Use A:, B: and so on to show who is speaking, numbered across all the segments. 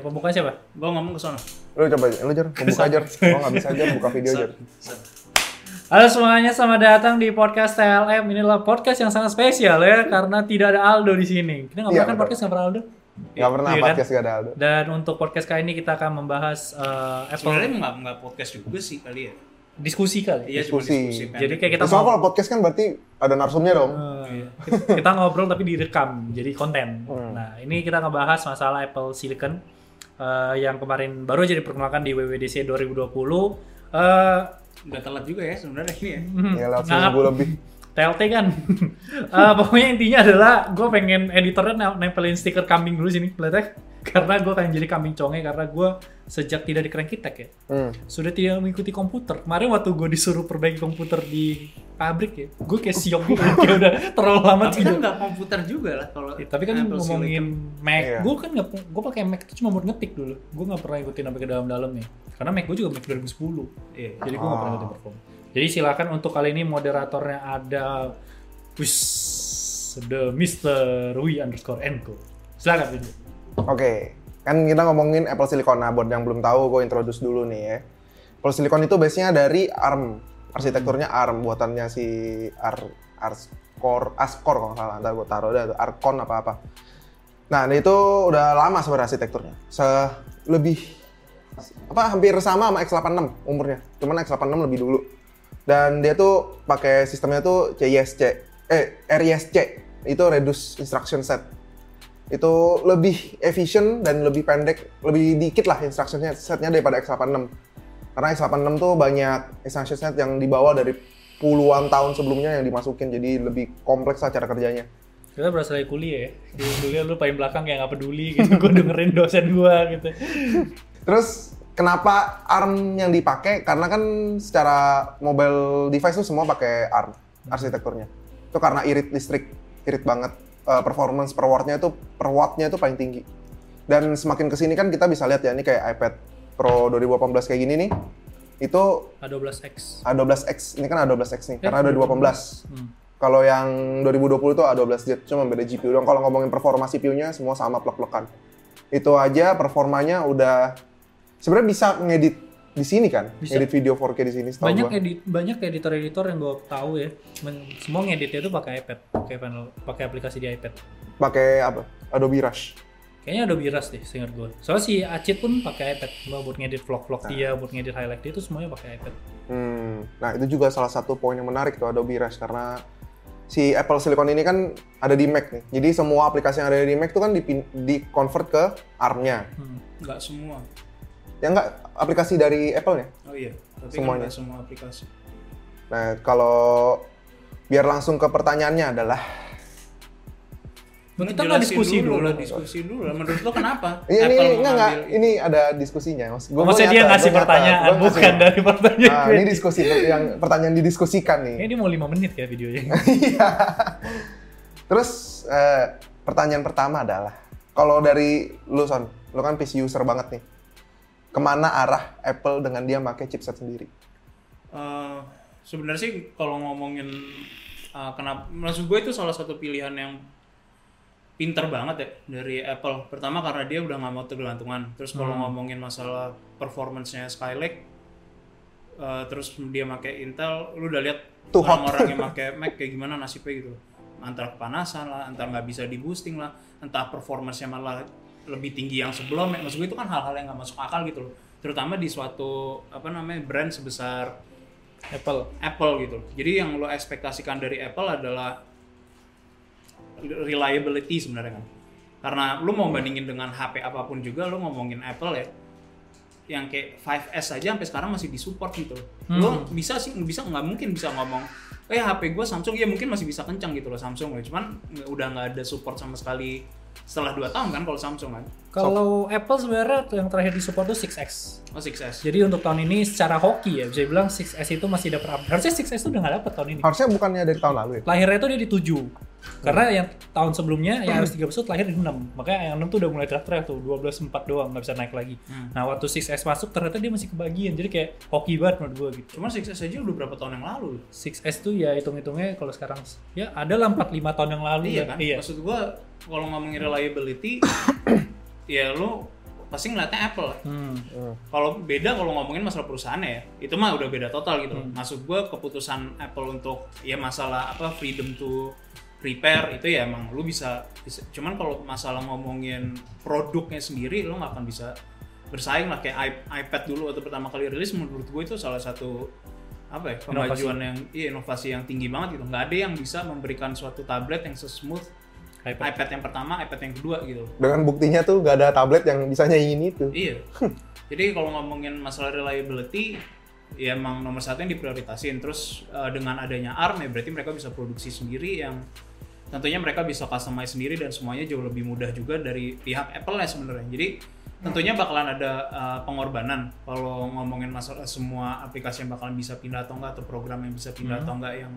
A: Pembuka Ya, siapa? Gua ngomong ke sono.
B: Lu coba, lu jar, buka jar. Gua nggak bisa jar, buka video jar.
A: Halo semuanya, selamat datang di podcast TLM. Inilah podcast yang sangat spesial ya, karena tidak ada Aldo di sini. Kita nggak
B: Iya,
A: pernah kan
B: betul.
A: podcast nggak pernah Aldo.
B: Nggak pernah
A: Iya kan?
B: podcast gak ada Aldo.
A: Dan untuk podcast kali ini kita akan membahas eh,
C: Sebenarnya
A: Apple
C: nggak nggak podcast juga sih kali ya.
A: diskusi kali.
C: Iya cuma
B: Diskusi.
C: diskusi. pendek.
A: Jadi kayak kita
B: Soalnya
A: mau,
B: kalau podcast kan berarti ada narsumnya dong.
A: eh, kita ngobrol tapi direkam, jadi konten.
B: Hmm.
A: Nah ini kita ngebahas masalah Apple Silicon eh, yang kemarin baru aja diperkenalkan di WWDC 2020. Eh,
C: udah telat juga ya sebenarnya ini ya.
A: hmm,
B: Ya lewat
A: ngap-
B: seminggu lebih.
A: TLT kan. Eh, pokoknya intinya adalah gue pengen editornya ne- nempelin stiker kambing dulu sini, Letek. Karena gue pengen jadi kambing conge karena gue sejak tidak di Crankitek ya,
B: Hmm.
A: sudah tidak mengikuti komputer. Kemarin waktu gue disuruh perbaiki komputer di pabrik ya, gue kayak siok gitu, kayak udah terlalu lama
C: Tapi kan Nah,
A: tidak.
C: nggak komputer juga lah kalau.
A: Ya, tapi kan
C: Apple
A: ngomongin Mac,
B: Iya.
A: gue kan nggak, gue pakai Mac itu cuma buat ngetik dulu. Gue nggak pernah ikutin sampai ke dalam-dalamnya. Karena Mac gue juga Mac 2010
C: Silicon. Iya.
A: jadi gue nggak pernah
B: Oh.
A: ikutin perform jadi silakan untuk kali ini moderatornya ada wis the Mr. Wi underscore Enko silakan Windu.
B: Oke, kan kita ngomongin Apple Silicon. Nah, buat yang belum tahu, gue introduce dulu nih ya. Apple Silicon itu base-nya dari ARM. Arsitekturnya ARM, buatannya si Ar Arscore, Ascore kalau nggak salah. Ntar gue taruh deh, Arcon apa-apa. Nah, dia itu udah lama sebenarnya arsitekturnya. Se lebih apa hampir sama sama X86 umurnya. Cuman X86 lebih dulu. Dan dia tuh pakai sistemnya tuh CISC, eh RISC. Itu Reduce Instruction Set itu lebih efisien dan lebih pendek, lebih dikit lah instructionnya setnya daripada X86. Karena X86 tuh banyak instruction set yang dibawa dari puluhan tahun sebelumnya yang dimasukin, jadi lebih kompleks lah cara kerjanya.
A: kita berasal dari kuliah ya Di kuliah lu paling belakang kayak nggak peduli gitu gue dengerin dosen gue gitu
B: Terus kenapa ARM yang dipakai? Karena kan secara mobile device tuh semua pakai ARM arsitekturnya. Itu karena irit listrik, irit banget. Eh, performance per watt-nya itu per watt-nya itu paling tinggi. Dan semakin kesini kan kita bisa lihat ya ini kayak iPad Pro 2018 kayak gini nih. Itu
A: A12 X
B: A12X, ini kan A12X nih, karena ada 2018.
A: hmm.
B: Kalau yang 2020 itu A12Z, cuma beda GPU doang. Kalau ngomongin performa CPU-nya semua sama plek-plekan. Itu aja performanya udah sebenarnya bisa ngedit di sini kan?
A: Bisa.
B: Ngedit video 4K di sini setahu
A: banyak
B: gua.
A: edit banyak editor editor yang gue tahu ya men- semua ngeditnya itu pakai iPad pakai panel pakai aplikasi di iPad
B: Pakai apa? Adobe Rush.
A: kayaknya Adobe Rush deh seingat gue soalnya si Acit pun pakai iPad Cuma buat ngedit vlog-vlog dia buat ngedit highlight dia itu semuanya pakai iPad
B: Hmm. Nah, itu juga salah satu poin yang menarik tuh Adobe Rush karena si Apple Silicon ini kan ada di Mac nih. Jadi semua aplikasi yang ada di Mac tuh kan dipin- di-convert ke ARM-nya.
A: hmm.
C: Nggak semua.
B: Ya enggak aplikasi dari Apple-nya.
C: Oh iya. Tapi kan
B: Semuanya.
C: nggak semua aplikasi.
B: Nah, kalau biar langsung ke pertanyaannya adalah
A: Nah,
C: Lu
A: kita nggak
C: jelasin
A: diskusi dulu.
C: lah, diskusi dulu lah. Menurut lo kenapa?
B: Iya ini
C: Apple
B: enggak enggak
C: mengambil-
B: ini ada diskusinya. Mas, Gua-
A: Maksudnya
B: gua
A: dia
B: nyata,
A: ngasih Ah,
B: gua nyata,
A: pertanyaan,
B: gua ngasih.
A: bukan dari pertanyaan
B: Nah,
A: gue.
B: ini diskusi ter- yang pertanyaan didiskusikan nih.
A: Kayaknya dia mau 5 menit ya videonya.
B: Iya. Terus eh, pertanyaan pertama adalah kalau dari lu Son, lu kan PC user banget nih. Kemana arah Apple dengan dia pakai chipset sendiri?
C: Eh, sebenarnya sih kalau ngomongin eh, kenapa maksud gue itu salah satu pilihan yang pinter banget ya dari Apple pertama karena dia udah nggak mau tergelantungan terus kalau ngomongin masalah performance-nya Skylake eh, terus dia pakai Intel lu udah lihat
B: Too hot.
C: orang-orang yang pakai Mac kayak gimana nasibnya gitu antara kepanasan lah antara nggak bisa di boosting lah entah performance-nya malah lebih tinggi yang sebelumnya maksud gue itu kan hal-hal yang nggak masuk akal gitu loh terutama di suatu apa namanya brand sebesar
A: Apple.
C: Apple gitu. Jadi yang lo ekspektasikan dari Apple adalah reliability sebenarnya kan. Karena lo mau bandingin dengan HP apapun juga lo ngomongin Apple ya. Yang kayak 5S aja sampai sekarang masih disupport gitu.
A: Hmm.
C: Lo bisa sih bisa nggak mungkin bisa ngomong eh HP gue Samsung ya mungkin masih bisa kencang gitu loh Samsung loh. Cuman nggak- udah nggak ada support sama sekali setelah 2 tahun kan kalau Samsung kan.
A: Kalau Apple sebenarnya yang terakhir disupport tuh 6X.
C: Oh 6S.
A: Jadi untuk tahun ini secara hoki ya bisa dibilang 6S itu masih dapat update. Harusnya 6S itu udah nggak dapat tahun ini.
B: Harusnya bukannya dari tahun lalu ya?
A: Lahirnya itu dia di 7. Karena yang tahun sebelumnya yang harus 3 besut lahir di 6. Makanya yang 6 tuh udah mulai draft draft tuh 12 4 doang nggak bisa naik lagi.
C: Hmm.
A: Nah, waktu 6S masuk ternyata dia masih kebagian. Jadi kayak hoki banget menurut gue gitu.
C: Cuman 6S aja udah berapa tahun yang lalu.
A: 6S tuh ya hitung-hitungnya kalau sekarang ya ada lah 4 5 tahun yang lalu
C: iya
A: ya.
C: kan
A: Iya.
C: maksud gua kalau ngomongin reliability ya lo pasti ngeliatnya Apple.
A: Hmm.
B: Hmm.
C: Kalau beda kalau ngomongin masalah perusahaannya ya, itu mah udah beda total gitu. Masuk gua keputusan Apple untuk ya masalah apa freedom to repair itu ya emang lu bisa, bisa- cuman kalau masalah ngomongin produknya sendiri lu nggak akan bisa bersaing lah kayak i- iPad dulu atau pertama kali rilis menurut gue itu salah satu apa ya kemajuan yang iya, inovasi yang tinggi banget gitu nggak ada yang bisa memberikan suatu tablet yang sesmooth
A: iPad.
C: iPad yang pertama iPad yang kedua gitu
B: Dengan buktinya tuh gak ada tablet yang bisa nyanyiin itu.
C: Iya. Jadi kalau ngomongin masalah reliability, ya emang nomor satu yang diprioritasin. Terus eh, dengan adanya ARM ya berarti mereka bisa produksi sendiri yang tentunya mereka bisa customize sendiri dan semuanya jauh lebih mudah juga dari pihak Apple ya sebenarnya. Jadi tentunya bakalan ada eh, pengorbanan kalau ngomongin masalah semua aplikasi yang bakalan bisa pindah atau enggak atau program yang bisa pindah atau enggak yang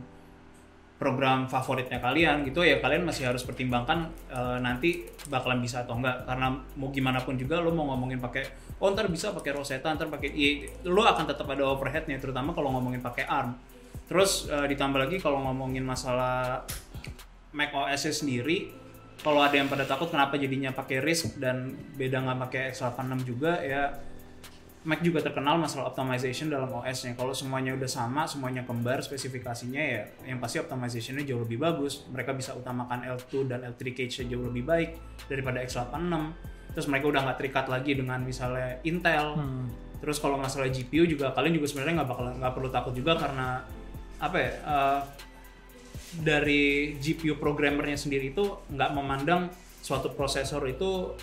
C: program favoritnya kalian gitu ya kalian masih harus pertimbangkan eh, nanti bakalan bisa atau enggak karena mau gimana pun juga lo mau ngomongin pakai oh ntar bisa pakai Rosetta ntar pakai iya, lo akan tetap ada overheadnya terutama kalau ngomongin pakai ARM terus eh, ditambah lagi kalau ngomongin masalah Mac OS -nya sendiri kalau ada yang pada takut kenapa jadinya pakai RISC dan beda nggak pakai x86 juga ya Mac juga terkenal masalah optimization dalam OS-nya. Kalau semuanya udah sama, semuanya kembar spesifikasinya ya, yang pasti optimization-nya jauh lebih bagus. Mereka bisa utamakan L2 dan L3 cache jauh lebih baik daripada x86. Terus mereka udah nggak terikat lagi dengan misalnya Intel.
A: Hmm.
C: Terus kalau masalah GPU juga kalian juga sebenarnya nggak bakal nggak perlu takut juga karena apa ya eh, dari GPU programmernya sendiri itu nggak memandang suatu prosesor itu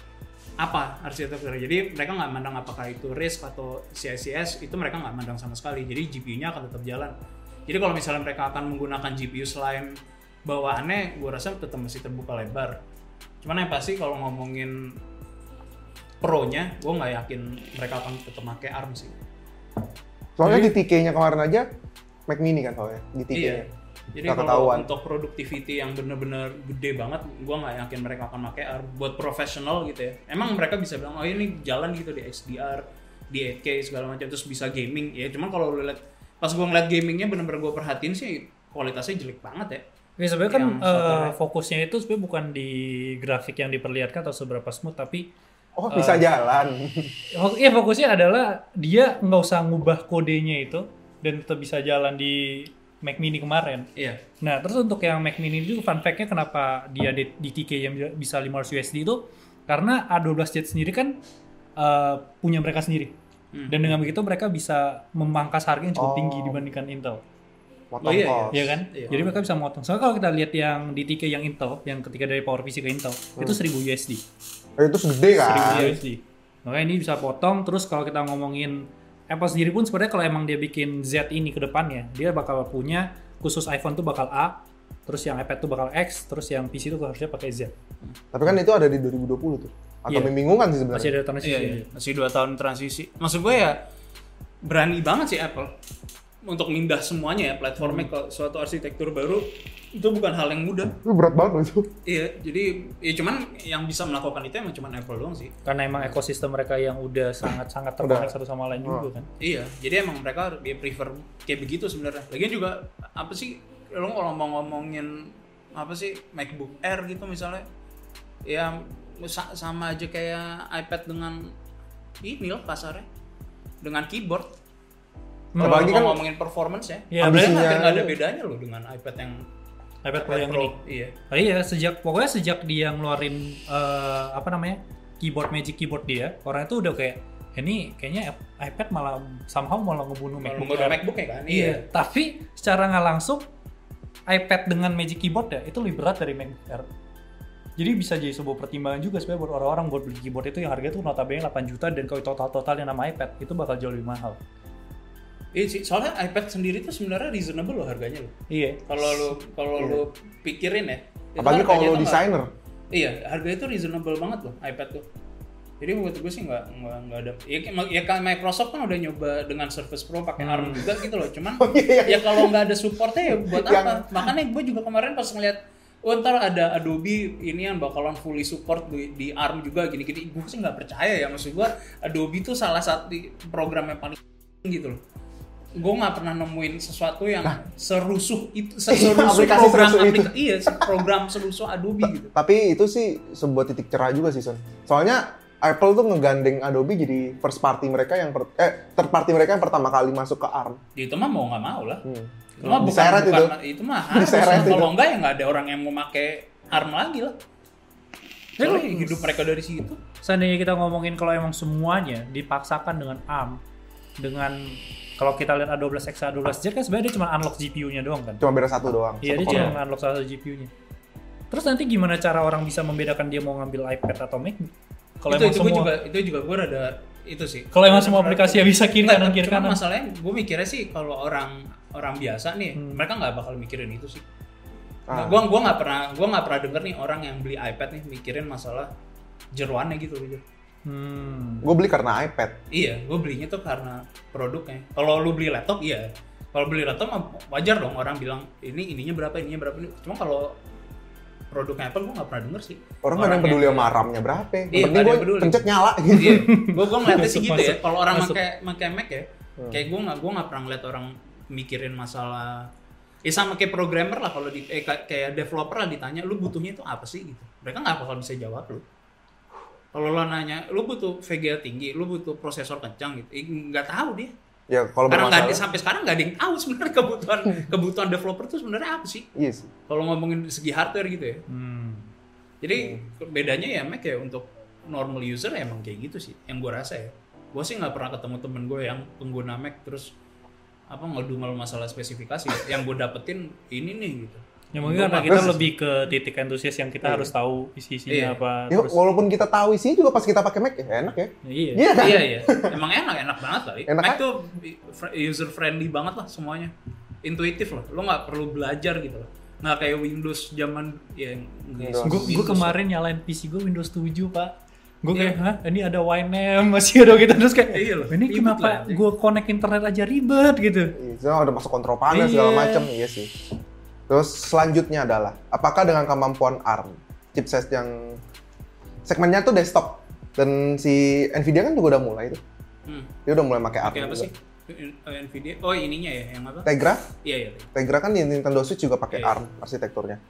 C: apa arsitektur. Jadi mereka nggak memandang apakah itu RISC atau CICS itu mereka nggak memandang sama sekali. Jadi GPU-nya akan tetap jalan. Jadi kalau misalnya mereka akan menggunakan GPU selain bawaannya, gua rasa tetap masih terbuka lebar. Cuman yang pasti kalau ngomongin pro-nya, gue nggak yakin mereka akan tetap pakai ARM sih.
B: Soalnya di TK-nya kemarin aja Mac Mini kan soalnya di TK-nya.
C: Iya.
A: Iya.
C: Jadi
B: Nggak
C: kalau
B: ketahuan.
C: untuk productivity yang bener-bener gede banget, gue nggak yakin mereka akan pakai ARM buat profesional gitu ya. Emang mereka bisa bilang, oh ini jalan gitu di XDR, di 8K segala macam, terus bisa gaming. Ya cuman kalau lu lihat, pas gue ngeliat gamingnya bener-bener gue perhatiin sih kualitasnya jelek banget ya.
A: Ya, sebenarnya kan
C: Yang satu
A: eh,
C: red.
A: fokusnya itu sebenarnya bukan di grafik yang diperlihatkan atau seberapa smooth, tapi
B: Oh, bisa
A: Eh.
B: jalan.
A: fok- ya fokusnya adalah dia nggak usah ngubah kodenya itu dan tetap bisa jalan di Mac Mini kemarin.
C: Iya.
A: Nah, terus untuk yang Mac Mini itu fun fact-nya kenapa dia di, di TK yang bisa 500 USD itu karena A12 Jet sendiri kan eh, punya mereka sendiri.
C: Hmm.
A: Dan dengan begitu mereka bisa memangkas harga yang cukup
B: Oh.
A: tinggi dibandingkan Intel.
B: Motong
C: Oh, iya, iya.
B: kos.
A: Iya kan?
C: Iya.
A: Jadi mereka bisa motong. Soalnya kalau kita lihat yang di TK yang Intel, yang ketika dari PowerPC ke Intel, itu 1000 USD.
B: Eh, itu segede
A: 1000
B: kan?
C: iya.
A: USD. Makanya ini bisa potong. Terus kalau kita ngomongin Apple sendiri pun sebenarnya kalau emang dia bikin Z ini ke depannya, dia bakal punya khusus iPhone tuh bakal A, terus yang iPad tuh bakal X, terus yang PC tuh harusnya pakai Z.
B: Tapi kan itu ada di 2020 tuh. Atau
A: Iya.
B: membingungkan
A: Masih
B: sih sebenarnya.
A: ada transisi.
C: Iya, iya. Masih dua tahun transisi. Maksud gue ya berani banget sih Apple untuk mindah semuanya ya platformnya ke suatu arsitektur baru itu bukan hal yang mudah.
B: Itu berat banget loh itu.
C: Iya, jadi ya cuman yang bisa melakukan itu emang cuman Apple doang sih.
A: Karena emang ekosistem mereka yang udah sangat-sangat terkonek satu sama lain juga kan.
C: Iya, jadi emang mereka dia prefer kayak begitu sebenarnya. Lagian juga apa sih lo kalau mau ngomongin apa sih MacBook Air gitu misalnya ya sa- sama aja kayak iPad dengan ini loh kasarnya dengan keyboard. Kalau
B: Apalagi
C: mau
B: kan-
C: ngomongin performance ya,
A: Hmm. Iya,
C: sebenarnya
B: ambisinya-
C: hampir nggak ada bedanya loh dengan iPad yang
A: iPad Pro yang
C: Pro.
A: ini.
C: Iya.
A: Oh iya, sejak pokoknya sejak dia ngeluarin eh, apa namanya keyboard magic keyboard dia, orang itu udah kayak ini kayaknya iPad malah somehow malah ngebunuh
C: Kalau
A: MacBook
C: menggunakan
A: Air."
C: MacBook ya kan?
A: Iya, tapi secara nggak langsung iPad dengan Magic Keyboard ya itu lebih berat dari MacBook Air. Jadi bisa jadi sebuah pertimbangan juga sebenarnya buat orang-orang buat beli keyboard itu yang harga tuh notabene 8 juta dan kalau total-total yang nama iPad itu bakal jauh lebih mahal.
C: Iya sih, soalnya iPad sendiri tuh sebenarnya reasonable loh harganya loh.
A: Iya.
C: Kalau lu kalau lu pikirin ya.
B: Iya.
C: itu
B: Apalagi kalau lo
C: harganya tuh nggak-
B: desainer.
C: Iya, harganya itu reasonable banget loh iPad tuh. Jadi menurut gue sih nggak nggak nggak ada. Ya, kayak- ya kan Microsoft kan udah nyoba dengan Surface Pro pakai
B: Hmm.
C: ARM juga gitu loh. Cuman
B: Oh, iya,
C: ya kalau nggak ada supportnya ya buat apa? Makanya gue juga kemarin pas ngeliat Oh ntar ada Adobe ini yang bakalan fully support di, di ARM juga gini-gini. Gue sih nggak percaya ya maksud gue Adobe itu salah satu program yang paling gitu loh. Gue nggak pernah nemuin sesuatu yang serusuh itu, serusuh
B: Nah. Aplikasi
C: program
B: serusuh itu.
C: aplikasi, iya program serusuh Adobe gitu.
B: Tapi itu sih sebuah titik cerah juga sih, Son. Soalnya Apple tuh ngegandeng Adobe jadi first party mereka yang per- eh third party mereka yang pertama kali masuk ke ARM.
C: itu mah mau nggak mau lah
B: Hmm.
C: itu mah Oh, bukan,
B: Diseret
C: bukan-
B: itu.
C: itu mah harus
B: Diseret
C: lah.
B: itu.
C: kalau enggak ya nggak ada orang yang mau pakai arm lagi lah
A: Ya,
C: Soalnya hidup mereka dari situ
A: seandainya kita ngomongin kalau emang semuanya dipaksakan dengan ARM dengan kalau kita lihat A12 X A12 Z kan sebenarnya dia cuma unlock GPU-nya doang kan.
B: Cuma beda satu doang.
A: Iya,
B: satu
A: dia
B: core.
A: cuma unlock salah satu GPU-nya. Terus nanti gimana cara orang bisa membedakan dia mau ngambil iPad atau MacBook? Kalau
C: itu
A: emang
C: itu
A: semua
C: gue juga itu juga gue rada itu sih
A: kalau emang semua aplikasi ya bisa kiri
C: Nggak,
A: kanan kiri
C: cuma
A: kanan.
C: masalahnya gue mikirnya sih kalau orang orang biasa nih
A: Hmm.
C: mereka nggak bakal mikirin itu sih
B: Ah.
C: gue gua nggak pernah gua nggak pernah denger nih orang yang beli iPad nih mikirin masalah jeruannya gitu loh Jir.
A: Hmm.
B: Gue beli karena iPad.
C: iya gue belinya tuh karena produknya kalau lu beli laptop iya kalau beli laptop mah wajar dong orang bilang ini ininya berapa ininya berapa ini cuma kalau produknya Apple gue nggak pernah denger sih
B: Orang nggak ada yang
C: Orangnya.
B: peduli sama RAM-nya berapa. Yang
C: Iya,
B: penting
C: nggak ada
B: gue
C: yang peduli.
B: pencet nyala gitu.
C: iya gue gue ngeliatnya sih
A: Masuk,
C: gitu ya
A: masuk,
C: kalau orang
A: masuk.
C: pakai pakai Mac ya
B: Hmm.
C: kayak gue nggak gue nggak pernah ngeliat orang mikirin masalah ya sama kayak programmer lah kalau di eh, ka- kayak developer lah ditanya lu butuhnya itu apa sih gitu mereka nggak bakal bisa jawab lu kalau lo nanya lu butuh VGA tinggi lu butuh prosesor kencang gitu eh, nggak tahu dia
B: Ya kalau
C: karena nggak ada
B: bermasalah.
C: sampai sekarang nggak ada yang tahu sebenarnya kebutuhan kebutuhan developer itu sebenarnya apa sih
B: Iya sih.
C: kalau ngomongin segi hardware gitu ya
A: Hmm.
C: jadi bedanya ya Mac ya untuk normal user ya emang kayak gitu sih yang gue rasa ya. Gue sih nggak pernah ketemu temen gue yang pengguna Mac terus apa ngedumel masalah spesifikasi. yang gue dapetin ini nih gitu.
A: Ya mungkin karena kita lebih ke titik antusias yang kita harus tahu
C: Iya.
A: isi-isinya apa
B: Ya,
A: terus.
B: walaupun kita tahu isinya juga pas kita pakai Mac ya enak ya.
A: Iya.
B: Iya kan?
C: iya iya. Emang enak enak banget lah.
B: Enak
C: Mac
B: kan?
C: tuh user friendly banget lah semuanya. Intuitif lah. Lo nggak perlu belajar gitu lah. Nggak kayak Windows zaman ya.
B: Windows.
A: Gue gue
C: Windows.
A: kemarin nyalain PC gue Windows 7 pak. Gue
C: Iya.
A: kayak, hah ini ada YNAME masih ada gitu terus kayak,
C: Iya loh,
A: ini
C: ribet
A: kenapa
C: lah, anjing."
A: gue connect internet aja ribet gitu.
B: Iya, soalnya udah masuk kontrol panas
A: Iya.
B: segala macam iya sih. Terus selanjutnya adalah apakah dengan kemampuan ARM chipset yang segmennya tuh desktop dan si Nvidia kan juga udah mulai itu.
C: Hmm.
B: Dia udah mulai pakai ARM.
C: Kayak apa
B: juga.
C: sih? Nvidia. Oh ininya ya yang apa?
B: Tegra,
C: Iya iya.
B: Tegra kan di Nintendo Switch juga pakai
C: Iya.
B: ARM arsitekturnya.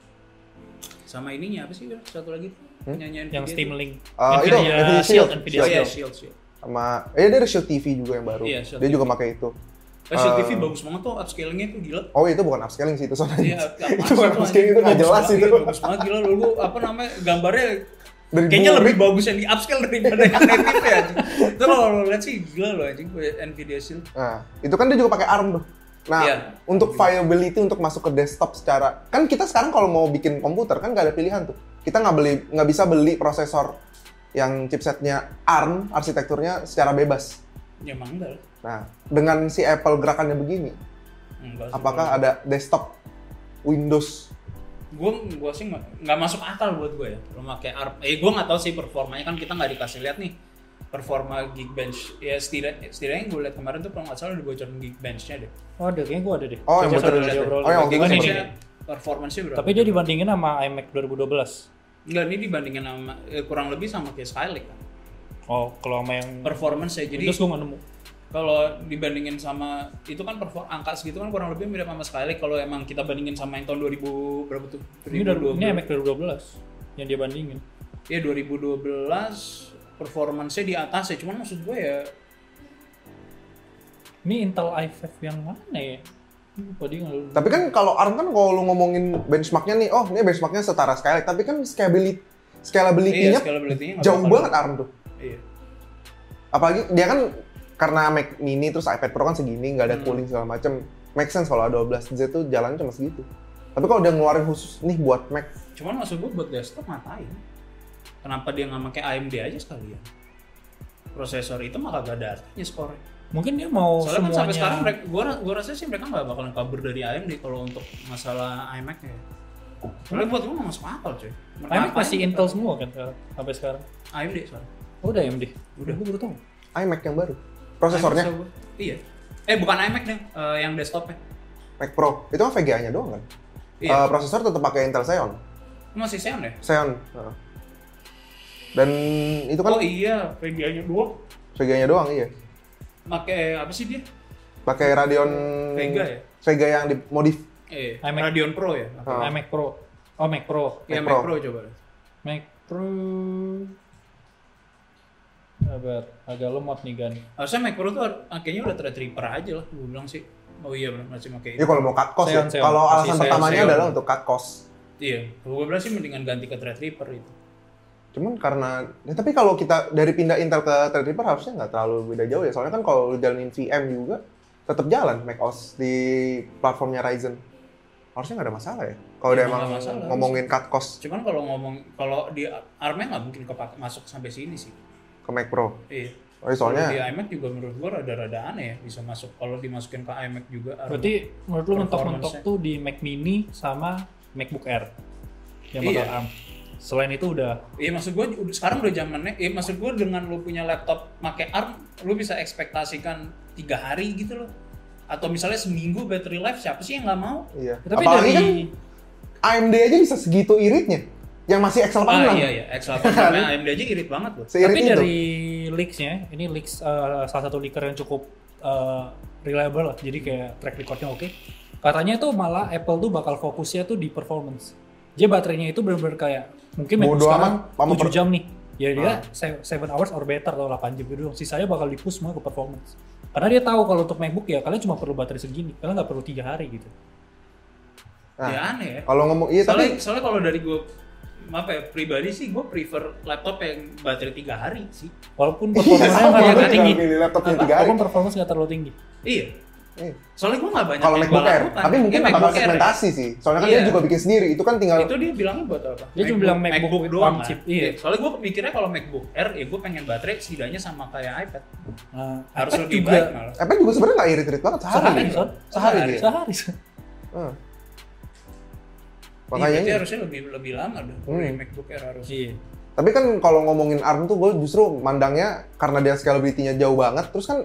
C: sama ininya apa sih Wil? satu lagi
B: Hmm?
C: nyanyian
A: Yang Steam Link.
B: Eh, itu,
A: Shield, Nvidia
B: Nvidia Shield. Iya,
C: Shield,
A: Shield.
C: Shield, Shield, iya, Shield.
B: Sama eh dia ada Shield TV juga yang baru.
C: Iya, Shield
B: dia
C: TV.
B: juga pakai itu.
C: Eh, Shield
B: Eh,
C: TV bagus banget tuh upscalingnya tuh gila
B: Oh, itu bukan upscaling sih itu soalnya.
C: Iya,
B: itu
C: apaan sih
B: bukan
C: tuh,
B: upscaling
C: anjing?
B: itu nggak
C: Bagus
B: jelas
C: banget,
B: itu.
C: iya, bagus banget gila lu, lu apa namanya gambarnya
B: Dari
C: kayaknya
B: bumi.
C: lebih bagus yang di upscale daripada yang native ya anjing. Itu kalau lo lihat sih gila lo anjing Nvidia Shield.
B: Nah, itu kan dia juga pakai ARM tuh. Nah,
C: Iya.
B: untuk viability untuk masuk ke desktop secara kan kita sekarang kalau mau bikin komputer kan nggak ada pilihan tuh. Kita nggak beli nggak bisa beli prosesor yang chipsetnya ARM arsitekturnya secara bebas.
C: Ya emang enggak lah.
B: Nah, dengan si Apple gerakannya begini,
C: Enggak sih.
B: apakah ada desktop Windows?
C: gua gua sih nggak nggak masuk akal buat gue ya lo pakai ARM eh gua nggak tahu sih performanya kan kita nggak dikasih lihat nih performa Geekbench ya setidaknya setidaknya gue lihat kemarin tuh kalau nggak salah udah bocorin Geekbench-nya deh
A: Oh ada, kayaknya gue ada deh.
B: Oh, yang
A: Coba
B: bocorin
A: sambil
B: aja.
A: diobrolin.
B: Oh, yang waktu itu
A: Ini,
B: yang
A: ini,
B: bocorin.
A: ini.
C: performance-nya berapa?
A: Tapi dia dibandingin sama iMac 2012.
C: Enggak, ini dibandingin sama eh, kurang lebih sama kayak Skylake kan.
A: Oh, kalau sama yang
C: Performance ya. Jadi
A: Windows gue nggak nemu.
C: kalau dibandingin sama itu kan perform angka segitu kan kurang lebih mirip sama Skylake kalau emang kita bandingin sama yang tahun 2000 berapa tuh?
A: Ini, dari, ini iMac 2012 yang dia bandingin.
C: Ya 2012 performance-nya di atas ya. Cuman maksud gue ya
A: Ini Intel i5 yang mana ya? Lupa dia nggak-
B: Tapi kan kalau ARM kan kalau lu ngomongin benchmarknya nih, oh ini benchmarknya setara Skylake, tapi kan scalability
C: iya,
B: scalability-nya
C: scalability-nya nggak
B: jauh
C: bakal-
B: banget ARM tuh.
C: Iya.
B: apalagi dia kan karena Mac Mini terus iPad Pro kan segini nggak ada
C: Hmm.
B: cooling segala macem make sense kalau A12 Z tuh jalannya cuma segitu tapi kalau udah ngeluarin khusus nih buat Mac
C: Cuman maksud gue buat desktop ngapain? Kenapa dia nggak pakai AMD aja sekalian? Prosesor itu mah kagak ada artinya skornya.
A: Mungkin dia mau
C: Soalnya kan sampai sekarang
A: Oh, semuanya.
C: mereka, gua, gua rasa sih mereka nggak bakalan kabur dari AMD kalau untuk masalah iMac ya. Soalnya buat gua nggak masuk akal cuy. Mereka
A: iMac
C: ngapain
A: Nah, masih
C: gitu?
A: Intel semua kan sekarang, sampai sekarang.
C: AMD soalnya.
A: Oh, udah AMD.
C: Udah.
A: gue baru tahu.
B: iMac yang baru prosesornya
C: iMac soal gua. Iya. Eh bukan iMac deh, eh, yang desktopnya.
B: Mac Pro itu kan VGA-nya doang kan
C: Iya.
B: Eh, prosesor tetap pakai Intel Xeon
C: masih Xeon ya?
B: Xeon heeh. dan itu kan
C: Oh iya, VGA-nya dua.
B: VGA-nya doang iya
C: Pakai apa sih dia?
B: pakai Radeon
C: Vega ya?
B: Vega yang dimodif
C: Eh,
A: iMac.
C: Radeon Pro ya? Apa?
B: Ah.
A: iMac Nah, Pro. Oh, Mac Pro.
C: Iya,
B: Mac
C: Mac
B: Pro
C: Pro coba.
A: Mac Pro Agak, agak lemot nih kan.
C: Harusnya Mac Pro tuh kayaknya udah thread ripper aja lah, gue bilang sih. Oh iya benar masih pakai
B: Ya
C: itu.
B: kalau mau cut cost
A: Seon,
B: ya.
A: Seon.
B: Kalau
A: Masih
B: alasan
A: Seon,
B: pertamanya
A: Seon.
B: adalah untuk cut cost.
C: Iya, gue bilang sih mendingan ganti ke thread ripper itu.
B: Cuman karena ya, tapi kalau kita dari pindah Intel ke Threadripper harusnya nggak terlalu beda jauh ya. Soalnya kan kalau lu jalanin VM juga tetap jalan macOS di platformnya Ryzen. Harusnya nggak ada masalah ya. Kalau udah
C: Iya,
B: emang
C: Nggak ada masalah.
B: ngomongin cut cost
C: Cuman kalau ngomong kalau di ARM-nya nggak mungkin kepak masuk sampai sini sih.
B: ke Mac Pro.
C: Iya.
B: Oh, ya, soalnya
C: Kalau di iMac juga menurut gue rada-rada aneh ya bisa masuk. Kalau dimasukin ke iMac juga. ARM.
A: Berarti menurut lu mentok-mentok
C: Performance-nya.
A: tuh di Mac Mini sama MacBook Air yang bakal
C: Iya.
A: ARM. Selain itu udah
C: Iya maksud gue sekarang udah zamannya. Iya maksud gue dengan lu punya laptop pakai ARM, lu bisa ekspektasikan tiga hari gitu loh. Atau misalnya seminggu battery life siapa sih yang nggak mau?
B: iya.
A: Ya, tapi
B: Apalagi
A: dari
B: kan AMD aja bisa segitu iritnya. Yang masih Excel 6.
C: Ah iya iya, X86 -nya AMD aja irit banget loh.
B: Seirit
A: tapi
B: itu.
A: dari leaks-nya ini leaks eh, salah satu leaker yang cukup eh, reliable lah. Jadi kayak track record-nya oke. Katanya tuh malah Apple tuh bakal fokusnya tuh di performance. Jadi baterainya itu benar-benar kayak mungkin
B: Bodo
A: sekarang
B: amat, mama
A: 7
B: per- Ah.
A: jam nih. Ya dia se- 7 hours or better atau 8 jam gitu. doang. Sisanya bakal di-push semua ke performance. Karena dia tahu kalau untuk MacBook ya kalian cuma perlu baterai segini, kalian nggak perlu tiga hari gitu.
B: Nah.
C: Ya aneh ya.
B: Kalau ngomong iya
C: soalnya,
B: tapi
C: soalnya kalau dari gue apa ya pribadi sih gue prefer laptop yang baterai tiga hari sih.
A: Walaupun
B: iya
A: performanya
B: sama
A: nggak
B: gue
A: terlalu
B: juga
A: tinggi,
B: pilih laptop yang
C: Apa?
B: 3 hari.
A: walaupun performance nggak terlalu tinggi.
C: Iya.
B: Iya.
C: Soalnya gue nggak banyak
B: Kalau
C: yang
B: MacBook
C: gua
B: Air,
C: lakukan.
B: tapi
C: Iya,
B: mungkin bakal
C: MacBook Air.
B: segmentasi sih. Soalnya kan dia
C: Iya.
B: juga bikin sendiri. Itu kan tinggal
C: itu dia bilangnya buat apa?
A: Dia cuma bilang MacBook with on
C: kan?
A: chip, iya.
C: Soalnya gue mikirnya kalau MacBook Air ya gue pengen baterai setidaknya sama kayak iPad.
A: Nah,
C: Harus
A: iPad
C: lebih
A: juga
C: baik malah.
B: Apple Kan juga sebenarnya nggak irit-irit banget sehari.
A: Sehari,
B: dia.
A: Son.
B: Sehari dia.
A: sehari.
B: Hmm. Makanya
C: Makanya Iya, berarti
B: ini.
C: harusnya lebih lebih lama dong
B: Hmm.
C: dari MacBook Air harusnya.
A: Iya.
B: Tapi kan kalau ngomongin ARM tuh gue justru mandangnya karena dia scalability-nya jauh banget. Terus kan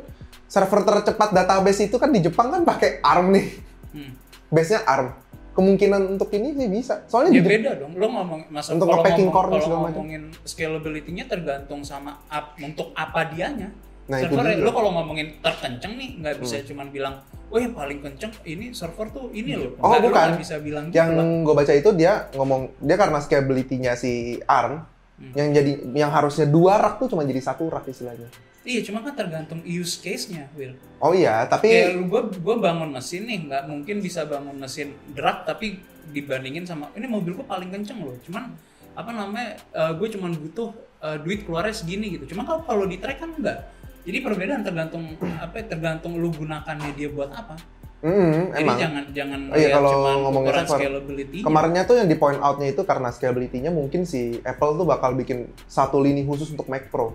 B: server tercepat database itu kan di Jepang kan pakai ARM nih.
C: Hmm.
B: Base-nya ARM. Kemungkinan untuk ini sih bisa. Soalnya
C: Ya
B: di Jep-
C: beda dong. Lo ngomong masa
B: Kan Untuk
C: kalau
B: nge-packing
C: ngomong,
B: core dan
C: kalau
B: segala macam.
C: ngomongin scalability-nya tergantung sama up, untuk apa dianya.
B: Nah, itu Hmm.
C: server
B: dia.
C: lo kalau ngomongin terkenceng nih nggak bisa cuman bilang, oh yang paling kenceng ini server tuh ini loh.
B: Oh,
C: Nggak, lo
B: bukan.
C: nggak bisa bilang gitu
B: yang
C: lah.
B: gue baca itu dia ngomong dia karena scalability-nya si ARM
C: Hmm.
B: yang jadi yang harusnya dua rak tuh cuma jadi satu rak istilahnya.
C: Iya, cuma kan tergantung use case-nya, Will.
B: Oh iya,
C: Kayak
B: tapi
C: gue gue bangun mesin nih nggak mungkin bisa bangun mesin drag tapi dibandingin sama ini mobil gue paling kenceng loh cuman apa namanya gue cuman butuh eh, duit keluarnya segini gitu cuma kalau kalau di track kan enggak jadi perbedaan tergantung apa ya, tergantung lu gunakannya dia buat apa
B: Mm-mm, mm,
C: jadi
B: emang
C: jangan jangan
B: Oh iya,
C: lihat
B: kalau
C: cuman
B: ngomongin
C: ukuran
B: server.
C: scalability
B: Kemarinnya tuh yang di point out-nya itu karena scalability-nya mungkin si Apple tuh bakal bikin satu lini khusus untuk Mac Pro.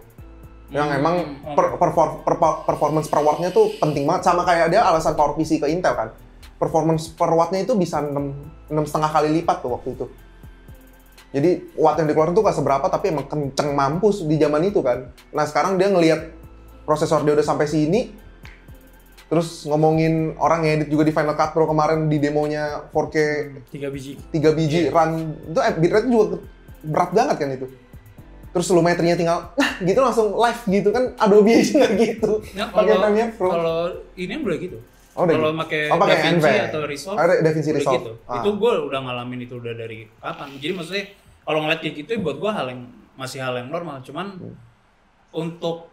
B: Yang
C: Hmm,
B: emang
C: oke.
B: per- perfor- perpa- performance per watt-nya tuh penting banget sama kayak dia alasan power PC ke Intel kan. Performance per watt-nya itu bisa 6 setengah kali lipat tuh waktu itu. Jadi watt yang dikeluarin tuh gak seberapa tapi emang kenceng mampus di zaman itu kan. Nah, sekarang dia ngelihat prosesor dia udah sampai sini terus ngomongin orang ngedit juga di Final Cut Pro kemarin di demonya 4K
A: Tiga biji.
B: 3 biji
C: Iya.
B: run itu eh, bitrate juga ke- berat banget kan itu terus lumetrinya tinggal nah gitu langsung live gitu kan Adobe aja nggak gitu
C: Ya,
B: pakai
C: kalau-
B: Premiere Pro
C: kalau ini udah gitu
B: Oh, udah
C: kalau
B: gitu.
C: pakai
B: Oh, pakai
C: DaVinci
B: Envy.
C: atau Resolve
B: Ah, DaVinci
C: udah
B: Resolve.
C: gitu.
B: Ah.
C: itu gue udah ngalamin itu udah dari kapan jadi maksudnya kalau ngeliat kayak gitu buat gue hal yang masih hal yang normal cuman
B: Hmm.
C: untuk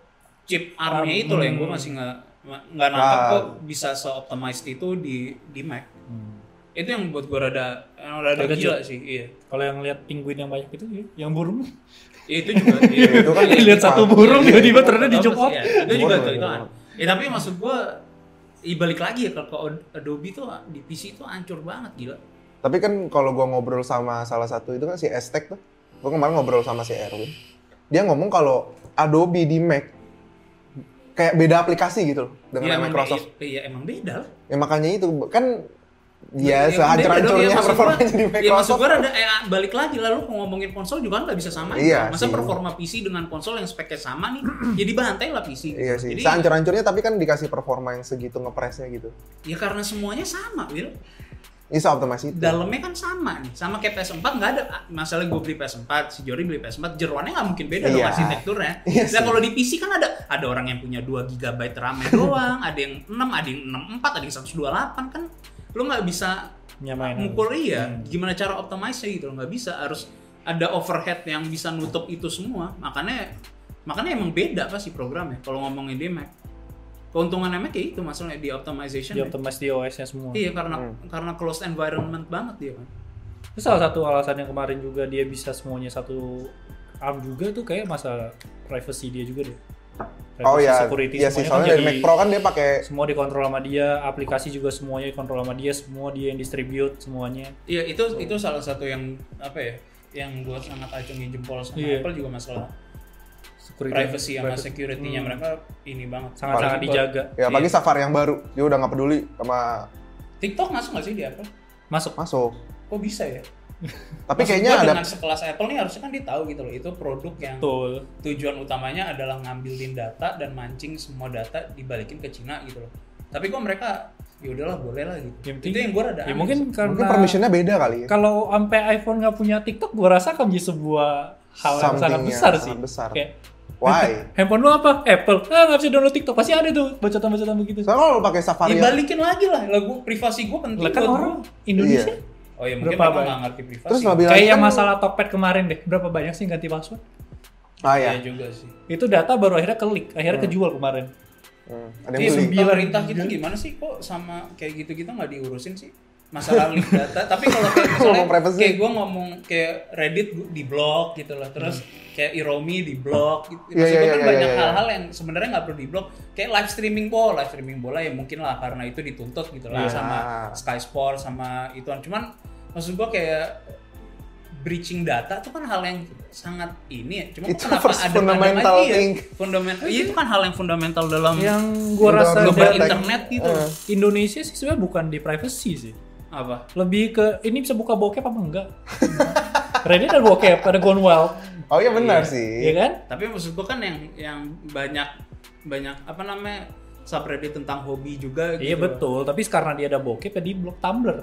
C: chip ARM-nya itu loh yang gue masih nggak nggak nangkap
B: Ah.
C: kok bisa se-optimized itu di di Mac
B: Hmm.
C: itu yang buat gue rada yang rada
A: Terkejut.
C: gila sih iya
A: Kalau yang lihat penguin yang banyak itu, ya, yang burung.
C: Ya, itu juga iya.
B: itu kan
A: Lihat satu
B: Pak.
A: burung
B: Iya,
A: tiba-tiba
B: iya.
A: ternyata dicopot.
C: Iya, itu juga
B: Bodoh,
C: tuh itu
B: bodoh.
C: an- ya tapi maksud gua i- balik lagi ya ke ke Adobe tuh di PC tuh hancur banget gila
B: tapi kan kalau gua ngobrol sama salah satu itu kan si Estek tuh gua kemarin ngobrol sama si Erwin dia ngomong kalau Adobe di Mac kayak beda aplikasi gitu loh
C: ya,
B: dengan
C: emang
B: Microsoft
C: be- iya emang beda lah
B: ya makanya itu kan ya,
C: emang Iya, beda dong, iya,
B: sehancur-hancurnya
C: maksud gua-
B: performanya di
C: ya maksud
B: Microsoft
C: gua rada eh, balik lagi lalu ngomongin konsol juga kan nggak bisa sama
B: Iya
C: masa
B: sih.
C: performa PC dengan konsol yang speknya sama nih jadi bantai lah PC
B: Iya sih,
C: jadi
B: sehancur-hancurnya tapi kan dikasih performa yang segitu ngepresnya gitu.
C: ya karena semuanya sama Will
B: Ini optimasi itu.
C: dalamnya kan sama nih sama kayak PS4 nggak ada ah, masalah gue beli PS4 si Jori beli PS4 jeruannya nggak mungkin beda dong
B: Iya.
C: arsitekturnya
B: Iya
C: nah
B: sih.
C: kalau di PC kan ada ada orang yang punya 2 GB RAM doang ada yang 6 ada yang 64 ada yang 128 kan lo nggak bisa
A: Nyamain.
C: mukul iya
A: Hmm.
C: gimana cara optimize gitu lo nggak bisa harus ada overhead yang bisa nutup itu semua makanya makanya emang beda pasti programnya ya. kalau ngomongin di Mac keuntungan Mac ya itu masalahnya di optimization
A: Di optimize di OS-nya semua.
C: iya
B: Hmm.
C: karena karena closed environment banget dia kan
A: Itu salah satu alasan yang kemarin juga dia bisa semuanya satu ARM juga tuh kayak masa privacy dia juga deh.
B: Oh
A: Privacy,
B: ya,
A: security
B: iya
A: semuanya
B: sih
A: kan
B: soalnya dari
A: jadi-
B: Mac Pro kan dia pakai
A: semua dikontrol sama dia, aplikasi juga semuanya dikontrol sama dia, semua dia yang distribute semuanya.
C: Iya itu itu salah satu yang apa ya yang gue sangat acungi jempol sama
A: Iya.
C: Apple juga masalah
A: Security,
C: privacy sama
A: privacy. Hmm.
C: security-nya mereka ini banget.
A: sangat-sangat
B: Paling-
A: dijaga.
C: Iya.
B: ya pagi Safari yang baru. Dia udah nggak peduli sama
C: TikTok masuk nggak sih di Apple?
A: Masuk.
B: masuk.
C: Kok bisa ya?
B: Tapi
C: Maksud
B: kayaknya
C: gua
B: ada
C: dengan sekelas Apple nih harusnya kan dia tahu gitu loh itu produk yang
A: Betul.
C: tujuan utamanya adalah ngambilin data dan mancing semua data dibalikin ke Cina gitu loh. Tapi kok mereka ya udahlah boleh lah gitu.
A: Yang penting-
C: itu yang gue rada
A: Ya
C: aneh sih.
A: mungkin
B: mungkin
A: karena
B: permissionnya beda kali ya.
A: kalau sampai iPhone nggak punya TikTok, gua rasa akan jadi sebuah hal yang sangat
B: Something-nya
A: besar
B: sangat
A: sih.
B: besar.
A: Kayak
B: Why?
A: handphone lu apa? Apple. Ah nggak bisa download TikTok. Pasti ada tuh bacotan-bacotan begitu.
B: Soalnya kalau lu pakai Safari yang-
C: dibalikin lagi lah. Lah gua privasi gue penting
A: Lah kan
C: buat
A: orang
C: gua.
A: Indonesia.
B: Iya.
C: Oh ya mungkin
A: Berapa
C: mereka
A: banyak?
C: nggak ngerti privasi.
B: terus lebih
A: Kayak
B: lagi
A: yang
B: kan-
A: masalah Tokped kemarin deh. Berapa banyak sih yang ganti password?
B: Ah ya.
C: Iya juga sih.
A: Itu data baru akhirnya kelik, akhirnya kejual kemarin.
B: Hmm, ada yang
C: Iya,
B: beli.
A: sembilan. Iya.
C: pemerintah kita gimana sih kok sama kayak gitu-gitu nggak diurusin sih masalah link data. Tapi kalau kayak misalnya
B: Ngomong privacy.
C: kayak gue ngomong kayak Reddit gua di blok gitu loh, terus kayak Iromi di blok. Gitu.
B: Hmm. Iya,
C: Maksud
B: iya,
C: gua kan
B: iya,
C: banyak
B: iya, iya.
C: hal-hal yang sebenarnya nggak perlu di blok. Kayak live streaming bola, live streaming bola ya mungkin lah karena itu dituntut gitu lah
B: Iya.
C: sama Sky Sport sama ituan. Cuman maksud gue kayak breaching data itu kan hal yang sangat ini ya. Cuma
B: Itu
C: kenapa
B: first
C: ada
B: fundamental thing.
C: Fundamental. Iya itu kan hal yang fundamental dalam
A: Yang gua
B: Udah
A: rasa
B: orang
C: ngebut
A: dari
B: Ngebrek.
C: internet gitu
B: Eh.
A: Indonesia sih sebenarnya bukan di privacy sih.
C: apa
A: Lebih ke ini bisa buka bokep apa enggak? Reddit ada bokep, ada gone wild,
B: Oh iya benar
A: ya
B: sih.
A: kan?
C: tapi maksud gua kan yang yang banyak banyak apa namanya subreddit tentang hobi juga gitu
A: Iya betul, tapi karena dia ada bokep ya di blok Tumblr.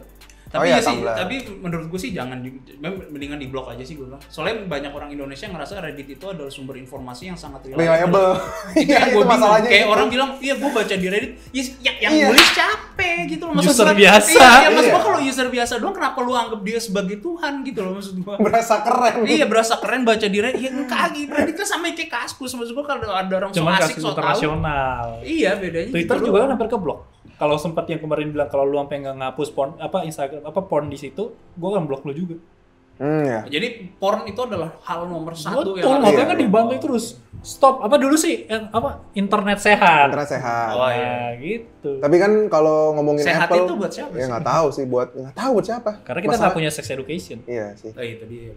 B: Oh
C: tapi
B: iya,
C: ya sih
B: Tumblr.
C: tapi menurut gua sih jangan di, mendingan di blok aja sih gua bilang soalnya banyak orang Indonesia ngerasa reddit itu adalah sumber informasi yang sangat
B: Reliable.
C: itu
B: Iya
C: yang
B: itu
C: gua bingung.
B: masalahnya.
C: kayak
B: itu.
C: orang bilang iya gua baca di reddit ya, ya yang
B: Iya.
C: nulis capek gitu loh maksud
A: User
C: gua-
A: biasa.
C: iya, iya, maksud gua
B: Iya.
C: kalau user biasa doang kenapa lu anggap dia sebagai Tuhan gitu loh maksud gua
B: berasa keren.
C: iya berasa keren baca di Reddit ya kagak Reddit kan sama kayak kaskus maksud gua kalau ada orang so
A: Cuman kasus
C: asik so tau
A: internasional.
C: iya bedanya
A: Twitter
C: gitu
A: juga kan
C: doang.
A: hampir ke blok. Kalau sempat yang kemarin bilang kalau lu sampai nggak ngapus porn apa Instagram apa porn di situ, gua akan blok lu juga.
B: Hmm ya.
C: jadi porn itu adalah hal nomor satu
A: Betul,
C: ya. harus-
B: Iya,
A: makanya kan dibangkai terus. Stop. Apa dulu sih? Eh, Apa internet sehat?
B: Internet sehat.
C: Oh, iya.
A: Nah, gitu.
B: Tapi kan kalau ngomongin
C: sehat
B: Apple
C: itu buat siapa
B: ya
C: sih?
B: nggak tahu sih buat nggak tahu buat siapa.
A: Karena kita nggak
B: Masalah-
A: punya sex education.
B: Iya sih.
C: Nah, itu dia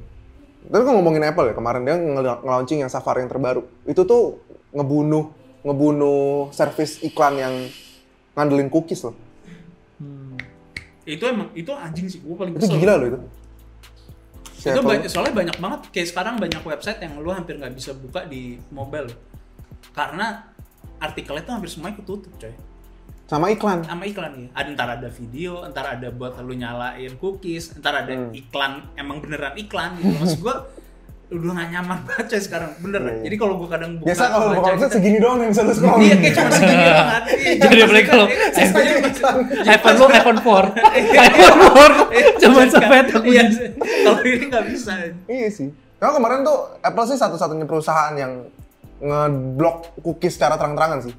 B: Tapi kan ngomongin Apple ya kemarin dia ngel- nge-launching yang Safari yang terbaru. Itu tuh ngebunuh ngebunuh service iklan yang ngandelin cookies loh.
A: Hmm.
C: itu emang itu anjing sih gua paling
B: Itu
C: kesel
B: gila loh itu. Si
C: itu
B: Apple-
C: banyak, soalnya banyak banget kayak sekarang banyak website yang lu hampir nggak bisa buka di mobile karena artikelnya tuh hampir semuanya ketutup coy
B: sama iklan.
C: sama iklan
A: gitu.
C: ya. Ada ntar ada video, ntar ada buat lu nyalain cookies, ntar ada
B: Hmm.
C: iklan emang beneran iklan gitu. Maksud gua udah gak nyaman baca sekarang bener
B: Iya, iya.
C: jadi kalau gua kadang buka
B: Biasa kalau
C: baca
B: kalau
C: gitu,
B: segini doang yang gitu. bisa lu scroll.
C: iya kayak cuma segini doang kan
A: Jadi beli kalau- iPhone lu iPhone 4. iPhone 4 cuma sampai itu.
C: iya kalau ini nggak bisa
B: Iya sih. Karena kemarin tuh Apple sih satu-satunya perusahaan yang ngeblok cookies secara terang-terangan sih.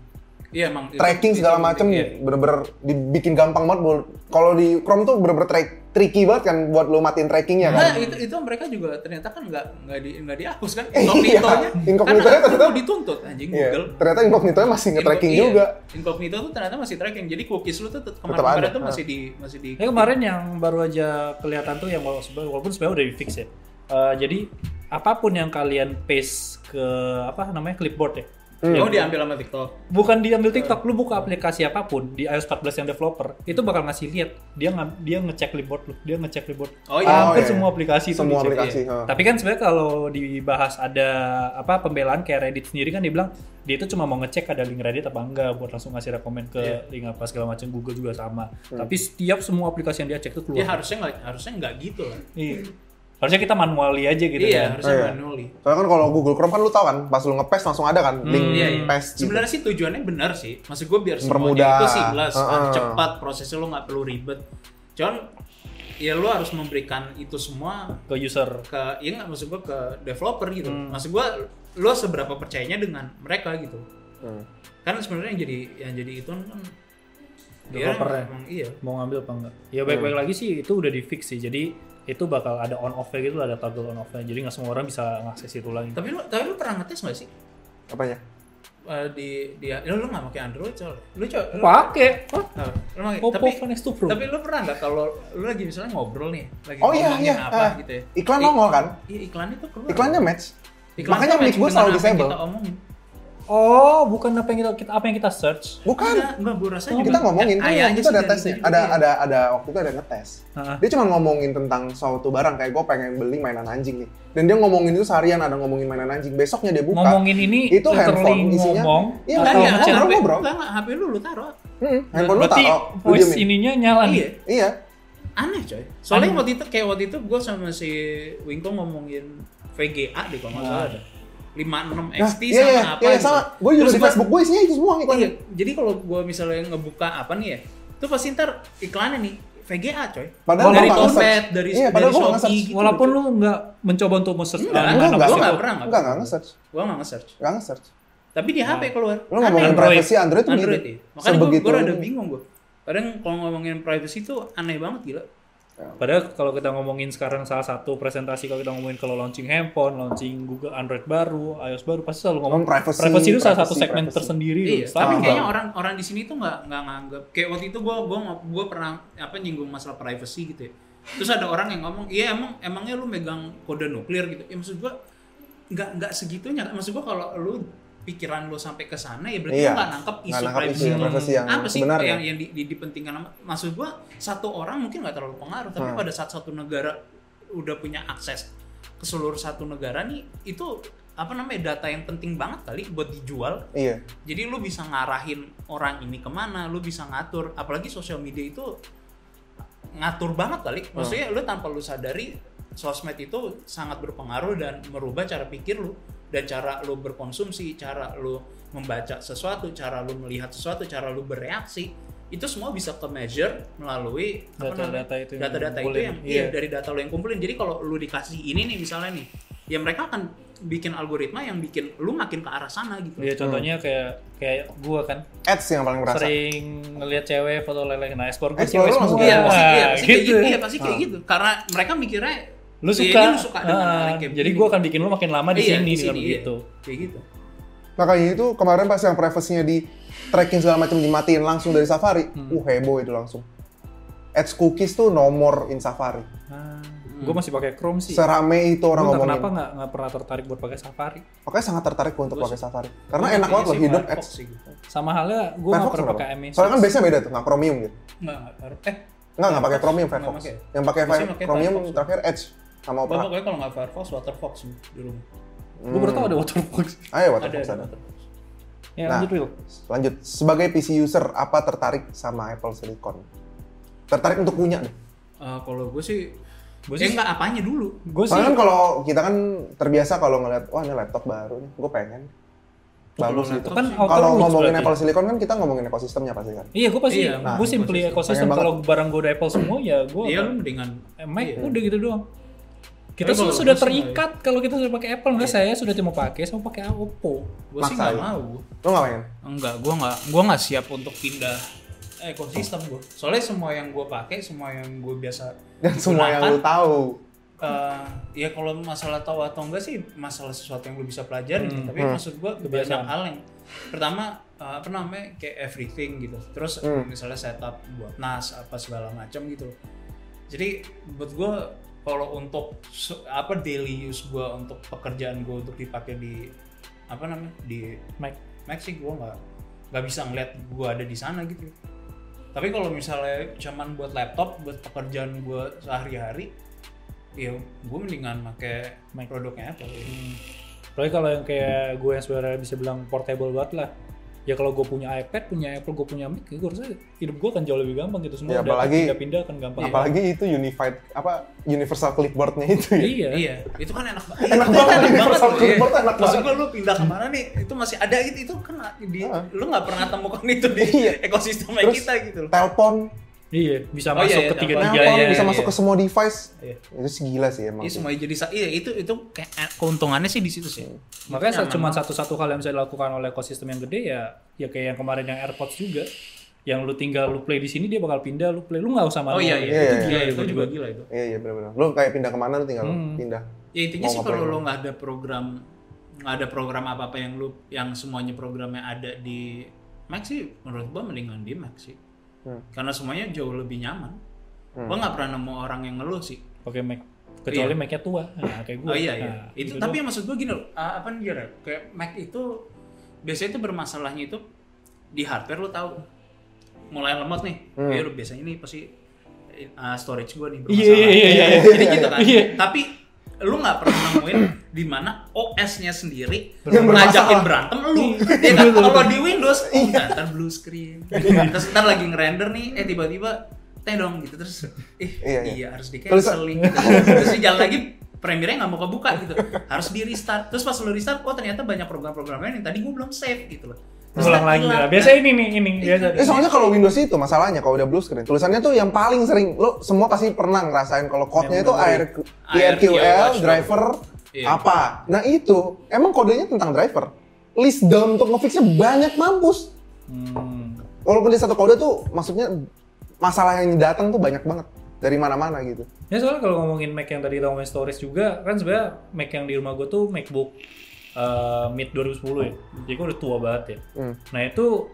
C: iya emang itu-
B: Tracking
C: itu
B: segala
C: penting,
B: macem
C: iya.
B: bener-bener dibikin gampang banget. buat- Kalau di Chrome tuh bener-bener tra- tricky banget kan buat lu matiin trackingnya kan.
C: Nah, itu itu mereka juga ternyata kan nggak nggak di nggak dihapus kan
B: Iya,
C: incognito-nya.
B: incognito-nya
C: Karena
B: ternyata-
C: mau dituntut anjing
B: Iya.
C: Google.
B: Ternyata incognito masih nge-tracking
C: Inco- iya.
B: juga.
C: Incognito tuh ternyata masih tracking. Jadi cookies lu tuh tet-
B: Tetap ada.
C: kemarin-kemarin tuh
B: Ah.
C: masih di masih di
A: Ya kemarin yang baru aja kelihatan tuh yang wala- sebe- walaupun sebenarnya udah di fix ya. Eh, jadi apapun yang kalian paste ke apa namanya clipboard ya.
C: Oh, diambil sama TikTok.
A: Bukan diambil TikTok, lu buka aplikasi apapun di iOS 14 yang developer, itu bakal ngasih lihat dia ngam- dia ngecek clipboard lu, dia ngecek clipboard.
C: Oh iya.
B: Ah,
A: Hampir
B: iya.
A: semua aplikasi itu
B: Semua
A: dicek.
B: aplikasi.
A: Iya.
B: heeh.
A: Tapi kan sebenarnya kalau dibahas ada apa pembelaan kayak Reddit sendiri kan dibilang dia itu cuma mau ngecek ada link Reddit apa enggak buat langsung ngasih rekomend ke
C: Iya. Hmm.
A: link apa segala macam Google juga sama. Tapi setiap semua aplikasi yang dia cek itu
B: Iya.
C: Dia
A: keluar.
C: Ya, harusnya nggak harusnya nggak gitu lah.
A: Iya. Harusnya kita manuali aja gitu
C: iya,
A: kan.
B: Oh,
C: harusnya
B: iya.
C: manually.
B: Soalnya kan kalau Google Chrome kan lu tau kan, pas lu nge-paste langsung ada kan link
A: Hmm,
C: Iya, iya.
B: paste gitu.
C: Sebenarnya sih tujuannya benar sih. Maksud gue biar semuanya
B: Mempermudah.
C: itu seamless, kan.
B: Heeh.
C: cepat prosesnya lu nggak perlu ribet. Cuman ya lu harus memberikan itu semua
A: ke user
C: ke ya nggak maksud gua ke developer gitu
A: Hmm.
C: maksud gua lu seberapa percayanya dengan mereka gitu
B: Hmm.
C: kan sebenarnya yang jadi yang jadi itu kan
B: ya.
A: Developernya.
C: emang iya
A: mau ngambil apa enggak ya baik-baik lagi sih itu udah di fix sih jadi itu bakal ada on off gitu ada toggle on off nya jadi nggak semua orang bisa ngakses itu lagi
C: tapi lu tapi lu pernah ngetes nggak sih
B: Apanya?
C: Eh, di di ya, lu nggak pakai Android soalnya lu coba lu,
A: pakai Hah?
C: Nah, lu pakai-
A: Oppo
C: tapi
A: Phone X2 Pro
C: tapi lu pernah nggak kalau lu lagi misalnya ngobrol nih lagi
B: Oh iya,
C: ngomongin
B: iya,
C: apa
B: ah.
C: gitu ya
B: Iklan
C: Ik-
B: nongol kan?
C: iya iklannya tuh keluar
B: Iklannya match.
C: Iklan
B: Makanya
C: tuh
B: mic
C: match
B: gua
C: dengan
B: selalu
C: apa yang
B: disable.
C: kita omongin
A: oh bukan apa yang kita, kita- apa yang kita search
B: Bukan.
C: enggak enggak gua rasa juga
B: Kita ngomongin
C: eh,
B: kan
C: ayahnya
B: waktu itu
C: sih iya.
B: ada
C: dari
B: tesnya.
C: situ
B: Ada
C: juga.
B: ada ada waktu itu ada ngetes.
A: Heeh.
B: Dia cuma ngomongin tentang suatu barang kayak gue pengen beli mainan anjing nih. Dan dia ngomongin itu seharian ada ngomongin mainan anjing. Besoknya dia buka.
A: ngomongin ini
B: Itu handphone
A: literally
B: isinya.
A: ngomong
B: Iya,
C: Enggak,
A: atau
B: iya.
A: ngechat?
B: ngobrol,
C: HP
B: ngobrol.
C: enggak, enggak, HP lu lu taruh
B: Hmm, handphone lu
A: berarti
B: taruh, lu
A: voice
B: diemin.
A: ininya nyala nih
C: iya
B: Iya.
C: aneh coy soalnya
A: Aneh.
C: waktu itu kayak waktu itu gue sama si Wingko ngomongin VGA deh kalau nggak
A: Nah.
C: salah ada 56
B: Ah. Nah,
C: XT
B: iya,
C: sama
B: iya,
C: apa
B: iya,
C: gitu.
B: sama. Gue juga
C: Terus
B: di
C: gua-
B: Facebook gue isinya itu semua iklannya.
C: Iya, jadi kalau gue misalnya ngebuka apa nih ya itu pasti ntar iklannya nih VGA coy
B: Padahal
C: dari
B: gua nggak
C: Tombed,
B: nge-search.
C: dari,
B: Iya, padahal gua nggak
C: dari Shopee
B: nge-search.
C: gitu
A: walaupun lu nggak mencoba untuk nge-search
C: Enggak,
A: bahan
B: enggak,
A: anak
B: enggak,
A: itu,
B: enggak
C: pernah, enggak
B: enggak,
C: pernah.
B: enggak nge-search.
C: gue nggak nge-search
B: Enggak nge-search.
C: tapi di
A: Nah.
C: HP keluar
B: Lu ngomongin
A: Android.
B: privacy Android tuh
C: Android
B: gitu.
C: ya makanya gue
B: Sebegitu
C: gue rada
B: ini.
C: bingung gue kadang kalau ngomongin privacy itu aneh banget gila
A: Padahal kalau kita ngomongin sekarang salah satu presentasi kalau kita ngomongin kalau launching handphone, launching Google Android baru, iOS baru pasti selalu ngomong
B: Ngomong privacy,
A: itu salah satu
B: privacy,
A: segmen
B: privacy.
A: tersendiri
C: Iya,
A: loh.
C: tapi
B: Sama.
C: kayaknya orang orang di sini tuh nggak nggak nganggap kayak waktu itu gua gua ngo- gua pernah apa nyinggung masalah privacy gitu ya. Terus ada orang yang ngomong, "Iya emang emangnya lu megang kode nuklir gitu." Ya maksud gua nggak nggak segitunya. Maksud gua kalau lu pikiran lu sampai ke sana ya berarti
B: Iya.
C: lu nggak nangkep
B: Nggak
C: isu
B: nangkap isu
C: privacy.
A: yang
B: privacy yang ya?
C: apa sih
B: sebenarnya.
C: yang yang di, di- dipentingkan sama- maksud gua satu orang mungkin nggak terlalu pengaruh tapi
B: Hmm.
C: pada saat satu negara udah punya akses ke seluruh satu negara nih itu apa namanya data yang penting banget kali buat dijual
B: Iya.
C: jadi lu bisa ngarahin orang ini kemana, lu bisa ngatur. Apalagi sosial media itu ngatur banget kali.
A: Hmm.
C: Maksudnya lu tanpa lu sadari sosmed itu sangat berpengaruh dan merubah cara pikir lu dan cara lu berkonsumsi, cara lu membaca sesuatu, cara lu melihat sesuatu, cara lu bereaksi. Itu semua bisa ke measure melalui apa namanya?
A: Data-data itu yang
C: data-data itu
A: kumpulin.
C: yang
A: Iya.
C: iya, dari data lo yang kumpulin. Jadi kalau lu dikasih ini nih misalnya nih, ya mereka akan bikin algoritma yang bikin lu makin ke arah sana gitu.
A: Ya contohnya kayak kayak gua kan
B: Ads yang paling iya, merasa.
A: sering ngeliat cewek foto lele nah ekspor gua
B: Explore
A: cewek
B: lu
A: semua.
B: langsung
C: Iya,
B: Wah,
C: pasti, iya, pasti
A: gitu.
C: kayak gitu. Iya, pasti kayak gitu. Karena mereka mikirnya
A: Lu
C: "Ya, ini
A: suka.
C: lu suka dengan hal
A: ah,
C: yang kayak
A: jadi
C: begini."
A: gua akan bikin lu makin lama di
C: Iya,
A: sini
C: di
A: dengan
C: sini, iya.
A: begitu.
C: kayak gitu.
B: Makanya itu kemarin pas yang privasinya di tracking segala macam dimatiin langsung dari Safari,
C: Hmm.
B: uh heboh itu langsung. Ads cookies tuh nomor in Safari.
A: Nah,
C: Hmm.
A: gua masih pakai Chrome
C: Iya.
A: sih.
B: Serame itu orang
A: Gua entah
B: ngomongin.
A: kenapa nggak nggak pernah tertarik buat pakai Safari.
B: Makanya sangat tertarik gua untuk
C: Gua
B: pakai
C: sih-
B: Safari. Karena
C: Gua
B: enak banget
C: Iya, sih
B: loh hidup
C: Firefox
B: ads.
C: sih gitu.
A: Sama halnya gua nggak
B: Firefox
A: pernah
B: kenapa?
A: pakai MS.
B: Soalnya kan biasanya beda tuh, nggak Chromium gitu.
C: Enggak,
A: Nah,
C: enggak. Fire- Eh,
B: Nggak, nggak pakai Chromium
C: Nggak
B: Firefox.
C: pakai.
B: Yang pakai
C: Biasanya
B: Fire-
C: pakai
B: Chromium
C: Firefox.
B: terakhir Edge sama
C: gua
B: Opera.
C: pokoknya kalau nggak Firefox, Waterfox sih di rumah.
A: Gua baru tau ada Waterbox.
B: Ayo
C: Ada,
B: Waterbox
C: ada.
B: ada.
C: Waterbox.
A: Ya
B: Hmm. Nah.
A: lanjut Will.
B: Lanjut, sebagai PC user apa tertarik sama Apple Silicon? Tertarik untuk punya deh.
C: Eh, kalau gue sih,
A: Gua
C: eh
A: sih-
C: enggak apanya dulu.
A: Gue sih
B: Soalnya kan kalau kita kan terbiasa kalau ngeliat, wah ini laptop baru nih, gue pengen. Bagus
C: Kalau
B: gitu.
C: laptop
A: kan
C: sih.
A: outer
B: Kalau
A: roots
B: ngomongin
A: berarti.
B: Apple Silicon kan kita ngomongin ekosistemnya pasti kan.
A: Iya, gue pasti.
C: Iya,
A: gua
C: nah,
A: gue simply
C: ekosistem.
A: ekosistem.
B: Pengen
A: Kalau barang gue udah Apple semua, ya gue
C: Iya, lu mendingan
A: Mac
C: Iya.
A: udah gitu doang. Kita semua
C: Tapi kalau
A: sudah
C: gua sih Iya.
A: terikat kalau kita sudah pakai Apple. Enggak, saya sudah cuma pakai, saya mau pakai Oppo.
C: Gue sih nggak
B: Maksain.
C: mau.
B: Lo nggak pengen?
C: Enggak, gua nggak gua nggak siap untuk pindah ekosistem gua. Soalnya semua yang gua pakai, semua yang gua biasa
B: Dan semua yang lu
C: gunakan,
B: tahu.
C: eh, ya kalau masalah tahu atau enggak sih masalah sesuatu yang lu bisa pelajari gitu. tapi maksud gua
A: Kebiasaan.
C: kebiasaan hal yang pertama eh, apa namanya kayak everything gitu terus eh, misalnya setup buat NAS apa segala macam gitu loh. jadi buat gua kalau untuk se- apa daily use gua untuk pekerjaan gua untuk dipakai di apa namanya di
A: Mac.
C: Max sih gue nggak nggak bisa ngeliat gue ada di sana gitu. Tapi kalau misalnya cuman buat laptop, buat pekerjaan gue sehari-hari, ya gue mendingan pakai
A: Mac.
C: produknya Apple.
A: Tapi kalau yang kayak gue yang sebenarnya bisa bilang portable banget lah. Ya kalau gue punya iPad, punya Apple, gue punya Mac, gue rasa hidup gue akan jauh lebih gampang gitu
C: Iya,
A: semua.
B: Ya,
A: udah
B: apalagi-
A: pindah-pindah akan gampang.
B: Apalagi itu unified apa universal clipboardnya itu ya.
A: Iya.
C: Iya, itu kan enak banget.
B: Enak
C: Itu
B: banget,
C: enak
B: universal
C: banget.
B: keyboard enak
C: Maksud
B: banget.
C: gue lu pindah kemana nih? Itu masih ada gitu. Itu kan di,
B: Ah.
C: lu nggak pernah temukan itu di
B: Iya.
C: ekosistem
B: Terus
C: kita gitu loh.
B: Telepon,
A: Iya, bisa
C: Oh,
A: masuk ke
C: iya, iya, apa-
B: Kenapa
A: tiga-tiganya.
C: Iya, iya,
B: lu bisa
C: iya.
B: masuk ke semua device?
C: Iya.
B: Itu sih gila sih emang.
C: Iya semua jadi sa- iya itu itu kayak eh, keuntungannya sih di situ sih.
A: Makanya
C: Nyaman
A: cuma
C: banget.
A: satu-satu hal yang bisa dilakukan oleh ekosistem yang gede ya ya kayak yang kemarin yang AirPods juga. Yang lu tinggal lu play di sini dia bakal pindah lu play. Lu nggak usah
C: Oh
A: manual.
C: iya
B: Iya,
C: iya, itu
B: iya,
C: gila
A: iya,
C: itu
A: gua
C: juga
A: juga.
C: gila itu.
B: Iya iya benar-benar. Lu kayak pindah kemana lu tinggal
A: Hmm.
B: pindah.
C: Ya intinya
B: Mau
C: sih kalau
B: ngapain?
C: lo nggak ada program nggak ada program apa apa yang lu yang semuanya programnya ada di Mac sih menurut gua mendingan di Mac sih.
B: Hmm.
C: Karena semuanya jauh lebih nyaman.
B: Hmm.
C: Gua nggak pernah nemu orang yang ngeluh sih.
A: Pakai Mac. Kecuali Mac-nya tua. Nah, gitu. kayak gue.
C: Iya. Oh iya iya. itu tapi yang maksud gua gini loh. ah, apa nih Jara? Kayak Mac itu biasanya itu bermasalahnya itu di hardware lu tahu mulai lemot nih.
B: Hmm.
C: Ya lu biasanya ini pasti eh, ah, storage gua nih
A: Iya iya iya iya. iya.
C: Jadi gitu kan.
A: Iya.
C: Tapi lu nggak pernah nemuin di mana OS-nya sendiri
B: Yang
C: ngajakin
B: bermasalah.
C: berantem lu.
A: Iya,
C: Ya kan?
A: betul, Iya.
C: Kalau di Windows, oh, ntar blue screen. Terus ntar lagi ngerender nih, eh tiba-tiba teh dong gitu terus eh
B: Iya,
C: iya,
B: iya.
C: harus di
B: Terus-
C: cancel nih gitu. terus di jalan lagi Premiere-nya nggak mau kebuka gitu harus di restart terus pas lu restart oh ternyata banyak program-programnya yang tadi gue belum save gitu loh Terus
A: Ulang
C: ntar
A: lagi ya.
C: hilang,
A: lah.
C: kan?
A: Biasa ini nih ini. Biasa.
B: Eh soalnya kalau Windows itu masalahnya kalau udah blue screen tulisannya tuh yang paling sering lo semua pasti pernah ngerasain kalau code-nya itu
A: Memory.
B: AR,
C: ARQL,
B: IRQL, driver
C: Iya.
B: apa. Nah itu emang kodenya tentang driver. List down untuk ngefixnya banyak mampus.
A: Hmm.
B: Walaupun di satu kode tuh maksudnya masalah yang datang tuh banyak banget dari mana-mana gitu.
A: Ya soalnya kalau ngomongin Mac yang tadi kita ngomongin storage juga kan sebenarnya Mac yang di rumah gue tuh MacBook eh, mid 2010 ya. Jadi gue udah tua banget ya.
B: Hmm.
A: Nah itu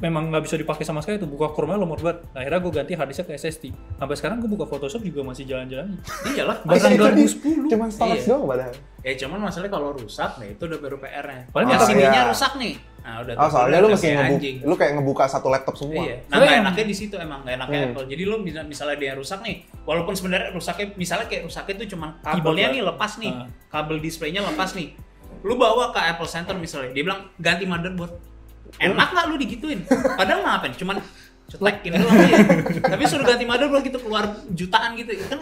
A: memang nggak bisa dipakai sama sekali tuh buka Chrome-nya lemot banget. Nah, akhirnya gue ganti harddisknya ke SSD. Sampai sekarang gue buka Photoshop juga masih jalan-jalan.
C: iyalah
A: Bahkan
B: Iya, itu
A: 2010.
B: Cuman storage
C: Iya.
B: doang padahal.
C: gitu. ya cuman masalahnya kalau rusak nah itu udah baru PR-nya
A: Padahal
C: yang
A: nggak-
C: sininya
B: iya.
C: rusak nih nah udah
B: Oh,
C: tuh,
B: soalnya lu
C: udah
B: mesti
C: kayak
B: ngebuka,
C: anjing.
B: lu kayak ngebuka satu laptop semua.
C: Iya. Nah,
A: Soalnya
C: nggak
A: yang-
C: enaknya di situ emang nggak enaknya
A: Iya.
B: Hmm.
C: Apple. Jadi lu bisa- misalnya dia rusak nih, walaupun sebenarnya rusaknya misalnya kayak rusaknya itu cuma
A: Keyboard
C: kabelnya
A: lah.
C: nih lepas nih,
A: Ah.
C: kabel displaynya lepas nih. Lu bawa ke Apple Center misalnya, dia bilang ganti motherboard.
A: Oh.
C: Enak nggak lu digituin? Padahal mah apa? Cuman cetekin doang ya. Tapi suruh ganti motherboard gitu keluar jutaan gitu. Itu kan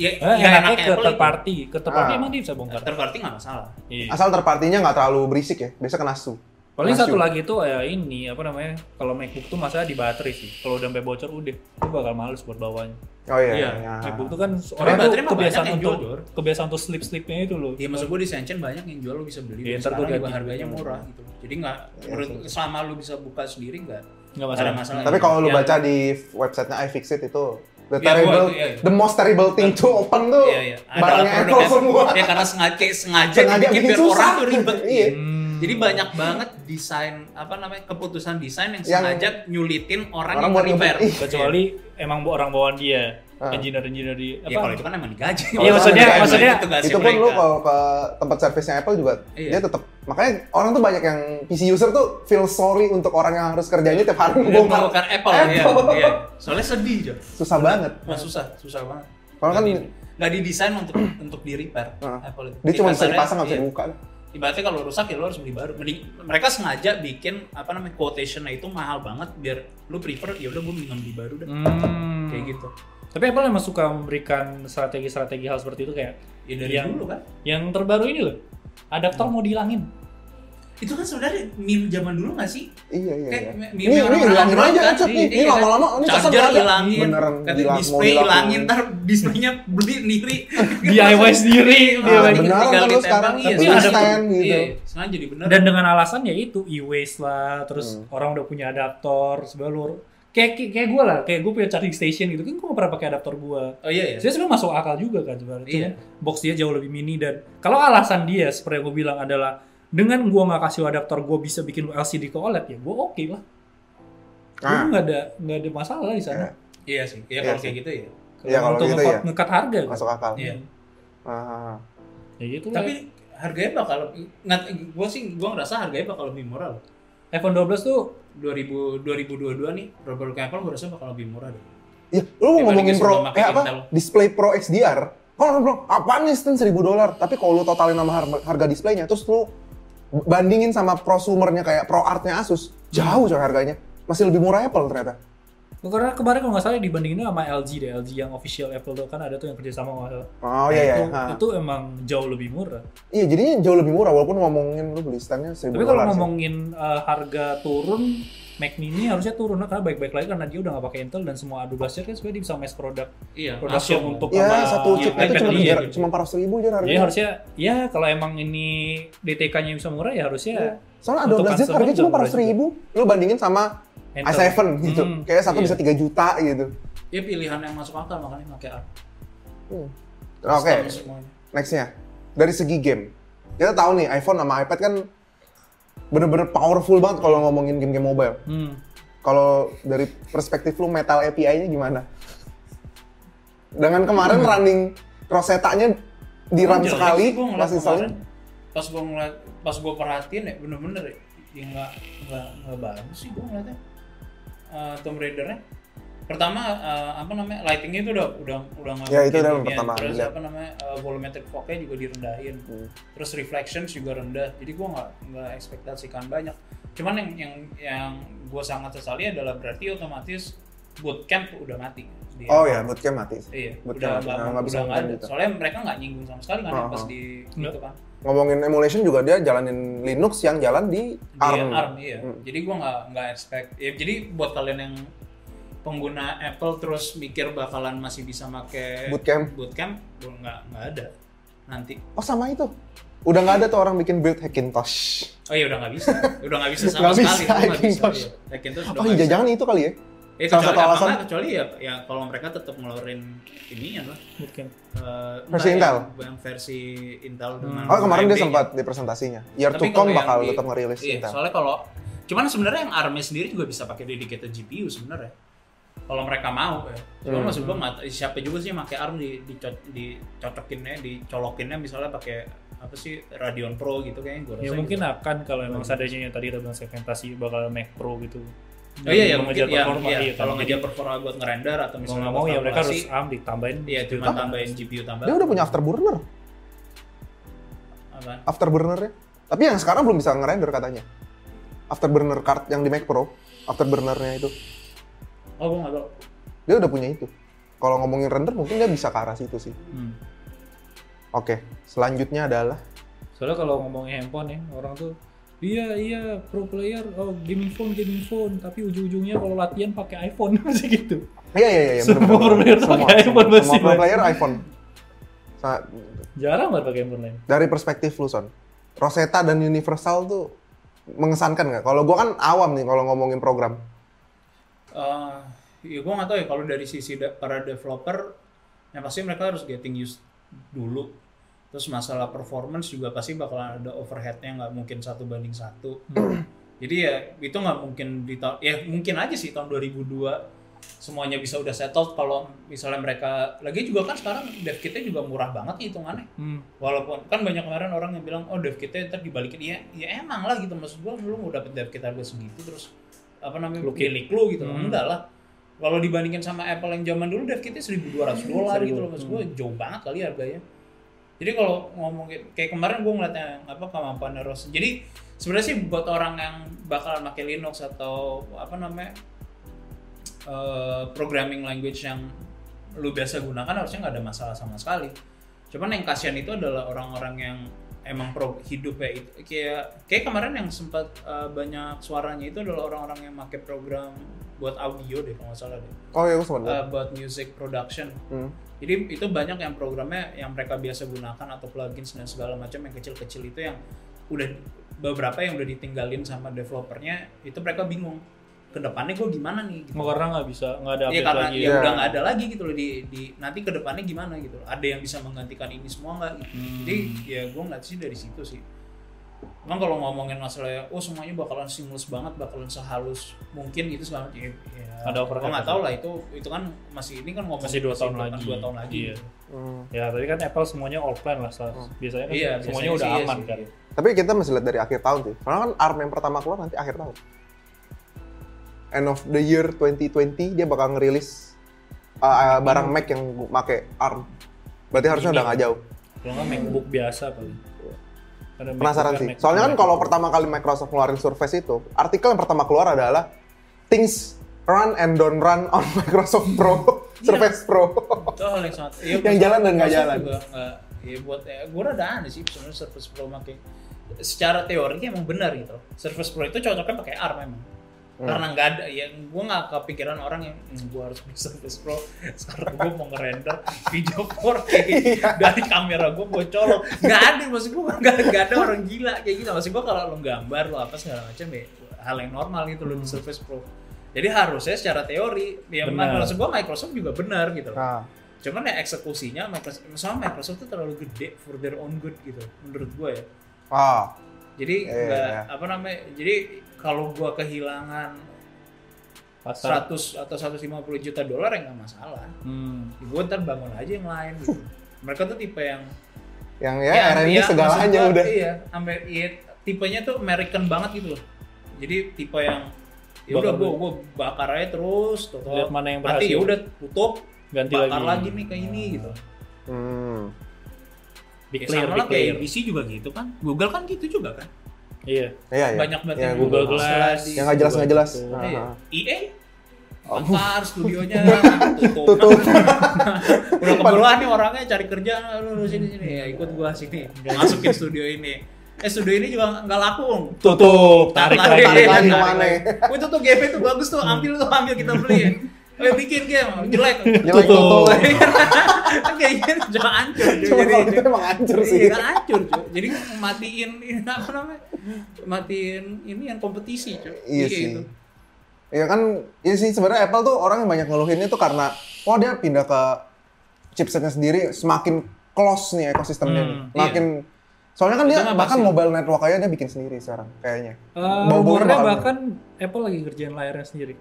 C: ya
A: Eh,
C: nggak
A: enaknya ke
C: Apple
A: third
C: itu.
A: party. Ke third party
B: Ah.
A: emang dia bisa bongkar.
C: Third party nggak masalah.
A: Iya.
B: Asal terpartinya nggak terlalu berisik ya, biasa kena su.
A: Paling
B: Kena
A: satu
B: su.
A: lagi tuh ya ini apa namanya? Kalau MacBook tuh masalah di baterai sih. Kalau udah sampai bocor udah, lu bakal males buat bawanya.
B: Oh iya.
C: Iya,
B: iya.
A: MacBook tuh kan orang tuh
C: baterai mah
A: kebiasaan
C: banyak yang
A: untuk
C: jual, Jor.
A: kebiasaan untuk sleep-sleepnya itu loh.
C: Ya maksud gue di Shenzhen banyak yang jual lo bisa beli.
A: Iya,
C: Ya,
A: ntar gua
C: Sekarang juga
A: ganti.
C: harganya murah gitu. Jadi nggak
B: Iya,
C: menurut selama lu bisa buka sendiri nggak
A: Nggak
C: nggak
A: masalah.
C: ada masalah.
B: Tapi kalau lu
C: Yang-
B: baca di websitenya iFixit itu the
C: Iya, gua
B: terrible,
C: itu, iya, iya.
B: the most terrible thing to open tuh
C: Iya, iya. Ada
B: barangnya
C: produk
B: Apple
C: Apple.
B: semua.
C: Ya karena sengaja sengaja,
B: Sengaja
C: dibikin
B: bikin
C: biar orang
B: susah.
C: tuh ribet.
B: Iya.
A: Hmm.
C: Jadi banyak banget desain apa namanya keputusan desain yang,
B: Yang-
C: sengaja nyulitin
B: Orang
C: orang, yang
B: buat
C: mau repair.
B: ngebut. Ih.
A: kecuali emang bu- orang bawaan dia,
B: Ah.
A: engineer-engineer di
C: Ya kalau itu kan emang digaji.
A: Iya, maksudnya- maksudnya-
B: itu pun lu kalau ke tempat servisnya Apple juga
C: Iya.
B: dia tetap makanya orang tuh banyak yang PC user tuh feel sorry untuk orang yang harus kerjanya tiap hari
C: bongkar
B: ngebongkar
C: Apple, iya, iya. Soalnya sedih aja.
B: susah banget
C: Nah, susah, susah banget.
B: Kalau kan-
C: Nggak di- nggak didesain untuk untuk di repair Nah,
B: Heeh.
C: Apple itu.
B: Nah. dia cuma bisa
C: Kasarnya,
B: dipasang nggak bisa
C: iya.
B: dibuka
C: Ibaratnya kalau rusak ya lo harus beli baru. Mending mereka sengaja bikin apa namanya quotation itu mahal banget biar lu prefer ya udah gue mendingan beli baru deh.
A: Hmm.
C: Kayak gitu.
A: Tapi Apple emang suka memberikan strategi-strategi hal seperti itu kayak
C: Ya dari
A: yang
C: dulu kan.
A: yang terbaru ini loh. Adaptor mau dihilangin.
C: Itu kan sebenarnya meme zaman dulu gak sih?
B: iya iya
C: Kayak
B: iya
C: meme-
B: ini
C: meme
B: ini
C: orang-orang
B: hilangin
C: Android
B: aja
C: kan?
B: headset nih
C: Iya,
B: ini
C: iya,
B: lama-lama oh, ini caset
C: charger
B: nggak ada.
C: hilangin,
B: beneran
C: kata
B: gila- mau
C: display
B: dilakuin.
C: hilangin, ntar displaynya beli sendiri. Iya,
A: DIY sendiri,
B: Nah,
A: DIY.
B: benar
C: Tinggal
B: kan lu
C: ditempel,
B: sekarang
C: iya,
B: tapi
A: ada-
B: stand gitu
C: Iya, sengaja jadi bener.
A: Dan dengan alasan ya itu e-waste lah, terus
B: Hmm.
A: orang udah punya adaptor, sebelur kayak kayak, kayak gue lah, kayak gue punya charging station gitu kan gue nggak pernah pakai adaptor gue.
C: Oh iya ya.
A: Jadi sebenarnya masuk akal juga kan sebenarnya.
C: Iya.
A: Cuman box dia jauh lebih mini dan kalau alasan dia seperti yang gue bilang adalah dengan gue nggak kasih adaptor gue bisa bikin LCD ke OLED ya gue oke lah. Gue
B: Ah.
A: nggak ada nggak ada masalah di sana.
C: Iya sih.
B: Iya
C: Iya kalau
B: sih.
C: kayak gitu ya.
B: Iya, kalau
A: untuk
B: gitu
A: ngekat,
B: ya.
A: ngekat harga kan.
B: masuk akal
C: Iya.
B: Ah.
A: Ya gitu lah.
C: Tapi harganya bakal ngat gua sih gua ngerasa harganya bakal lebih murah loh.
A: iPhone 12 tuh
C: 2000 2022 nih produk Apple gua rasa bakal lebih murah deh.
B: Ya, lu mau
C: Dibanding
B: ngomongin pro,
C: sebelum pakai
B: eh apa?
C: Intel.
B: Display Pro XDR. Kalau lu bilang, apaan nih Stan 1000 dolar? Tapi kalau lu totalin sama har- harga displaynya, terus lu bandingin sama prosumernya kayak Pro Art-nya Asus, jauh coy harganya. Masih lebih murah Apple ternyata.
A: karena kemarin kalau nggak salah dibandingin sama LG deh, LG yang official Apple tuh kan ada tuh yang kerjasama sama
B: Oh iya iya.
A: Nah, itu,
B: ha.
A: itu emang jauh lebih murah.
B: Iya jadinya jauh lebih murah walaupun ngomongin lu beli stand-nya 1000
A: Tapi kalau
B: dolar. sih.
A: ngomongin uh, harga turun, Mac Mini harusnya turun karena baik-baik lagi karena dia udah nggak pakai Intel dan semua Adu Blaster kan sebenarnya dia bisa mass product
C: Iya,
A: production
C: langsung.
A: untuk
B: ya
A: sama iya.
B: satu chip
A: iPad
B: itu cuma
A: dia.
B: tiga,
C: gitu.
B: cuma 400 ribu aja
A: Jadi
B: harganya.
A: harusnya ya kalau emang ini DTK-nya bisa murah ya harusnya
C: Iya.
B: Soalnya
A: untuk
B: ada 12
A: customer
B: harganya cuma
A: udah murah
B: 400 ribu. Lu bandingin sama
A: Intel.
B: i7 gitu.
A: Hmm,
B: Kayak satu
C: iya.
B: bisa 3 juta gitu.
C: Ya pilihan yang masuk akal makanya pakai ARM.
B: Hmm. Oke,
C: Custom semuanya.
B: nextnya dari segi game. Kita tahu nih iPhone sama iPad kan bener-bener powerful banget kalau ngomongin game-game mobile.
A: Hmm.
B: Kalau dari perspektif lu metal API-nya gimana? Dengan kemarin running Rosetta-nya di RAM
C: Jelek
B: sekali,
C: Hmm. sih gua ngeliat
B: pas installnya.
C: kemarin. Pas gua ngeliat, pas gua perhatiin ya bener-bener ya, ya nggak nggak nggak bagus sih gua ngeliatnya. Eh, Tomb Raider-nya. Pertama eh, apa namanya lighting-nya itu udah udah udah nggak
B: Ya, itu
C: mungkin
B: udah
C: ginian.
B: pertama,
C: Terus
B: lihat.
C: apa namanya eh, volumetric fog-nya juga direndahin.
B: Hmm.
C: Terus reflections juga rendah. Jadi gua nggak nggak ekspektasikan banyak. Cuman yang yang yang gua sangat sesali adalah berarti otomatis bootcamp udah mati. di
B: Oh ya, bootcamp mati.
C: Iya, udah
B: Bootcamp,
C: nggak
B: nah,
C: udah
B: nggak bisa
C: nggak ada.
B: ngomongin gitu.
C: Soalnya mereka nggak nyinggung sama sekali kan yang
B: Oh,
C: pas
B: oh.
C: di
A: Nggak.
C: itu kan.
B: Ngomongin emulation juga dia jalanin Linux yang jalan di
C: Di
B: ARM.
C: ARM, iya.
B: Hmm.
C: Jadi gua nggak nggak expect. Ya, jadi buat kalian yang pengguna Apple terus mikir bakalan masih bisa make
B: Bootcamp.
C: bootcamp gua nggak nggak ada nanti
B: Oh sama itu. Udah nggak ada tuh orang bikin build Hackintosh.
C: oh iya udah nggak bisa udah nggak bisa sama
B: Nggak bisa,
C: sekali Gua nggak bisa
B: Hackintosh.
C: iya. Hackintosh udah
B: Oh
C: nggak
B: iya,
C: bisa.
B: jangan itu kali ya.
C: Eh,
B: salah
C: kecuali
B: satu
C: apa
B: alasan.
C: nggak, kecuali ya, ya kalau mereka tetap ngeluarin ini ya lah
A: Mungkin.
C: Eh,
B: Versi
C: entah
B: Intel?
C: yang, yang versi Intel dengan
B: Oh kemarin dia
C: AMD -nya.
B: sempat di presentasinya. Year to
C: Hmm. Nah, Tapi
B: come
C: kalau yang
B: bakal
C: di-
B: tetap ngerilis
C: iya,
B: Intel.
C: Soalnya kalau cuman sebenarnya yang ARM sendiri juga bisa pakai dedicated GPU sebenarnya. Kalau mereka mau ya. Cuma
B: Hmm.
C: maksud gua nggak- siapa juga sih yang pakai ARM di dico- dicocokinnya, dicolokinnya misalnya pakai apa sih Radeon Pro gitu kayaknya gua rasa.
A: Ya mungkin
C: gitu.
A: akan kalau emang seandainya yang tadi kita bilang segmentasi bakal Mac Pro gitu.
C: Oh iya ya
A: Yang
C: mungkin
A: mengejar
C: ya,
A: performa,
C: iya,
A: iya, kan.
C: kalau
A: Jadi
C: ngejar performa buat ngerender atau
A: Kalau
C: misalnya
A: nggak mau ya
C: buat
A: mereka harus
C: kalkulasi,
A: ARM ditambahin.
C: iya
A: gitu.
C: cuma tambahin GPU tambahin.
B: Dia udah punya afterburner,
C: Apaan?
B: afterburnernya. Tapi yang sekarang belum bisa ngerender katanya. Afterburner card yang di Mac Pro, afterburnernya itu.
C: Oh gua nggak tahu.
B: Dia udah punya itu. Kalau ngomongin render mungkin dia bisa ke arah situ sih.
A: Hmm.
B: Oke, selanjutnya adalah
A: Soalnya kalau ngomongin handphone ya, orang tuh Iya, iya, pro player, oh, gaming phone, gaming phone, tapi ujung-ujungnya kalau latihan pakai iPhone masih gitu.
B: Iya iya iya.
A: Semua
B: bener-bener.
A: pro player
B: semua,
A: pakai iPhone
B: semua,
A: pasti,
B: semua pro
A: Bang.
B: player iPhone. Sa-
A: Jarang banget pakai handphone lain.
B: dari perspektif lu son, Rosetta dan Universal tuh mengesankan nggak? Kalau gua kan awam nih kalau ngomongin program.
C: eh ya gue nggak tahu ya kalau dari sisi de- para developer yang pasti mereka harus getting used dulu terus masalah performance juga pasti bakalan ada overheadnya nggak mungkin satu banding satu jadi ya itu nggak mungkin di tahun ya mungkin aja sih tahun 2002 semuanya bisa udah settled kalau misalnya mereka lagi juga kan sekarang dev kita juga murah banget hitungannya
A: Hmm.
C: walaupun kan banyak kemarin orang yang bilang oh dev kita ntar dibalikin ya ya emang lah gitu maksud gua lu mau dapet dev kita harga segitu terus apa namanya
A: Lu
C: pilih lu gitu loh
A: Hmm.
C: enggak lah kalau dibandingin sama Apple yang zaman dulu dev kita 1200
A: Iya,
C: dolar gitu loh maksud gua jauh banget kali harganya jadi kalau ngomongin kayak kemarin gua ngeliat yang apa kemampuan Rose jadi sebenarnya sih buat orang yang bakalan pakai Linux atau apa namanya eh, programming language yang lu biasa gunakan harusnya nggak ada masalah sama sekali. Cuman yang kasihan itu adalah orang-orang yang emang pro hidup ya itu kayak kayak kemarin yang sempat eh, banyak suaranya itu adalah orang-orang yang pakai program buat audio deh kalau nggak salah deh
B: Oh iya, gua sempat. lihat.
C: Eh, buat music production
B: Hmm.
C: jadi itu banyak yang programnya yang mereka biasa gunakan atau plugins dan segala macam yang kecil-kecil itu yang udah beberapa yang udah ditinggalin sama developernya itu mereka bingung kedepannya gue gimana nih gitu.
A: Oh, karena nggak bisa, nggak ada
C: Iya
A: update
C: karena
A: lagi.
C: ya
B: ya.
C: udah nggak ada lagi gitu loh di, di nanti kedepannya gimana gitu. Ada yang bisa menggantikan ini semua nggak? Gitu.
A: Hmm.
C: Jadi ya gue ngeliat sih dari situ sih. Emang kalau ngomongin masalah oh semuanya bakalan seamless banget, bakalan sehalus mungkin gitu segala macam. Ya, ya,
A: Ada overhead
C: Gue nggak
A: apa?
C: tahu lah itu itu kan masih ini kan ngomong
A: Masih dua tahun
C: bukan
A: lagi.
C: Dua tahun lagi.
A: Iya.
C: gitu.
B: Hmm.
A: Ya, tadi kan Apple semuanya all plan lah. Sal. Biasanya kan
C: Iya,
A: semuanya
C: biasanya
A: udah
C: sih iya
A: aman
C: sih.
A: kan.
B: Tapi kita masih lihat dari akhir tahun sih. Karena kan ARM yang pertama keluar nanti akhir tahun. End of the year 2020 dia bakal ngerilis uh, uh, barang Mac yang make ARM. Berarti harusnya
A: Ini.
B: udah nggak jauh.
A: Kalau nggak MacBook biasa paling. Karena
B: Penasaran
A: MacBook
B: sih.
A: Mac-
B: Soalnya kan
A: Mac-
B: kalau pertama kali Microsoft ngeluarin Surface itu, artikel yang pertama keluar adalah things run and don't run on Microsoft Pro, Surface Pro.
C: Itu hal yang sangat. Iya,
B: Yang jalan dan nggak
C: Microsoft
B: jalan.
C: Juga, nggak- ya buat ya, gue rada aneh sih sebenarnya Surface Pro pakai secara teorinya emang benar gitu. Surface Pro itu cocoknya pakai ARM memang.
B: Hmm.
C: karena nggak ada ya gue nggak kepikiran orang yang gue harus bisa Surface Pro sekarang gue mau ngerender video 4K
B: Iya.
C: dari kamera gue gue colok nggak ada maksud gue nggak nggak ada orang gila kayak gitu maksud gue kalau lo gambar lo apa segala macam ya hal yang normal gitu
B: Hmm.
C: lo di Surface Pro jadi harusnya secara teori ya
A: Benar.
C: maksud gue Microsoft juga benar gitu loh
B: Nah,
C: cuman ya eksekusinya Microsoft, sama Microsoft tuh terlalu gede for their own good gitu menurut gue ya
B: ah,
C: jadi
B: Iya,
C: nggak
B: iya.
C: apa namanya jadi kalau gua kehilangan
A: pasar
C: 100 atau 150 juta dolar ya nggak masalah
A: hmm.
C: Ya, gua ntar bangun aja yang lain gitu mereka tuh tipe yang
B: yang ya, R&D
C: iya,
B: segalanya
C: maksud gua,
B: udah.
C: iya, Amer- iya, tipenya tuh American banget gitu loh jadi tipe yang ya
A: Bakar
C: udah gua
A: dulu.
C: gua bakar aja terus tuh
A: lihat mana yang
C: nanti
A: berhasil
C: ya udah tutup
A: ganti
C: bakar
A: lagi
C: lagi. nih kayak ini gitu
B: Hmm.
A: big
C: Ya,
A: player
C: sama
A: big
C: lah kayak
A: player
C: ABC juga gitu kan Google kan gitu juga kan
A: iya
B: Iya, iya.
C: banyak banget
B: Iya,
C: yang
A: Google
C: Google
A: Glass.
C: Glass,
B: Yang nggak jelas nggak jelas.
A: Gitu.
B: Nah,
C: Iya.
B: nah.
C: EA
B: Oh.
C: Bakar studionya
B: Tutup.
C: tutup. Udah keberuan nih orangnya cari kerja lu, lu sini sini ya ikut gua sini masukin studio ini. Eh studio ini juga nggak laku.
A: tutup tarik lagi
B: tarik lagi.
A: Tarik.
B: kemana ya?
C: Wih, itu tuh game itu bagus tuh ambil tuh ambil kita beli. Eh bikin game jelek.
B: Jelek
A: Tutup.
B: tutup.
C: Iya. Kayak gitu cuma hancur.
B: Cuma kalau
C: Jadi
B: gitu emang hancur sih.
C: Iya kan hancur cuy. Jadi matiin ini apa namanya? Matiin ini yang kompetisi gitu. cuy.
B: Iya sih.
C: itu.
B: Iya kan, iya sih sebenarnya Apple tuh orang yang banyak ngeluhinnya tuh karena wah dia pindah ke chipsetnya sendiri semakin close nih ekosistemnya
A: Hmm,
B: nih. Makin soalnya kan dia
C: Itu mah
B: bahkan
C: pasti.
B: mobile network aja dia bikin sendiri sekarang kayaknya.
A: Eh,
B: Bau-baunya
A: rumornya
B: bakal-
A: bahkan Apple lagi kerjain layarnya sendiri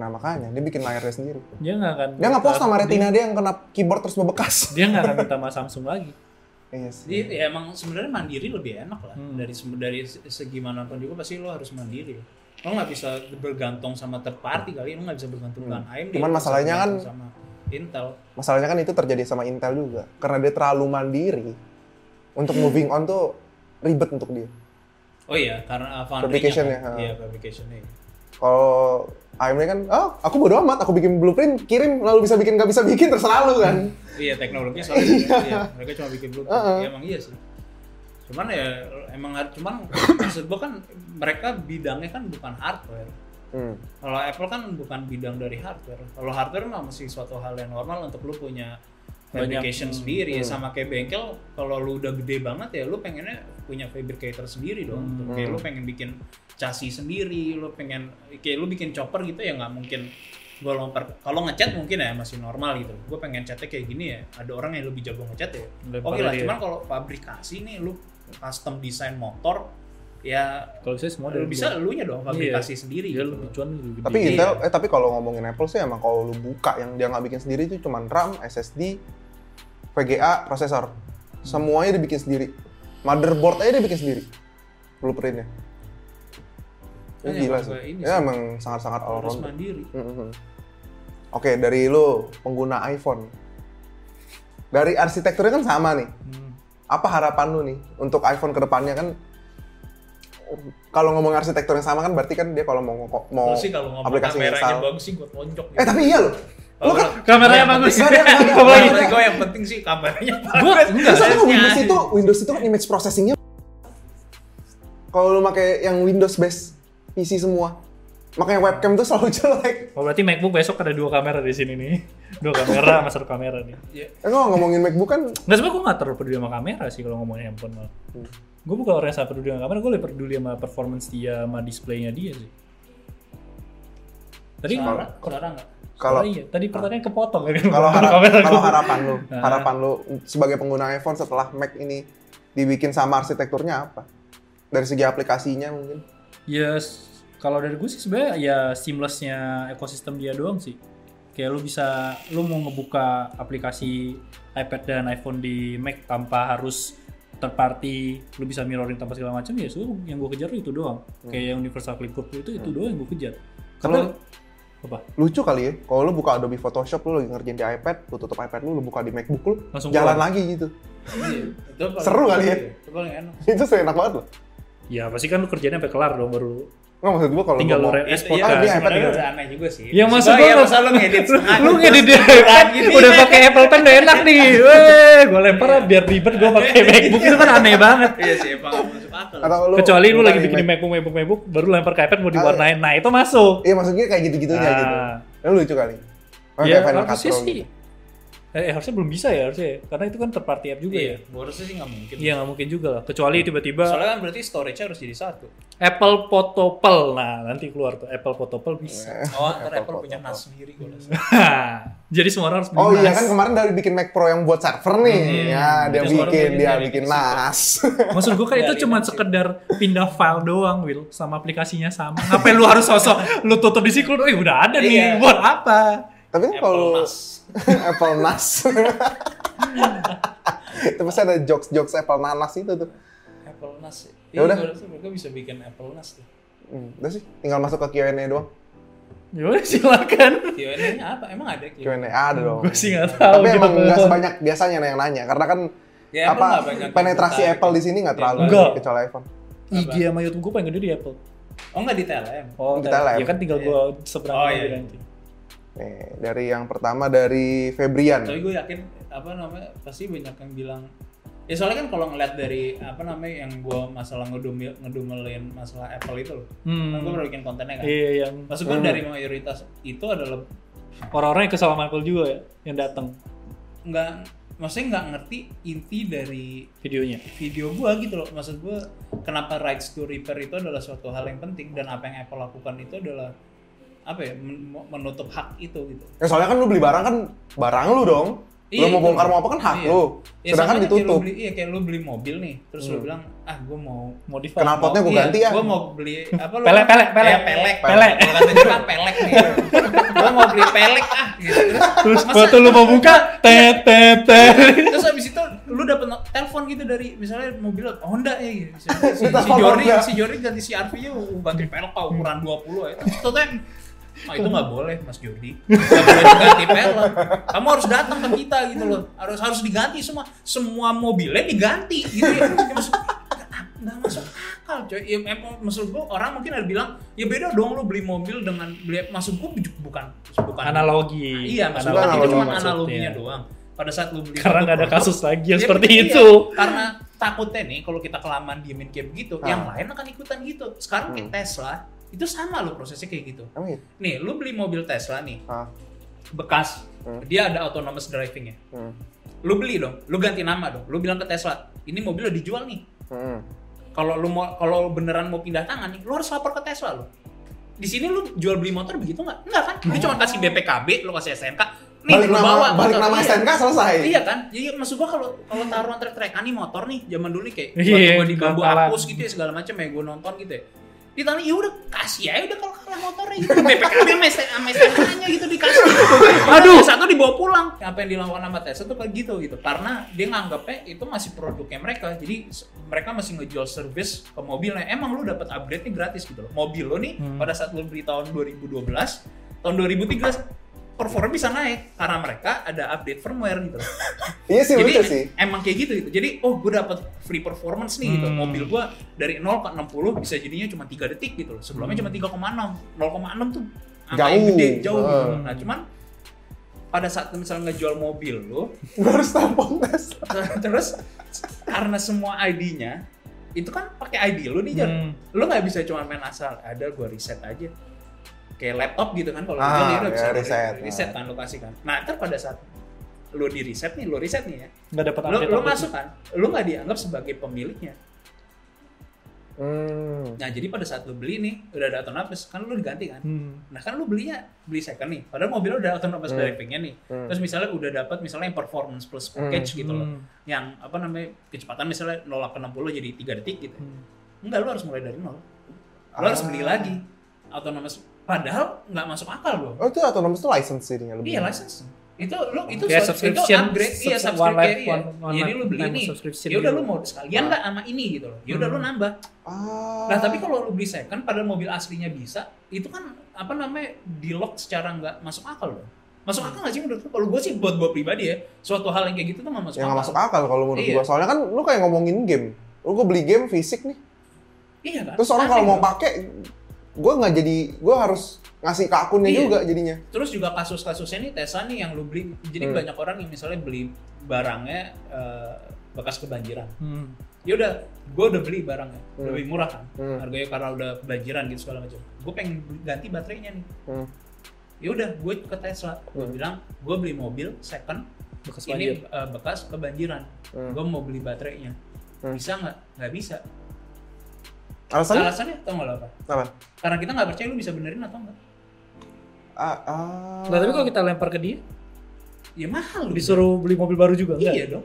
B: Nah makanya dia bikin layarnya sendiri.
A: dia nggak akan
B: Dia nggak post sama
A: dia-
B: retina dia yang kena keyboard terus berbekas.
A: dia nggak akan minta sama Samsung lagi
B: Iya sih.
C: Jadi ya emang sebenarnya mandiri lebih enak lah
A: Hmm.
C: dari se- dari se- segi manapun juga pasti lo harus mandiri. Lo nggak bisa bergantung sama third party kali, lo nggak bisa bergantung dengan AMD.
B: Hmm. Cuman
C: lo bisa
B: masalahnya kan-
C: bergantung sama Intel.
B: Masalahnya kan itu terjadi sama Intel juga karena dia terlalu mandiri. Untuk moving on tuh ribet untuk dia.
C: Oh iya, karena uh, foundry-nya
B: Fabrication-nya, ya,
C: kan.
B: ha.
C: Iya, fabrication-nya.
B: Kalau AMD kan, oh aku bodo amat, aku bikin blueprint, kirim, lalu bisa bikin, nggak bisa bikin, terserah lu kan.
C: Iya, teknologinya soalnya iya, mereka cuma bikin bluetooth.
B: Heeh.
C: Ya, emang iya sih. Cuman ya emang har- cuman maksud gua kan mereka bidangnya kan bukan hardware.
B: Hmm.
C: Kalau Apple kan bukan bidang dari hardware. Kalau hardware mah masih suatu hal yang normal untuk lu punya
A: Banyak.
C: fabrication
A: Hmm.
C: sendiri
B: Hmm.
C: sama kayak bengkel kalau lu udah gede banget ya lu pengennya punya fabricator sendiri dong
A: Hmm.
C: kayak lu pengen bikin chassis sendiri lu pengen kayak lu bikin chopper gitu ya nggak mungkin gua lompat kalau ngecat mungkin ya masih normal gitu gue pengen catnya kayak gini ya ada orang yang lebih jago ngecat ya
A: Lempar
C: oke lah
A: dia.
C: cuman kalau fabrikasi nih lu custom desain motor ya
A: kalau saya semua dari
C: lu bisa elunya dong
A: Iya.
C: fabrikasi sendiri
A: dia
C: gitu.
A: lebih cuan lebih gede.
B: Tapi
C: Iya.
B: Intel, eh tapi kalau ngomongin Apple sih emang kalau lu buka yang dia nggak bikin sendiri itu cuman RAM, SSD, VGA, prosesor. Semuanya dibikin sendiri. Motherboard aja dia bikin sendiri. Blueprintnya. Itu
C: Iya,
B: gila
C: emang
B: sih.
C: kayak ini
B: Ya
C: sih.
B: emang sangat-sangat all
C: harus
B: round.
C: mandiri
B: Mhm. Oke, dari lu pengguna iPhone. Dari arsitekturnya kan sama nih.
A: Hmm.
B: Apa harapan lu nih untuk iPhone kedepannya kan? Kalau ngomong arsitektur yang sama kan berarti kan dia kalau mau mau
C: Terus sih kalau ngomong
B: aplikasi
C: kameranya
B: install.
C: bagus sih gue tonjok
B: Eh tapi iya loh. Lu kan
A: kameranya bagus
B: Nggak ada, nggak ada.
A: Apa lagi?
B: Nggak ada.
C: gue yang penting sih kameranya
A: Gua enggak.
B: terus apa
C: Nggak ada.
B: kan Windows itu Windows itu kan image processingnya. Kalau lu pakai yang Windows based PC semua, makanya webcam tuh selalu jelek.
A: Oh berarti MacBook besok ada dua kamera di sini nih. Dua kamera sama satu kamera nih.
C: Ya,
B: Eh kalau ngomongin MacBook kan,
A: Nggak sebenarnya gue nggak terlalu peduli sama kamera sih kalau ngomongin handphone malah. Gue bukan orang yang sangat peduli sama kamera, gue lebih peduli sama performance dia, sama displaynya dia sih. Tadi
C: suara suara nggak
A: kalau
B: kalau
A: iya, tadi pertanyaan kepotong kan
B: kalau harap-
A: kamera
B: kalau
A: gua.
B: harapan lu,
A: Nah.
B: harapan lu sebagai pengguna iPhone setelah Mac ini dibikin sama arsitekturnya apa? Dari segi aplikasinya mungkin.
A: Yes, Ya, kalau dari gue sih sebenarnya ya seamlessnya ekosistem dia doang sih. Kayak lu bisa, lu mau ngebuka aplikasi iPad dan iPhone di Mac tanpa harus third party, lu bisa mirroring tanpa segala macam ya. So, yang gue kejar itu doang. Kayak yang universal clipboard itu itu doang yang gue kejar. Karena apa?
B: Lucu kali ya, kalau lu buka Adobe Photoshop lu lagi ngerjain di iPad, lu tutup iPad lu, lu buka di MacBook lu,
A: Langsung
B: jalan
A: keluar.
B: lagi gitu.
C: Iya, itu paling-
B: Seru kali ya?
C: itu paling enak
B: Itu seenak banget loh.
A: Ya pasti kan lu kerjanya sampai kelar dong baru
B: Nggak maksud gua kalau
A: Tinggal
B: gua
A: lu
B: mau-
A: re- Export
C: Iya,
A: kan?
C: iya,
B: Ah, dia
C: sebenarnya
B: iPad
C: udah aneh juga sih.
A: Ya, maksud
C: Coba
A: gua
C: ya,
A: nggak-
C: masa lu ngedit
A: Lu-
C: sengaja.
A: lu ngedit di
C: Berat gini.
A: udah pakai Apple Pen udah enak nih. Weh, gue lempar lah biar ribet gue pakai MacBook Iya. itu kan aneh banget.
C: Iya sih, emang nggak masuk akal.
B: atau lu Ah,
A: Kecuali lu lagi
B: minta
A: bikin
B: remake.
A: MacBook MacBook MacBook baru lempar ke iPad mau diwarnain. Nah, itu masuk.
B: Iya maksudnya kayak gitu-gitu aja
A: Ah.
B: gitu. Lu lucu kali. Oh,
A: Ya,
B: kayak Final
C: iya,
B: Cut
A: harusnya
B: Pro
A: sih.
B: gitu.
A: Eh, harusnya belum bisa ya harusnya. ya. Karena itu kan third party app juga
C: Iya,
A: ya.
C: gua rasa sih nggak mungkin.
A: Iya, nggak mungkin juga lah. Kecuali tiba-tiba
C: Soalnya kan berarti storage-nya harus jadi satu.
A: Apple Photopel. Nah, nanti keluar tuh Apple Photopel bisa.
C: Oh, ntar
B: Eh, Apple,
C: Apple punya
B: Apple.
C: NAS sendiri gue rasa.
A: Jadi semua orang harus beli
B: Oh iya
A: NAS.
B: kan kemarin dari bikin Mac Pro yang buat server nih.
A: Hmm.
B: ya, dia
C: Terus baru
B: bikin
C: bikin
B: dia
C: dari
B: bikin
C: situ.
B: NAS.
A: Maksud gue kan itu
C: Dari
A: cuma
C: nanti.
A: sekedar pindah file doang, Will. Sama aplikasinya sama. Ngapain lu harus sosok lu tutup di siklus? Eh udah ada nih,
C: Iya.
A: buat apa?
B: Tapi kan
C: Apple
B: kalau
C: NAS.
B: Apple NAS. Itu pasti ada jokes-jokes Apple nanas itu tuh.
C: Apple NAS. sih.
B: Ya
C: Iya,
B: udah.
C: gua rasa mereka bisa bikin Apple NAS tuh.
B: Hmm, udah sih, tinggal masuk ke Q&A doang.
A: Ya udah silakan.
C: Q&A-nya Iya, apa? Emang ada Q&A?
B: Q&A ada dong.
A: Gue Iya. sih nggak tahu.
B: Oh. Tapi emang
A: gitu.
B: nggak sebanyak biasanya yang nanya karena kan
C: Ya, Apple
B: apa
C: nggak banyak yang Ya,
B: penetrasi
C: tertarik.
B: Apple di sini nggak terlalu
A: Nggak.
B: kecuali iPhone.
A: IG sama YouTube gue paling gede di Apple.
C: Oh, nggak di TLM.
A: Oh,
B: Kita
A: tar-
B: live.
A: Ya kan tinggal gue seberang
C: Oh,
A: lagi
C: iya.
A: nanti.
B: Nih, dari yang pertama dari Febrian.
C: Tapi gue yakin apa namanya pasti banyak yang bilang ya soalnya kan kalau ngeliat dari apa namanya yang gue masalah ngedumel ngedumelin masalah Apple itu loh.
A: Hmm.
C: Kan gue baru bikin kontennya kan.
A: Iya, yang
C: Maksud gue
B: Hmm.
C: dari mayoritas itu adalah
A: orang-orangnya kesal sama Michael juga ya, yang datang
C: nggak maksudnya nggak ngerti inti dari
A: videonya.
C: video gua gitu loh maksud gua kenapa rights to repair itu adalah suatu hal yang penting dan apa yang Apple lakukan itu adalah apa ya men- menutup hak itu gitu
B: Ya soalnya kan lu beli barang kan barang lu dong.
C: Iya,
B: lu mau
C: itu.
B: bongkar mau apa kan hak
C: Iya.
B: lu.
C: ya,
B: Sedangkan
C: sama aja kayak lu
B: ditutup.
C: beli, iya kayak lu beli mobil nih terus lu bilang ah gua mau
A: Modify.
B: Kenal potnya gua
C: iya,
B: ganti ya.
C: gua mau beli apa lu
A: Pelek, pelek, pelek.
C: Ya, pelek
A: Pelek.
C: Kalau kata Jepang, pelek nih gua mau beli pelek ah gitu terus
A: Terus
C: masa-
A: foto lu mau buka, tet tet tet.
C: terus abis itu lu dapet no- telepon gitu dari misalnya mobil Honda ya gitu. Si, si,
B: Lu
C: si
B: telepon
C: Jori,
B: Honda.
C: si Jori ganti si RV nya uh, ganti pelek Pak, ukuran 20 ya. Itu kan Nah, itu nggak boleh Mas Jody. Nggak boleh diganti pelek. Kamu harus datang ke kita gitu loh. Harus harus diganti semua semua mobilnya diganti gitu ya. Ya, maksud- nggak masuk akal coy ya, emang maksud gua orang mungkin ada bilang ya beda dong lu beli mobil dengan beli maksud gua bu- bukan bukan
A: Analogi.
C: iya maksud
B: Analogi.
C: gua itu cuma
B: Maksudnya.
C: analoginya doang pada saat lu beli
A: Karena
C: satu
A: nggak ada
C: produk,
A: kasus lagi yang
C: Ya,
A: seperti
C: iya.
A: itu.
C: Karena takutnya nih kalau kita kelamaan diemin kayak begitu,
B: Ah. Hmm.
C: yang lain akan ikutan gitu. Sekarang kayak Tesla, itu sama loh prosesnya kayak gitu.
B: Emang gitu?
C: Nih, lu beli mobil Tesla nih,
B: Ah,
C: bekas,
B: Hmm.
C: dia ada autonomous driving-nya.
B: hmm,
C: Lu beli dong, lu ganti nama dong. Lu bilang ke Tesla, ini mobil udah dijual nih.
B: hmm.
C: Kalau lu mau kalau lu beneran mau pindah tangan nih, lu harus lapor ke Tesla lo. Di sini lu jual beli motor begitu nggak? Nggak kan? Lu cuma kasih BPKB, lu kasih SNK, nih
B: Balik
C: lu
B: nama,
C: bawa.
B: balik
C: motor.
B: nama
C: Iya.
B: SNK selesai.
C: Iya kan? Jadi maksud gua kalau kalau taruhan trek-trekan nih motor nih zaman dulu nih kayak
A: Iya,
C: waktu gua di bambu
A: bantalan.
C: apus gitu ya segala macam ya gua nonton gitu ya. Ditanya ya udah kasih aja udah kalau kalah motornya gitu. BPKB sama ST- sama STNK-nya gitu dikasih.
A: Aduh.
C: Yang Satu dibawa pulang. Apa yang dilakukan sama Tesla tuh kayak gitu gitu. Karena dia nganggapnya itu masih produknya mereka. Jadi se- mereka masih ngejual service ke mobilnya. Emang lu dapat upgrade-nya gratis gitu loh. Mobil lo nih
A: Hmm.
C: pada saat lu beli tahun 2012, tahun 2013 performa bisa naik karena mereka ada update firmware gitu. loh
B: Iya sih
C: jadi
B: lucu sih.
C: emang kayak gitu gitu jadi oh gue dapat free performance nih gitu
A: Hmm.
C: mobil gue dari 0 ke 60 bisa jadinya cuma 3 detik gitu loh sebelumnya
A: Hmm.
C: cuma 3,6 0,6 tuh angka yang
B: Jauh. Hmm.
C: gede jauh gitu.
A: Eh.
C: nah cuman pada saat lu misalnya ngejual mobil lo
B: Gua harus telepon Tesla.
C: terus karena semua ID-nya itu kan pakai ID lu nih Jar
A: Hmm.
C: lu nggak bisa cuma main asal ada gua reset aja kayak laptop gitu kan kalau
B: Ah,
C: mobil
B: ya, reset.
C: reset kan lokasi kan nah ntar pada saat lu di reset nih lu reset nih ya
A: Nggak dapat
C: lu,
A: update.
C: lu
A: update.
C: masuk kan lu nggak dianggap sebagai pemiliknya
B: Hmm.
C: nah jadi pada saat lu beli nih udah ada autonomous kan lu diganti kan
A: Hmm.
C: nah kan lu belinya beli second nih padahal mobil lu udah autonomous
B: Hmm.
C: drivingnya nih
B: Hmm.
C: terus misalnya udah dapat misalnya yang performance plus package gitu loh
A: Hmm.
C: yang apa namanya kecepatan misalnya 0 ke 60 jadi 3 detik gitu
A: Hmm.
C: enggak lu harus mulai dari nol lu
B: Ah.
C: harus beli lagi autonomous padahal nggak masuk akal bro
B: Oh itu autonomous itu license jadinya lebih.
C: Iya license itu lo itu
A: Kayak
C: suatu- itu
A: subscription,
C: upgrade iya
A: subs-
C: subscribe
A: one life,
C: iya.
A: one- one
C: jadi
A: life
C: lu beli
A: time
C: nih
A: subscription
C: ya udah
A: gitu.
C: lu mau sekalian nggak sama ini gitu loh ya udah lu
A: Hmm.
C: nambah
B: Ah.
C: nah tapi kalau lu beli second padahal mobil aslinya bisa itu kan apa namanya di lock secara nggak masuk akal loh masuk akal nggak sih menurut lu kalau gue sih buat gue pribadi ya suatu hal yang kayak gitu tuh nggak masuk
B: yang Ya,
C: akal
B: nggak masuk akal kalau menurut
C: Iya.
B: gua. Soalnya kan lu kayak ngomongin game. Lu gua beli game fisik nih.
C: iya kan
B: Terus orang
C: Aneh
B: kalau mau
C: dong.
B: pakai gue nggak jadi gue harus ngasih ke akunnya
C: Iya.
B: juga jadinya
C: Terus juga kasus-kasusnya ini Tesa nih yang lu beli. Jadi
B: Hmm.
C: banyak orang yang misalnya beli barangnya eh, bekas kebanjiran.
A: Hmm.
C: Ya udah, gue udah beli barangnya
B: Hmm.
C: lebih murah kan.
B: Hmm.
C: Harganya karena udah kebanjiran gitu segala macam. Gue pengen beli- ganti baterainya nih.
B: Hmm.
C: Ya udah, gue ke Tesla. Gue
B: Hmm.
C: bilang, gue beli mobil second.
A: Bekas
C: ini
A: banjir.
C: eh, bekas kebanjiran.
B: Hmm.
C: Gue mau beli baterainya.
B: Hmm.
C: Bisa nggak? Nggak bisa.
B: alasannya
C: Alasannya tau nggak lo apa?
B: apa
C: Karena kita nggak percaya lu bisa benerin atau nggak.
B: ah, ah.
A: Nah, tapi kalau
C: gitu?
A: kita lempar ke dia,
C: Ya mahal lu.
A: disuruh beli mobil baru juga
C: Iya
A: enggak?
C: dong.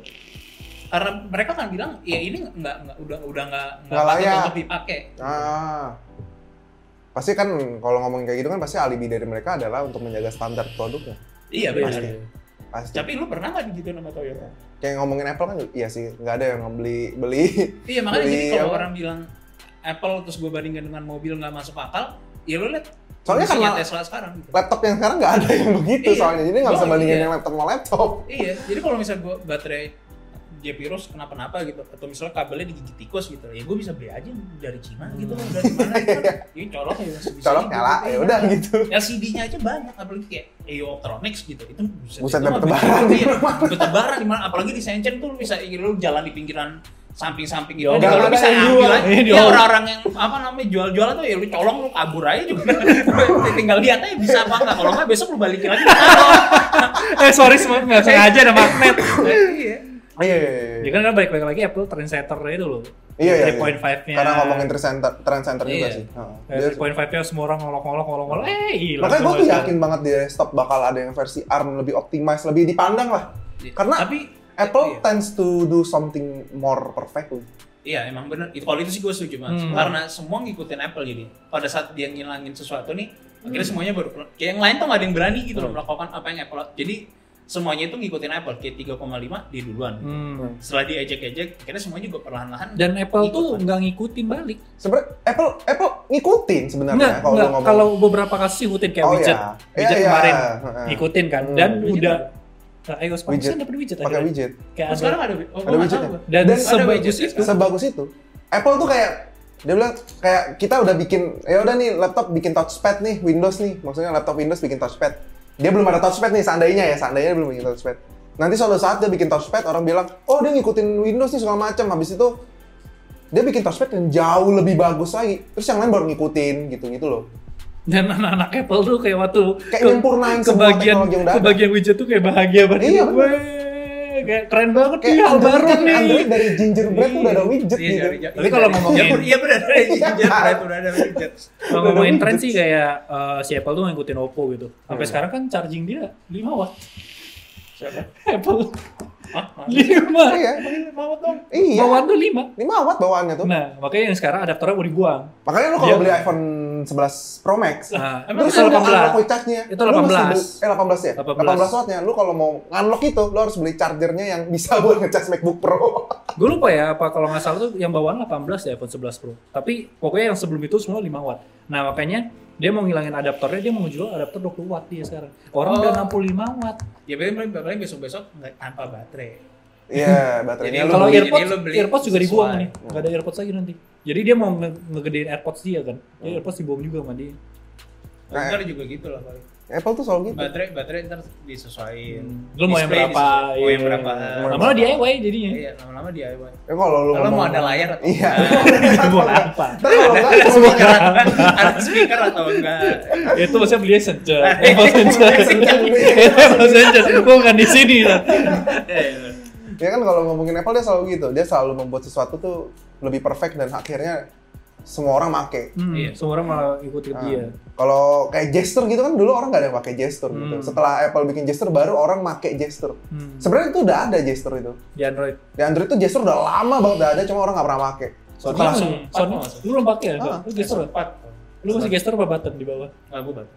C: Karena mereka kan bilang ya ini nggak nggak udah udah nggak
B: Nggak
C: patut
B: layak.
C: untuk dipakai.
B: ah pasti kan kalau ngomongin kayak gitu kan pasti alibi dari mereka adalah untuk menjaga standar produknya
C: Iya
B: pasti
C: benar.
B: pasti
C: Tapi lu pernah nggak gitu sama Toyota?
B: kayak ngomongin Apple kan iya sih nggak ada yang ngebeli beli
C: Iya makanya
B: Beli
C: jadi kalau
B: apa?
C: orang bilang Apple terus gue bandingkan dengan mobil nggak masuk akal, ya lu lihat.
B: Soalnya
C: kondisinya
B: karena-
C: Tesla sekarang. Gitu.
B: laptop yang sekarang nggak ada yang begitu
C: Iya.
B: soalnya jadi nggak bisa
C: Gua-
B: bandingin
C: iya.
B: yang laptop sama laptop
C: Iya. Jadi kalau misalnya gue baterai dia virus kenapa-napa gitu atau misalnya kabelnya digigit tikus gitu ya gue bisa beli aja dari Cina gitu kan dari mana gitu kan ini colok ya masih bisa
B: colok
C: gitu.
B: nyala ya udah gitu
C: LCD-nya aja banyak, apalagi kayak EO Optronics gitu. Itu buset,
B: Buset,
C: itu mah
B: bertebaran
C: bikin-
B: di
C: iya, bertebaran di mana apalagi di Shenzhen tuh lu bisa lu jalan di pinggiran samping-samping gitu.
A: Di
C: Jadi kalau
A: orang-orang
C: bisa
A: yang
C: ambil
A: Ya, jual.
C: aja.
A: Iya, di
C: Ya
A: orang.
C: orang-orang yang apa namanya jual-jualan tuh ya lu colong lu kabur aja juga. Tinggal lihat aja bisa apa enggak. Kalau enggak besok lu balikin lagi.
A: eh sorry semuanya nggak sengaja ada magnet.
C: Iya.
B: iya iya
A: Ya
B: iya
A: kan kan balik-balik lagi Apple trendsetter itu loh.
B: Iya, iya, iya.
A: 3.5-nya.
B: karena ngomongin trend center, trend center juga
C: Iya.
B: sih Heeh. Dia-
A: Eh, 3.5-nya semua orang ngolok-ngolok ngolok-ngolok. Eh, gila.
B: Nah. makanya gue
A: semua
B: tuh
A: itu.
B: yakin banget di desktop bakal ada yang versi ARM lebih optimized lebih dipandang lah Karena
C: tapi
B: Apple
C: iya.
B: tends to do something more perfect
C: Iya emang bener. Itu- Kalau itu sih gue setuju banget.
A: Hmm.
C: Karena semua ngikutin Apple jadi. Pada saat dia ngilangin sesuatu nih, akhirnya semuanya baru. Kayak yang lain tuh gak ada yang berani gitu loh
B: Hmm.
C: melakukan apa yang Apple. Jadi semuanya itu ngikutin Apple. Kayak 3,5 dia duluan.
A: Hmm.
C: Setelah diejek-ejek, akhirnya semuanya juga perlahan-lahan.
A: Dan Apple
C: Ikut,
A: tuh
C: kan?
A: nggak ngikutin balik.
B: sebenarnya Apple Apple ngikutin
A: Nggak,
B: sebenarnya ya, kalau lu
A: nggak.
B: ngomong
A: Kalau beberapa kasus sih ngikutin kayak
B: Oh,
A: widget.
B: iya.
A: Widget
B: Iya, iya.
A: kemarin
B: Heeh.
A: ngikutin kan.
B: Hmm.
A: Dan
C: Widget
A: udah Nah, iOS
B: Widget.
A: Pakistan dapat widget
B: pakai
A: akhirnya.
B: widget
A: Kayak
C: Oh,
A: ada-
C: sekarang ada, oh,
B: Ada
C: ada
B: widget
C: tahu
B: ya?
C: gua.
A: dan,
B: Dan ada
A: sebagus
C: widget,
A: itu
C: kan?
B: sebagus itu Apple tuh kayak dia bilang kayak kita udah bikin ya udah nih laptop bikin touchpad nih Windows nih maksudnya laptop Windows bikin touchpad dia belum ada touchpad nih seandainya ya seandainya dia belum bikin touchpad nanti suatu saat dia bikin touchpad orang bilang oh dia ngikutin Windows nih segala macam habis itu dia bikin touchpad yang jauh lebih bagus lagi terus yang lain baru ngikutin gitu gitu loh
A: dan anak-anak Apple tuh kayak waktu
B: Kayak nyempurnain semua
A: kebagian
B: teknologi yang udah ada.
A: kebagian widget tuh kayak bahagia banget.
B: Iya,
A: gue kayak keren banget
B: kayak
A: nih hal
B: Android
A: Iya, baru
B: kan,
A: nih.
B: Android dari gingerbread tuh udah ada widget
C: Iya,
B: gitu
C: iya, iya.
A: Tapi kalau ngomongin-
C: Iya, iya benar. Iya, benar, udah ada widget.
A: Kalau
B: Udah ada
A: ngomongin tren
B: widget. Iya.
A: sih kayak eh, si Apple tuh ngikutin Oppo gitu. Sampai sekarang kan charging dia 5 watt.
C: Siapa?
A: Apple
C: Hah?
A: 5.
B: iya
C: Iya, mau dong.
B: iya
A: Bawaan tuh 5.
B: 5 watt bawaannya tuh
A: Nah, makanya yang sekarang adaptornya mau dibuang.
B: Makanya lu kalau
A: Iya.
B: beli iPhone 11 Pro Max,
A: Nah,
C: Emang
A: itu
B: terus lu mau
A: 18.
B: unlock kocaknya,
A: Itu
B: lu masih
A: 18.
B: beli- eh 18 ya?
A: 18.
B: 18, wattnya, lu kalau mau unlock itu, lu harus beli chargernya yang bisa buat ngecas MacBook Pro.
A: Gue lupa ya apa kalau nggak salah tuh yang bawaan 18 ya iPhone 11 Pro. Tapi pokoknya yang sebelum itu semua 5 watt. Nah makanya dia mau ngilangin adaptornya dia mau jual adaptor 20 watt dia sekarang. Orang
C: Oh.
A: udah 65 watt.
C: Ya paling paling besok-besok nggak- tanpa baterai.
B: Iya,
C: Jadi
B: baterainya lu
A: Kalau
C: beli-
B: beli.
A: AirPods,
C: ear- jadi lu beli
A: AirPods juga dibuang
C: sesuai.
A: nih. Nggak ada AirPods lagi nanti. Jadi dia mau nge- ngegedein AirPods dia kan. Jadi
B: Hmm.
A: AirPods dibuang juga sama dia.
B: Nah,
C: Ntar juga gitu lah paling.
B: Apple tuh selalu gitu.
C: baterai baterai ntar disesuaikan
A: Lu mau yang
C: Hmm. Display
A: berapa?
C: disesuaikan. mau yang
A: Iya.
C: berapa
B: Mau yang
A: Lama lo DIY jadinya.
C: iya lama-lama DIY
B: Ya kalau lu
C: kalau mau
B: ngomong-
C: ada layar atau
B: Iya.
A: Buat apa?
B: Ntar kalau nggak, gitu.
C: ada
B: kalau
C: speaker ada speaker atau enggak
A: Itu maksudnya belinya senja. Apple Eh. senja. Itu Apple senja. Bukan di sini lah.
C: Eh,
B: ya kan kalau ngomongin Apple dia selalu gitu, dia selalu membuat sesuatu tuh lebih perfect dan akhirnya semua orang make.
A: Hmm,
C: Iya.
A: Semua orang malah ikut-ikut
B: Nah,
A: dia.
B: Kalau kayak gesture gitu kan dulu orang nggak ada yang pakai gesture gitu.
A: Hmm.
B: Setelah Apple bikin gesture baru orang make gesture.
A: Hmm.
B: Sebenarnya itu udah ada gesture itu.
A: Di Android.
B: Di Android tuh gesture udah lama banget udah ada, cuma orang nggak pernah pakai.
A: Sony
C: Setelah langsung
A: Sony,
C: empat
A: Sony,
C: mau masuk.
A: lu belum pakai ya?
B: Ah,
A: lu gesture ya?
C: empat
A: Lu masih gesture apa button di bawah?
C: nggak gue batu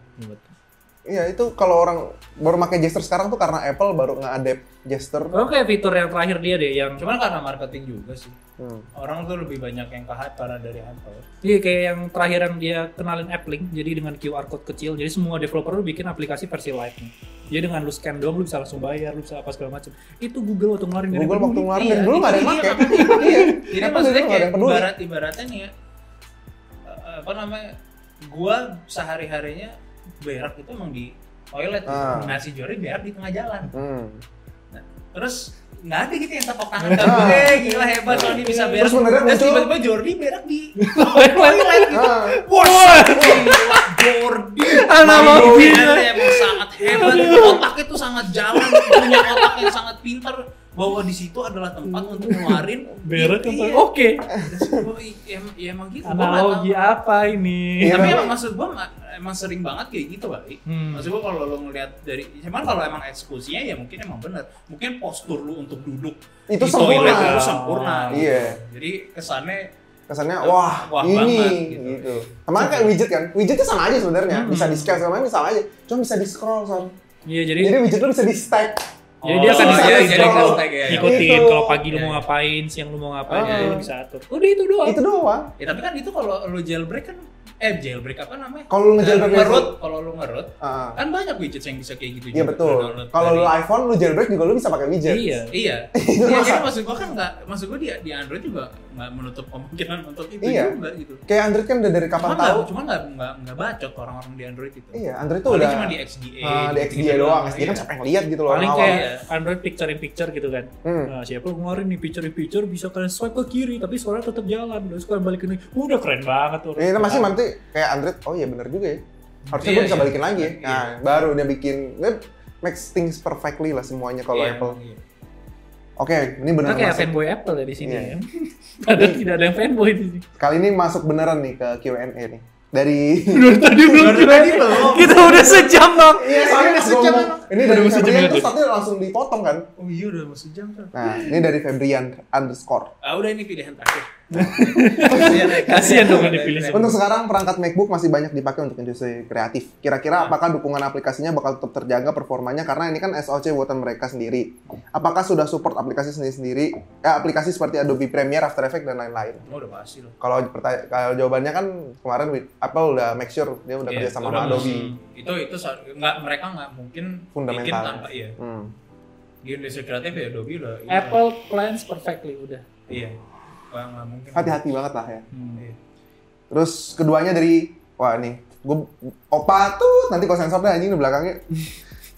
B: Iya itu kalau orang baru pakai gesture sekarang tuh karena Apple baru nge-adapt gesture.
A: Kalau kayak fitur yang terakhir dia deh yang
C: cuman karena marketing juga sih
B: Hmm.
C: orang tuh lebih banyak yang kahat karena dari Apple
A: iya kayak yang terakhir yang dia kenalin app link jadi dengan QR code kecil jadi semua developer lu bikin aplikasi versi light nih. Jadi dengan lu scan doang lu bisa langsung bayar, lu bisa apa segala macam. Itu Google waktu ngeluarin dari
B: Google
A: dulu
B: waktu
A: nih.
B: ngeluarin
C: Iya,
B: dan dulu nggak ada yang pakai.
C: itu dia,
B: Iya.
C: jadi
B: Apple dulu
C: maksudnya
B: nggak ada
C: kayak
B: yang peduli.
C: ibarat ibaratnya nih ya eh, apa namanya eh, gua sehari harinya berak itu emang di toilet gitu.
B: Ah.
C: nasi jori berak di tengah jalan
B: Hmm.
C: terus nggak ada gitu yang tepuk tangan ke gue gila hebat Sony bisa berak
B: Terus beneran muncul.
C: tiba-tiba Jordi berak di toilet gitu
B: Ah.
C: Wah, gila, Jordi
A: Analogi.
C: Mainnya emang sangat hebat Otaknya tuh sangat jalan Punya otak yang sangat pintar Bahwa di situ adalah tempat untuk ngeluarin
A: Berat kan?
C: Iya.
A: Oke.
C: Terus, Ya, ya emang gitu gua nggak tahu.
A: Analogi apa ini?
B: Iya.
C: Tapi emang maksud gua ma- emang sering banget kayak gitu kali
A: Hmm.
C: Maksud gua kalau lo ngeliat dari Cuman kalau emang eksekusinya ya mungkin emang bener Mungkin postur lu untuk duduk
B: Itu
C: di toilet
B: sempurna.
C: itu sempurna gitu.
B: Iya.
C: Jadi kesannya
B: kesannya
C: Wah,
B: wah,
C: wah banget,
B: ini
C: gitu.
B: gitu. Sama kayak widget kan? Widgetnya sama aja sebenarnya,
A: Hmm.
B: bisa di scale sama aja, sama aja. Cuma bisa di scroll son.
A: Iya jadi
B: Jadi widget lu bisa di stack.
A: jadi dia akan
B: Oh,
A: diatur
B: jadi- jadi
A: kalau
C: kayak- ya,
A: ikutin
B: gitu.
A: kalau pagi lu
C: Iya,
A: mau
C: iya.
A: ngapain, siang lu mau ngapain,
B: Ah.
A: jadi lu bisa atur. Udah itu doang.
B: Itu doang.
C: Ya tapi kan itu kalau lo jailbreak kan eh jailbreak apa namanya?
B: Kalau lu ngejailbreak dari-
C: ngerut, kalau lo ngerut
B: Ah,
C: kan banyak widgets yang bisa kayak gitu
B: Iya
C: juga,
B: betul.
C: lo download
B: Kalau
C: dari-
B: lu iPhone lu jailbreak juga lu bisa pakai widget.
A: Iya.
C: Iya. Iya, jadi maksud gua kan nggak, maksud gua di, di Android juga nggak menutup kemungkinan untuk itu
B: Iya.
C: juga gitu.
B: Kayak Android kan udah dari kapan
C: Cuma nggak,
B: tahu?
C: cuma nggak nggak nggak bacot orang-orang di Android itu.
B: Iya, Android tuh
C: Paling
B: udah
C: cuma di XDA.
B: ah, di
C: gitu-gitu
B: XDA doang. XDA
C: iya.
B: kan siapa yang lihat gitu loh
A: Paling
B: orang awam.
A: kayak Android picture in picture gitu kan.
B: Hmm.
A: Nah, siapa kemarin nih picture in picture bisa kalian swipe ke kiri tapi suara tetap jalan. Terus kalian balik ini, udah keren banget tuh.
B: Ini Iya, masih nanti kayak Android, oh iya bener juga ya. Harusnya
C: Iya,
B: gue bisa
C: iya.
B: balikin lagi ya.
C: Iya.
B: Nah, baru dia bikin dia makes things perfectly lah semuanya kalau
C: Iya,
B: Apple.
C: iya.
B: Oke, ini
A: Kita
B: beneran
A: kayak
B: masuk.
A: fanboy Apple ya di sini
B: Iya.
A: ya. Padahal tidak ada yang fanboy di sini.
B: Kali ini masuk beneran nih ke Q&A nih. Dari
A: Dari tadi belum
C: Dari tadi
A: kita-
C: belum.
A: Kita udah sejam bang.
B: Iya, soalnya udah
A: sejam.
B: ngomong. Ini dari
A: Udah sejam
B: Febrian
A: ya,
B: terus
A: tuh.
B: tadi langsung dipotong kan.
C: Oh iya udah masuk jam kan.
B: Nah, ini dari Febrian underscore.
C: Ah udah ini pilihan terakhir. ya,
A: Kasihan dong kalau dipilih semua.
B: Untuk sekarang perangkat MacBook masih banyak dipakai untuk industri kreatif.
C: Hmm.
B: Kira-kira apakah dukungan aplikasinya bakal tetap terjaga performanya karena ini kan SOC buatan mereka sendiri. Apakah sudah support aplikasi sendiri-sendiri, eh, aplikasi seperti Adobe Premiere, After Effects dan lain-lain?
C: Oh, udah pasti loh.
B: Kalau pertanya- kalau jawabannya kan kemarin with- Apple udah make sure dia udah
C: Iya,
B: kerja sama
C: udah
B: sama Adobe.
C: mesti- Itu itu sa- nggak mereka nggak mungkin bikin
B: Fundamental.
C: tanpa iya.
B: Hmm.
C: Di industri kreatif ya Adobe udah. iya.
A: Apple plans perfectly udah.
C: Iya. Wah, nggak mungkin.
B: Hati-hati banget lah ya.
C: Iya.
B: Terus keduanya dari wah nih, gue opa tuh nanti kok sensor deh anjing di belakangnya.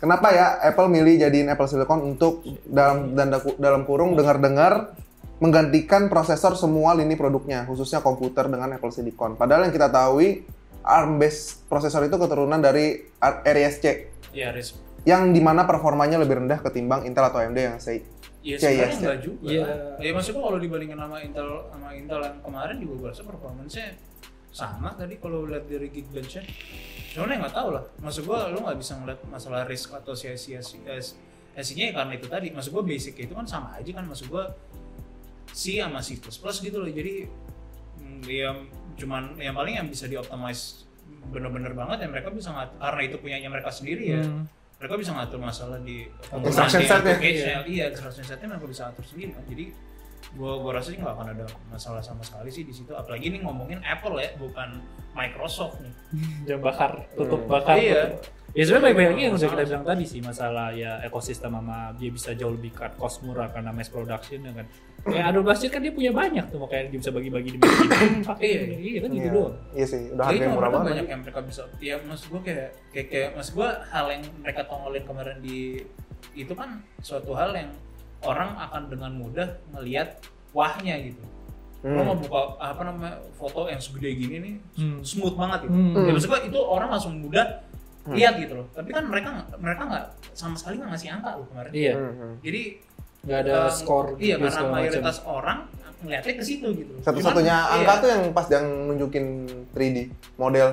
B: Kenapa ya Apple milih jadiin Apple Silicon untuk dalam danda, ku- dalam kurung dengar-dengar menggantikan prosesor semua lini produknya, khususnya komputer dengan Apple Silicon. Padahal yang kita tahu ARM based prosesor itu keturunan dari R- RISC
C: Iya, Riz.
B: yang dimana performanya lebih rendah ketimbang Intel atau AMD yang saya Iya,
C: Iya
B: iya,
C: sebenarnya
B: iya.
C: enggak juga.
A: Iya.
C: Ya maksudnya kalau dibandingin sama Intel sama Intel yang kemarin juga gue rasa performance-nya sama tadi kalau lihat dari Geekbench-nya. Cuman ya nggak tahu lah. Maksud gua lu nggak bisa ngeliat masalah risk atau sia-sia-sia-nya ya karena itu tadi. Maksud gua basic itu kan sama aja kan. Maksud gua C sama C++ gitu loh. Jadi mm, ya cuman yang paling yang bisa dioptimize bener-bener banget ya mereka bisa ngat- karena itu punyanya mereka sendiri ya
A: Hmm.
C: mereka bisa ngatur masalah di
B: Instruction
C: di
B: setnya.
C: application. iya instruction setnya mereka bisa atur sendiri kan jadi gua gua rasa sih nggak akan ada masalah sama sekali sih di situ apalagi ini ngomongin Apple ya bukan Microsoft nih
A: Jam bakar, tutup
B: Hmm.
A: bakar.
C: Iya.
A: tutup. Ya sebenarnya baik baiknya yang sudah kita bilang tadi sih masalah ya ekosistem sama dia bisa jauh lebih cut cost murah karena mass production ya kan. Ya Adobe Blackstreet kan dia punya banyak tuh makanya dia bisa bagi-bagi di pakai.
C: Iya.
A: Iya kan gitu
B: Iya.
A: doang.
B: Iya sih, udah
C: Jadi
B: harga yang
C: itu
B: murah
C: mereka
B: banget.
C: banyak yang mereka bisa ya mas gua kayak kayak, kayak mas gua hal yang mereka tongolin kemarin di itu kan suatu hal yang orang akan dengan mudah melihat wahnya gitu lo mau
B: Hmm.
C: buka apa namanya foto yang segede gini nih
A: Hmm.
C: smooth banget gitu
A: Hmm.
C: ya maksud gua itu orang langsung mudah
B: Hmm.
C: lihat gitu loh tapi kan mereka mereka nggak sama sekali nggak ngasih angka loh kemarin
A: Iya,
B: Hmm, hmm.
C: jadi
A: nggak ada
C: eh,
A: skor
C: iya
A: gitu,
C: karena
A: segala
C: mayoritas orang ngeliatnya ke situ gitu loh.
B: Satu-satunya
C: Cuman,
B: angka
C: iya.
B: tuh yang pas yang nunjukin 3D model.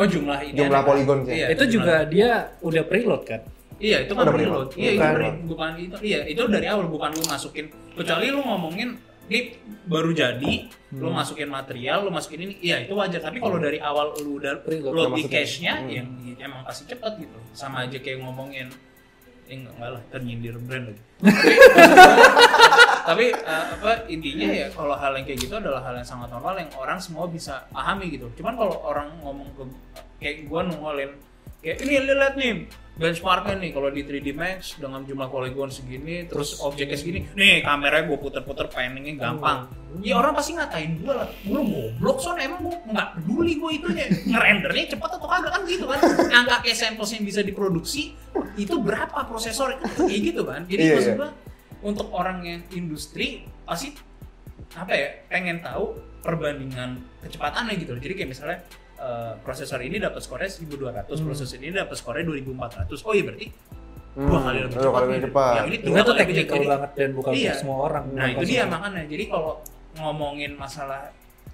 C: oh jumlah ini
B: jumlah
C: ada.
B: poligon sih.
A: macam. Itu juga dia udah preload kan.
C: iya itu kan
B: Udah
C: preload
B: preload.
C: iya itu
B: Bukan.
C: pre- bukan itu iya itu dari awal bukan lu masukin kecuali lu ngomongin ini baru jadi lu
A: Hmm.
C: masukin material lu masukin ini iya itu wajar tapi kalau dari awal lu udah
A: Preload.
C: load di
B: masukin.
C: cache-nya
B: Hmm.
C: yang emang pasti cepet gitu sama aja kayak ngomongin eh, enggak, enggak lah ternyindir brand lagi tapi eh, apa intinya ya kalau hal yang kayak gitu adalah hal yang sangat normal yang orang semua bisa pahami gitu cuman kalau orang ngomong ke kayak gua nongolin kayak ini lu lihat nih benchmarknya nih kalau di 3D Max dengan jumlah polygon segini terus, objeknya segini nih kameranya gue puter-puter panningnya gampang
B: Oh.
C: ya orang pasti ngatain gue lah gue goblok son emang gue nggak peduli gue itunya ngerendernya cepet atau kagak kan gitu kan angka kayak samples yang bisa diproduksi itu berapa prosesor kayak gitu kan jadi
B: Iya,
C: maksud
B: iya.
C: gue untuk orang yang industri pasti apa ya pengen tahu perbandingan kecepatannya gitu loh. Jadi kayak misalnya eh, prosesor ini dapat skornya
B: Hmm.
C: 1200, prosesor ini dapat skornya 2400. Oh iya berarti dua kali lebih
B: dua kali
C: cepat. nih.
B: lebih Hmm, cepat.
C: Yang ini
A: Itu
C: dua
A: tuh
C: kali lebih cepat.
A: technical
C: Jadi-
A: banget dan bukan
C: Iya.
A: untuk semua orang.
C: Nah itu
A: Bukan
C: dia
A: semua-
C: makanya. Jadi kalau ngomongin masalah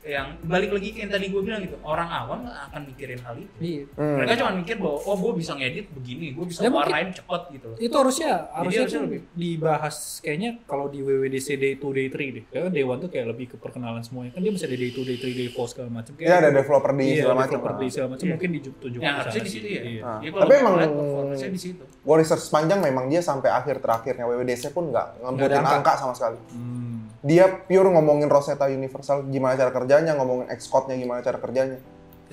C: yang balik lagi ke yang tadi gue bilang gitu, orang awam nggak akan mikirin hal itu.
A: Iya.
B: Hmm.
C: Mereka cuma mikir bahwa oh gue bisa ngedit begini, gue bisa
A: Ya, mungkin-
C: warnain cepet gitu loh.
A: Itu harusnya harusnya
C: harusnya
A: tuh
C: lebih-
A: dibahas kayaknya kalau di WWDC Day 2 Day 3 deh. Kayaknya Day 1 tuh kayak lebih ke perkenalan semuanya. Kan dia bisa ada Day 2 Day 3 Day 4 segala macam.
B: Iya, ada developer di
A: Iya,
B: segala
A: developer
B: macam.
A: di segala macam
C: Iya.
A: mungkin ditunjukin.
C: Yang harusnya di situ ya.
A: Iya.
B: Nah,
C: Jadi kalau
B: tapi
C: gue
B: emang-
C: ngeliat performance-nya di situ.
B: Gue research panjang memang dia sampai akhir terakhirnya WWDC pun nggak
A: ada
B: ngebutin
A: angka.
B: angka sama sekali.
A: Hmm.
B: Dia pure ngomongin Rosetta Universal gimana cara kerjanya, ngomongin Xcode-nya gimana cara kerjanya.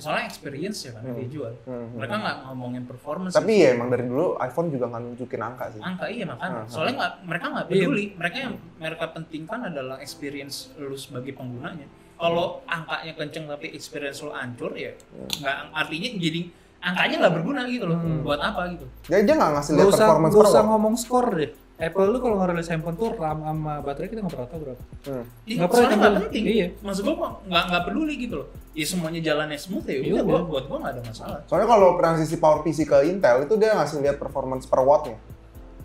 C: Soalnya experience ya kan yang dijual.
B: Hmm.
C: Mereka nggak ngomongin performance.
B: Tapi ya emang dari dulu iPhone juga nggak nunjukin angka sih.
C: angka iya
B: Hmm.
C: makanya soalnya nggak mereka nggak
A: Iya.
C: peduli mereka yang mereka pentingkan adalah experience lu sebagai penggunanya kalau angkanya kenceng tapi experience lu ancur ya nggak artinya jadi angkanya nggak berguna gitu loh
A: Hmm.
C: buat apa gitu
B: Dia aja nggak ngasih
A: Gak
B: lihat
A: usah,
B: performance
A: gak
B: per
A: usah
B: watt.
A: ngomong skor deh. Apple lu kalau ngerilis handphone tuh RAM sama baterai kita nggak pernah tahu berapa.
B: Hmm.
C: Iya,
A: Nggak pernah
C: soalnya nggak
A: tampil.
C: penting
A: Iya.
C: maksud gua kok nggak nggak peduli gitu loh ya semuanya jalannya smooth ya
A: Iya,
C: udah gua
A: udah.
C: buat gua nggak ada masalah
B: Soalnya kalau transisi power PC ke Intel itu dia ngasih lihat performance per wattnya.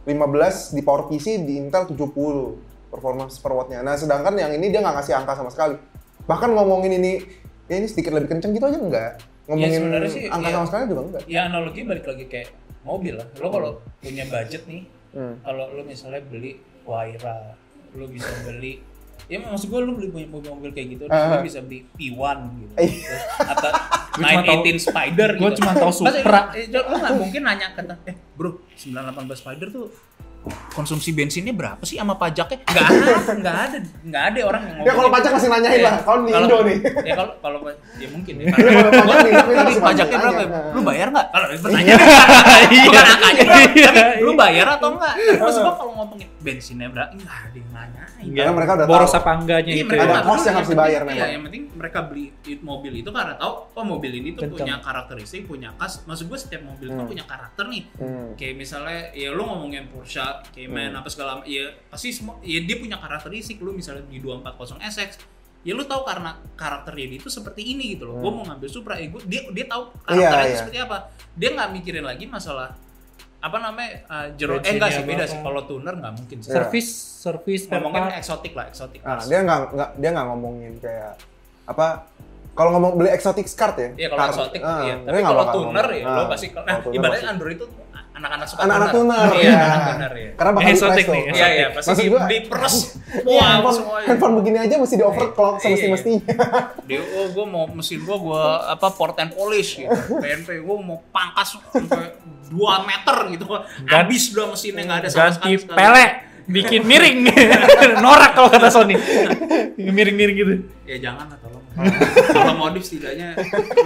B: 15 di power PC di Intel 70 performance per wattnya. Nah sedangkan yang ini dia nggak ngasih angka sama sekali. Bahkan ngomongin ini, ya ini sedikit lebih kenceng gitu aja enggak. Ngomongin
C: Iya, sebenarnya sih,
B: angka
C: iya.
B: sama sekali juga enggak.
C: ya analogi balik lagi kayak mobil lah lo kalau punya budget nih
B: Hmm.
C: kalau lu misalnya beli Waira, lu bisa beli ya maksud gue lu beli punya mobil, mobil kayak gitu, terus lu
B: Ah.
C: bisa beli P1 gitu,
B: Eh.
C: Terus atau
A: Gua cuma tahu-
C: 918 Spider gitu.
A: gua cuma tahu
C: Masa-
A: Supra.
C: eh, lu nggak mungkin nanya ke eh bro 918 Spider tuh konsumsi bensinnya berapa sih sama pajaknya? Nggak ada, nggak ada, nggak ada orang yang
B: Ya kalau
C: ngomongnya.
B: pajak masih nanyain
C: Iya.
B: lah, kalau di
C: Kalau-
B: Indo nih.
C: Ya kalau kalau ya mungkin ya.
B: Iya, kalau pajak nih, tapi
C: Gua-
B: harus
C: Tapi pajaknya
B: ditanya.
C: berapa? ya? Lu bayar nggak? Kalau bertanya
B: Iya. Iya.
C: bukan angkanya berapa, tapi
A: Iya.
C: lu bayar atau enggak? Maksud gua kalau ngomongin bensinnya berapa, enggak ada yang nanyain.
B: Karena Iya, mereka udah
A: boros
B: tahu.
A: apa enggaknya
C: Iya,
A: itu.
C: mereka
B: Ada
A: ya.
C: nggak
B: cost
C: peduli.
B: yang harus
C: penting-
B: dibayar
C: iya,
B: memang.
C: yang penting mereka beli it- mobil itu karena tahu oh mobil ini tuh
A: Kenceng.
C: punya karakteristik, punya khas. Maksud gua setiap mobil tuh
B: Hmm.
C: punya karakter nih.
B: Hmm.
C: Kayak misalnya ya lu ngomongin Porsche, Cayman
B: Hmm.
C: apa segala ya pasti semua ya dia punya karakteristik lu misalnya di 240 SX ya lu tahu karena karakter dia itu seperti ini gitu loh. Gua
B: Hmm.
C: mau ngambil Supra, ya gua, dia dia tahu
B: Iya,
C: karakternya itu
B: iya.
C: seperti apa. Dia nggak mikirin lagi masalah apa namanya uh, jero eh
A: Bensinnya
C: enggak sih beda
A: berapa.
C: sih kalau tuner nggak mungkin sih.
B: Iya.
A: Service, service per
C: Ngomongin
A: part.
C: eksotik lah, eksotik.
B: Nah,
C: cars.
B: dia nggak nggak dia nggak ngomongin kayak apa kalau ngomong beli exotic card ya?
C: Iya kalau
B: Card.
C: eksotik,
B: Ah,
C: iya.
B: dia
C: Tapi
B: nggak
C: kalau
B: bakal
C: tuner
B: ngomong.
C: ya,
B: Ah,
C: lo pasti kalau nah,
B: kalau tuner
C: ibaratnya
B: pasti.
C: Android itu anak-anak suka
B: anak-anak tuner
C: Iya, anak tuner ya.
B: Karena bakal
A: Ini
B: di flash
A: exotic
B: tuh.
A: nih,
C: Iya, iya, pasti
B: Maksud
C: di,
B: gua-
C: diperes.
B: Iya, handphone,
C: Wah,
A: ya.
C: semuanya.
B: handphone begini aja mesti di overclock
C: ya? Iya, iya.
B: semesti mestinya.
C: Dia, oh, gue mau mesin gue, gue apa port and polish gitu. PNP, gue mau pangkas sampai 2 meter gitu.
A: Gan-
C: Habis udah mesinnya nggak ada sama
A: Ganti
C: sekali.
A: pelek, bikin miring. Norak kalau kata Sony. Miring-miring gitu.
C: Ya jangan lah tolong. Kalau modif setidaknya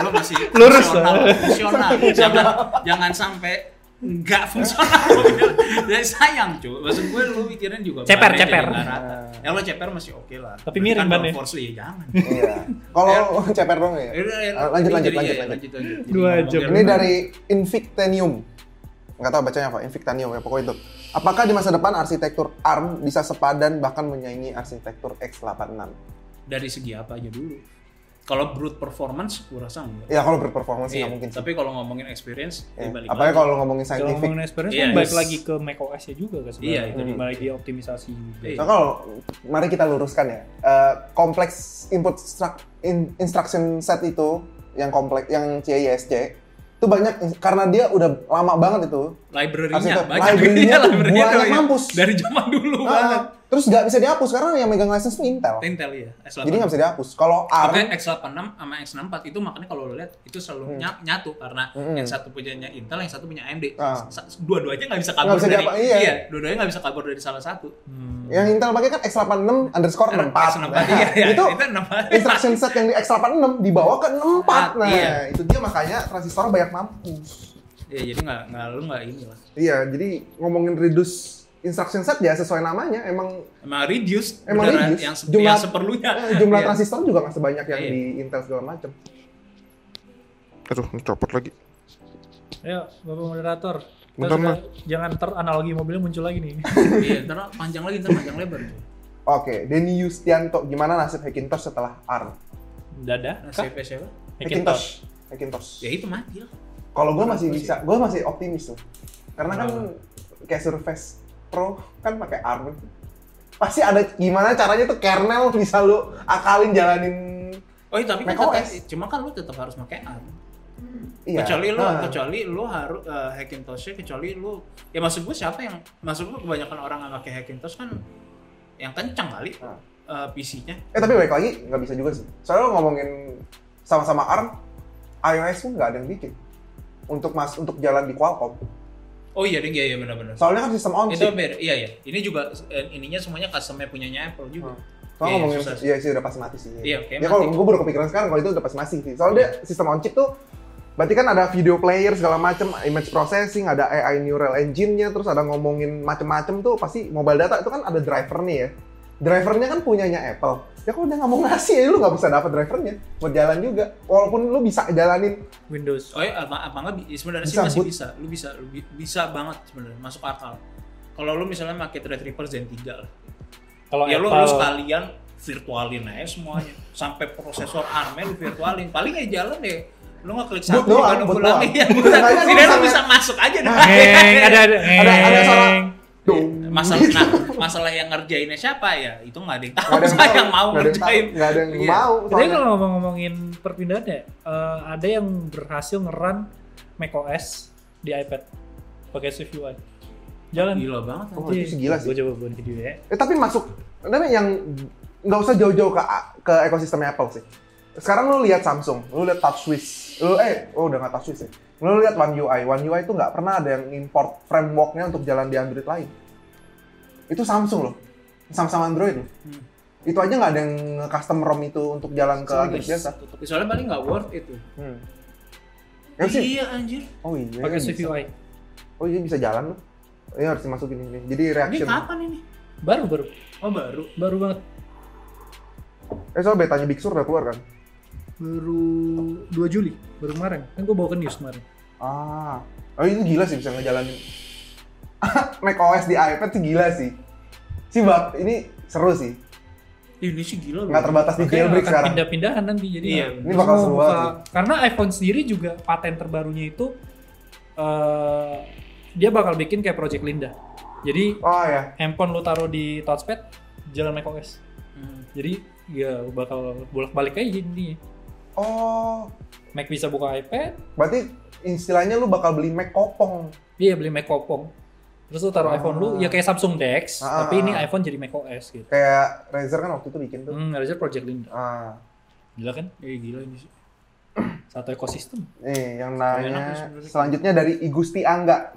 C: lo masih
A: Lurus eh.
C: fungsional,
A: lah.
C: fungsional. Jangan jangan sampai nggak fungsional. Jadi sayang cuy. Maksud gue lo mikirin juga.
A: Ceper,
C: bannya jadi
A: ceper.
C: nggak rata. Ya lo ceper masih oke lah.
A: Tapi
C: Berarti
A: miring
C: kan
A: bannya.
C: downforce lo ya jangan.
B: Iya. Kalau ceper dong ya.
C: Ya udah, ya,
B: Ah, Lanjut
C: ini
B: lanjut
C: jadi-
B: lanjut
C: ya,
B: lanjut.
C: lanjut. Jadi
A: Dua
C: ngomongin
A: jam.
B: Ini dari Invictanium. Nggak tahu bacanya apa, Invictanium ya pokoknya itu. Apakah di masa depan arsitektur ARM bisa sepadan bahkan menyaingi arsitektur x86?
C: dari segi apa aja dulu. Kalau brute performance, gue rasa enggak.
B: Ya kalau berperformance
C: Iya,
B: nggak mungkin sih.
C: tapi kalau ngomongin experience,
B: Ya.
C: ya. balik
B: Apalagi
C: lagi.
B: kalau ngomongin
A: Kalau
B: scientific.
A: ngomongin experience
C: Iya,
A: kan balik
C: yes.
A: lagi ke macOS-nya juga kan sebenarnya.
C: Iya, itu
A: Balik
C: dia.
A: lagi optimisasi juga.
C: Iya.
B: So Nah, kalau mari kita luruskan ya. Eh, kompleks input struct- in- instruction set itu yang kompleks yang CISC itu banyak in- karena dia udah lama banget itu.
C: library-nya
B: Arsitek-
C: banyak.
B: library-nya tuh
C: library-nya
B: banyak
C: banyak.
B: mampus.
C: Dari zaman dulu
B: Ah,
C: banget.
B: terus nggak bisa dihapus karena yang megang license itu Intel.
C: Intel ya, S86.
B: Jadi nggak bisa dihapus. Kalau
C: Makanya
B: ARM
C: X86 sama X64 itu makanya kalau lo lihat itu selalu ny- nyatu karena
B: Hmm.
C: yang satu punyanya Intel, yang satu punya AMD.
B: Ah.
C: Sa- Dua-duanya nggak bisa kabur
B: Nggak bisa
C: dari
B: diapa- iya.
C: dua-duanya nggak bisa kabur dari salah satu.
A: Hmm.
B: yang Intel pakai kan X86 underscore 64.
C: X64,
B: Nah,
C: iya, iya.
B: itu
C: itu 64.
B: instruction set yang di X86 dibawa ke 64. Nah,
C: Iya.
B: itu dia makanya transistor banyak mampus.
C: ya jadi nggak nggak lu nggak ini lah
B: Iya, jadi ngomongin reduce instruction set ya sesuai namanya emang
C: emang reduce
B: Emang
C: beneran
B: reduce.
C: yang, se-
B: Jumlah-
C: yang seperlunya
B: eh, jumlah
C: Iya.
B: transistor juga nggak sebanyak yang
C: Iya.
B: di Intel segala macam.
D: Aduh, ini copot lagi.
A: Ayo, Ya, Bapak moderator. Kita
D: Bentar,
A: sudah- jangan ter analogi mobilnya muncul lagi nih.
C: iya ntar panjang lagi ntar panjang lebar Nah,
B: Oke, Denny Yustianto, gimana nasib Hackintosh setelah ARM?
A: Dada.
C: nah,
A: kah?
C: siapa siapa
A: Hackintosh.
B: Hackintosh.
C: ya itu mati lah
B: Kalau gue masih
C: Menurut gua
B: bisa, gue masih optimis tuh. Karena kan
A: Kenapa?
B: kayak Surface Pro kan pakai ARM. Pasti ada gimana caranya tuh kernel bisa lu akalin jalanin
C: oh iya, tapi kan
B: Mac
C: tetap-
B: OS.
C: cuma kan lu tetap harus pakai ARM
B: iya.
C: kecuali lu
B: Nah,
C: kecuali lu harus eh, Hackintosh kecuali lu ya maksud gua siapa yang maksud gua kebanyakan orang yang pakai Hackintosh kan yang kencang kali
B: Ah.
C: eh, PC-nya
B: Eh tapi balik lagi nggak bisa juga sih. Soalnya lu ngomongin sama-sama ARM, iOS pun nggak ada yang bikin untuk mas untuk jalan di Qualcomm.
C: oh iya ding, iya iya benar-benar
B: Soalnya kan sistem on
C: itu
B: chip.
C: beda iya iya ini juga eh, ininya semuanya customnya punyanya Apple juga
B: Hmm.
C: Iya,
B: Soalnya ngomongin
C: susah sih.
B: iya sih udah pasti mati sih.
C: Iya, oke,
B: ya kalau
C: mati. Iya.
B: gue baru kepikiran sekarang kalau itu udah pasti mati sih. Soalnya dia sistem on chip tuh berarti kan ada video player segala macem, image processing, ada AI neural engine-nya, terus ada ngomongin macem-macem tuh pasti mobile data itu kan ada driver nih ya. Drivernya kan punyanya Apple. Ya kalau dia nggak mau ngasih ya lu nggak bisa dapat drivernya buat jalan juga. Walaupun lu bisa jalanin
A: Windows.
C: Oh ya, apa, apa nggak bi- sebenarnya sih
B: Bisa,
C: masih
B: Bud.
C: bisa. Lu bisa, lu bi- bisa banget sebenarnya masuk akal. Kalau lu misalnya pakai Threadripper Zen 3 lah.
A: Kalau
C: ya lu
A: Apple-
C: harus kalian virtualin aja semuanya. Sampai prosesor ARM lu virtualin. Paling ya jalan deh. Lu nggak klik satu
B: Boot doang,
C: nggak nunggu
B: boot doang.
C: lagi. Ya, boot.
B: Makanya lu
C: Setidaknya lu
B: bisa-
C: bisa masuk aja dah.
A: Ngeng, Nah, ada ada
B: ada ada suara
A: ngeng.
B: dong.
C: Iya,
B: Gitu.
C: masalah nah, masalah yang ngerjainnya siapa ya itu nggak ada yang tahu
B: Nggak ada yang
C: saya
B: tahu,
C: yang mau
B: nggak ada yang tahu,
C: ngerjain
B: nggak ada yang
C: Iya.
B: mau.
A: Tapi
B: soalnya.
A: kalau ngomong-ngomongin perpindahan ya, eh, ada yang berhasil ngeran macOS di iPad pakai Swift UI. Jalan.
C: gila banget
B: Oh, itu sih gila sih.
A: Gue coba buat video ya.
B: Eh, tapi masuk, tapi yang nggak usah jauh-jauh ke ke ekosistem Apple sih. Sekarang lu lihat Samsung, lu lihat TouchWiz, lu eh, oh udah nggak TouchWiz ya. Lu lihat One UI, One UI itu nggak pernah ada yang import frameworknya untuk jalan di Android lain. Itu Samsung loh, sama-sama Android loh.
C: Hmm.
B: Itu aja nggak ada yang custom ROM itu untuk jalan ke ya, Android biasa.
C: Tapi soalnya paling nggak worth itu
B: Hmm. Ya sih,
C: iya anjir
B: oh iya,
A: Pakai Swift
B: bisa.
A: UI.
B: oh iya bisa jalan loh. Ini harus dimasukin ini. Jadi
C: ini
B: reaction.
C: kapan ini
A: Baru baru
C: oh baru
A: baru banget.
B: Eh soal betanya Big Sur udah keluar kan?
A: Baru 2 Juli, baru kemarin. Kan gue bawa ke news kemarin.
B: Ah, oh itu gila sih bisa ngejalanin Mac OS di iPad sih gila sih. Sih bak, ini seru sih.
C: Ih, ini sih gila loh.
B: Nggak terbatas di
A: Makanya
B: jailbreak
A: akan
B: Iya, sekarang.
A: pindah-pindahan nanti jadi
C: Iya,
B: ini bakal
A: semua
B: seru
A: buka-
B: banget
A: karena iPhone sendiri juga paten terbarunya itu eh, dia bakal bikin kayak Project Linda jadi
B: Oh ya,
A: handphone lu taruh di touchpad jalan macOS
C: Hmm.
A: jadi ya bakal bolak-balik aja intinya
B: oh
A: Mac bisa buka iPad
B: berarti istilahnya lu bakal beli Mac kopong.
A: dia iya, beli Mac kopong terus lu taruh
B: Ah.
A: iPhone lu ya kayak Samsung Dex
B: Ah,
A: tapi ini
B: ah, ah.
A: iPhone jadi macOS gitu
B: Kayak Razer kan waktu itu bikin tuh.
A: hmm, harusnya Project Linda
B: Ah,
A: gila kan
C: Eh, gila ini sih.
A: satu ekosistem
B: nih yang
C: Enak ya
B: nanya
C: sebenarnya.
B: selanjutnya dari Igusti Angga.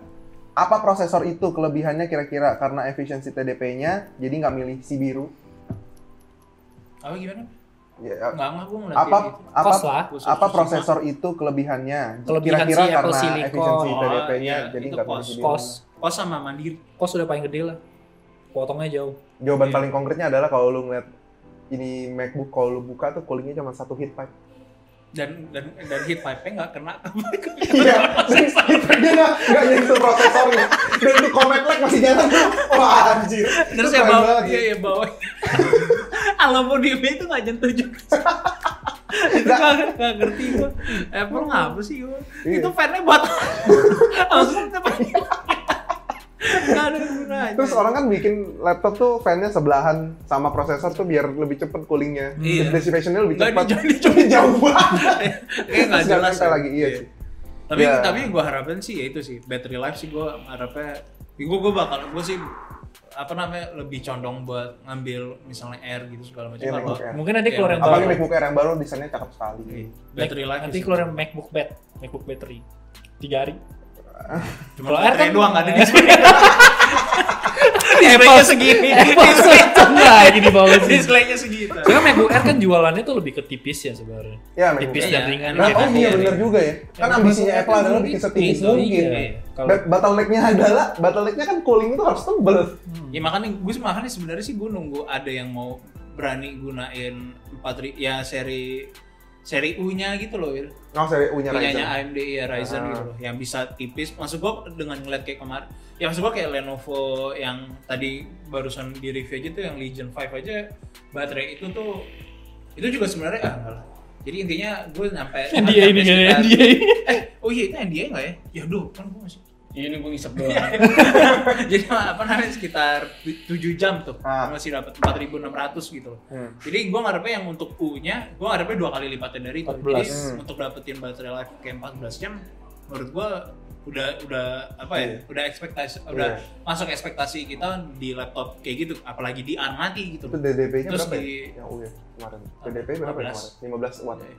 B: Apa prosesor itu kelebihannya kira-kira karena efisiensi TDP-nya jadi nggak milih si biru?
C: Apa gimana?
B: Ya,
C: Enggak enggak gua ngeliat
B: apa apa
A: Kos lah.
B: apa prosesor itu kelebihannya?
A: Kelebihan si
B: Kira-kira
A: Apple
B: karena
A: Silicon.
B: efisiensi
C: ya, Oh,
B: TDP-nya
C: iya,
B: jadi
C: itu
B: nggak
C: kos,
B: perlu
A: kos
C: Kos Oh, sama Mandiri.
A: kos udah paling gede lah potongnya jauh
B: Jawaban
C: Iya.
B: paling konkretnya adalah kalau lu ngeliat ini MacBook kalau lu buka tuh coolingnya cuma satu heat pipe.
C: Dan dan dan heat pipe-nya enggak kena.
B: Iya, jadi dia nggak nggak nyentuh prosesornya. Dan itu Comet Lake masih jalan tuh. Wah anjir.
C: Terus
B: Itu
C: ya
B: keren
C: bawa
B: banget.
C: iya ya bawa. Alamu di itu enggak nyentuh juga. Enggak enggak ngerti gua. Apple ngapa sih gua?
B: Iya.
C: Itu fan-nya buat. Maksudnya apa? Enggak ada gunanya.
B: Terus orang kan bikin laptop tuh fan-nya sebelahan sama prosesor tuh biar lebih cepet coolingnya.
C: Iya.
B: Dissipation-nya lebih
C: Nggak,
B: cepat.
C: di- di-
B: Tapi jauh banget.
C: Kayak enggak
B: Terus nggak
C: jelas.
B: nempel
C: ya.
B: lagi, iya sih.
C: tapi
B: Ya.
C: tapi yang gue harapin sih ya itu sih battery life sih gue harapnya gue gue bakal gue sih apa namanya lebih condong buat ngambil misalnya air gitu segala
B: Iya,
C: macam kalau
B: MacBook Air.
A: mungkin nanti
C: Iya,
A: keluar yang
B: Apalagi
A: baru
B: MacBook Air yang baru desainnya cakep sekali.
C: Iya. battery life
A: nanti
C: sih.
A: keluar yang MacBook Bat, MacBook battery tiga hari.
C: cuma
A: Kalau
C: kalau
A: air
C: air
A: kan-
C: doang nggak ada di sini Display-nya segini.
A: Apple Silicon lagi di bawah sini.
C: Display-nya segitu.
A: Cuma MacBook Air kan jualannya tuh lebih ke tipis ya sebenarnya.
B: Ya, MacBook
A: tipis
B: Air.
A: dan
C: Iya.
A: ringan.
B: Nah, oh
A: gitu.
B: iya benar juga ya. Kan ambisinya Apple adalah bikin setipis
C: gitu,
A: Iya,
B: mungkin. Nah,
A: iya. Kalau-
B: Ba- Bottleneck-nya adalah bottleneck-nya kan cooling itu harus tebel.
A: Hmm.
C: Ya makanya gue sih- makanya sebenarnya sih gue nunggu ada yang mau berani gunain 4 ri- ya seri seri U-nya gitu loh, Wir.
B: Oh, seri U-nya Ryzen.
C: punyanya AMD ya Ryzen
B: Ah.
C: gitu loh yang bisa tipis maksud gua dengan ngeliat kayak kemarin ya maksud gua kayak Lenovo yang tadi barusan di review aja tuh yang Legion 5 aja baterai itu tuh itu juga sebenarnya ah enggak lah jadi intinya gue nyampe
A: NDA ini ya,
C: nyampe
A: kayaknya
C: sekitar-
A: NDA.
C: eh oh iya itu NDA nggak ya ya duh kan gue masih
E: Iya ini gue ngisep doang.
C: jadi apa namanya sekitar 7 jam tuh
B: Ah.
C: gua masih dapat 4600 gitu loh
B: Hmm.
C: jadi gue ngarepnya yang untuk U-nya, gue ngarepnya dua kali lipatnya dari itu.
A: 14.
C: Jadi
B: Hmm.
C: untuk dapetin baterai life kayak 14 jam, menurut gue udah udah apa ya?
B: Iya.
C: Udah ekspektasi, udah
B: Iya.
C: masuk ekspektasi kita di laptop kayak gitu, apalagi di mati gitu.
B: Itu DDP-nya
C: Terus
B: berapa
C: di-
B: ya? Yang U ya kemarin. DDP berapa ya
C: 15.
B: kemarin? 15 watt.
C: Iya.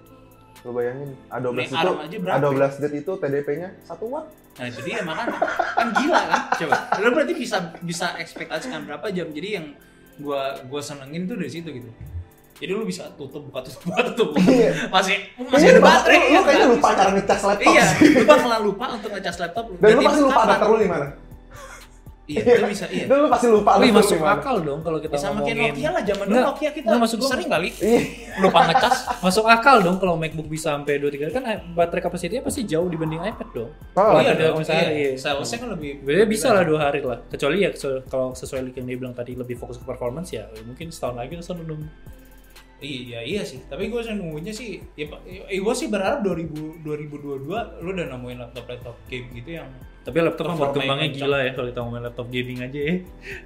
B: Lo bayangin A12
C: Nih,
B: itu
C: ARM aja berapa ya?
B: A12 Z itu TDP-nya 1 watt.
C: Nah itu dia makanya kan gila kan? Coba, lo berarti bisa bisa ekspektasikan berapa jam? Jadi yang gue gue senengin tuh dari situ gitu. Jadi lu bisa tutup buka tutup buka tutup buka.
B: Iya.
C: masih masih ada baterai.
B: Lu, lu
C: ya,
B: kayaknya
C: kan?
B: lupa cara ngecas laptop.
C: Iya,
B: sih.
C: lu bakal lupa untuk ngecas laptop
B: Dan
C: lu.
B: lu
C: Berarti
B: pasti
C: itu
B: lupa
C: kapan?
B: data lu di mana.
C: Iya, itu bisa iya.
B: Dan lu pasti lupa lu
A: Wih,
B: di
A: masuk
B: mana.
A: akal dong kalau kita
C: Ya sama kayak
A: ngomongin.
C: Nokia lah zaman dulu
A: Nggak,
C: Nokia kita
A: nggak, maksud gua-
C: sering kali.
B: Iya.
A: lupa ngecas masuk akal dong kalau MacBook bisa sampai 2 3 kan eh, baterai kapasitinya pasti jauh dibanding iPad dong.
B: Oh,
A: Kalau
C: iya,
A: ada
C: dong,
A: misalnya
C: iya.
A: iya.
C: Salesnya kan lebih
A: Sebenarnya bisa lah dua hari lah. Kecuali ya kecuali- kalau sesuai yang dia bilang tadi lebih fokus ke performance ya mungkin setahun lagi terus nunggu.
C: Iya, iya sih. Tapi gue sih nunggunya sih ya eh, gue sih berharap 2000 2022 lu udah nemuin laptop-laptop game gitu yang
A: Tapi laptop kan
C: Performa
A: berkembangnya
C: yang
A: gila ya kalau kita ngomongin laptap gaming aja ya.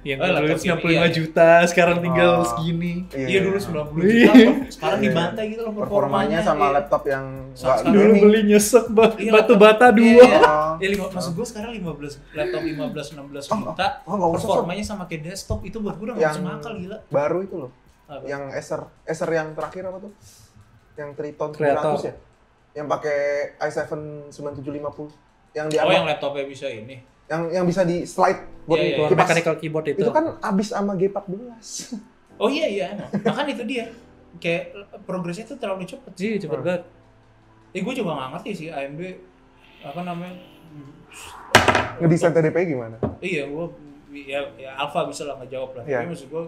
A: Yang
C: Oh,
A: dulu
C: laptop
A: 95
C: gaming, iya.
A: juta, sekarang tinggal
B: Oh.
A: segini.
C: dia dulu 90
A: Iya.
C: juta, sekarang
B: Iya.
C: dibantai gitu loh
B: performanya
C: iya.
B: sama laptop yang
C: Sama-
B: nggak
C: sama
A: Dulu
B: gaming.
A: beli nyesek ba-
C: Iya,
A: batu
C: laptop.
A: bata
C: Iya,
A: dua.
C: iya.
B: Oh.
C: Ya, lima, maksud gue sekarang 15 laptop 15 16
B: Oh,
C: juta.
B: oh, nggak usah, Sob.
C: performanya sama kayak desktop itu buat gue udah nggak
B: Yang- ya,
C: masuk akal gila.
B: baru itu loh
C: Apa?
B: yang Acer Acer yang terakhir apa tuh yang Triton
A: Creator.
B: 900 ya yang pakai i7 9750 yang di
C: Oh, yang
B: yang,
C: laptopnya bisa ini.
B: yang bisa di slide buat
C: Iya, iya,
A: Keluar
B: kipas.
A: mechanical keyboard itu.
B: itu kan abis sama G14
C: Oh iya iya, emang. makanya itu dia. Kayak eh, progresnya tuh terlalu cepet sih.
A: Iya, cepet banget.
C: Eh gue juga nggak ngerti sih AMD apa namanya. Hmm,
B: ngedesain TDP gimana
C: Iya gue ya, ya Alpha bisa lah ngejawab lah.
B: Iya.
C: Tapi maksud gue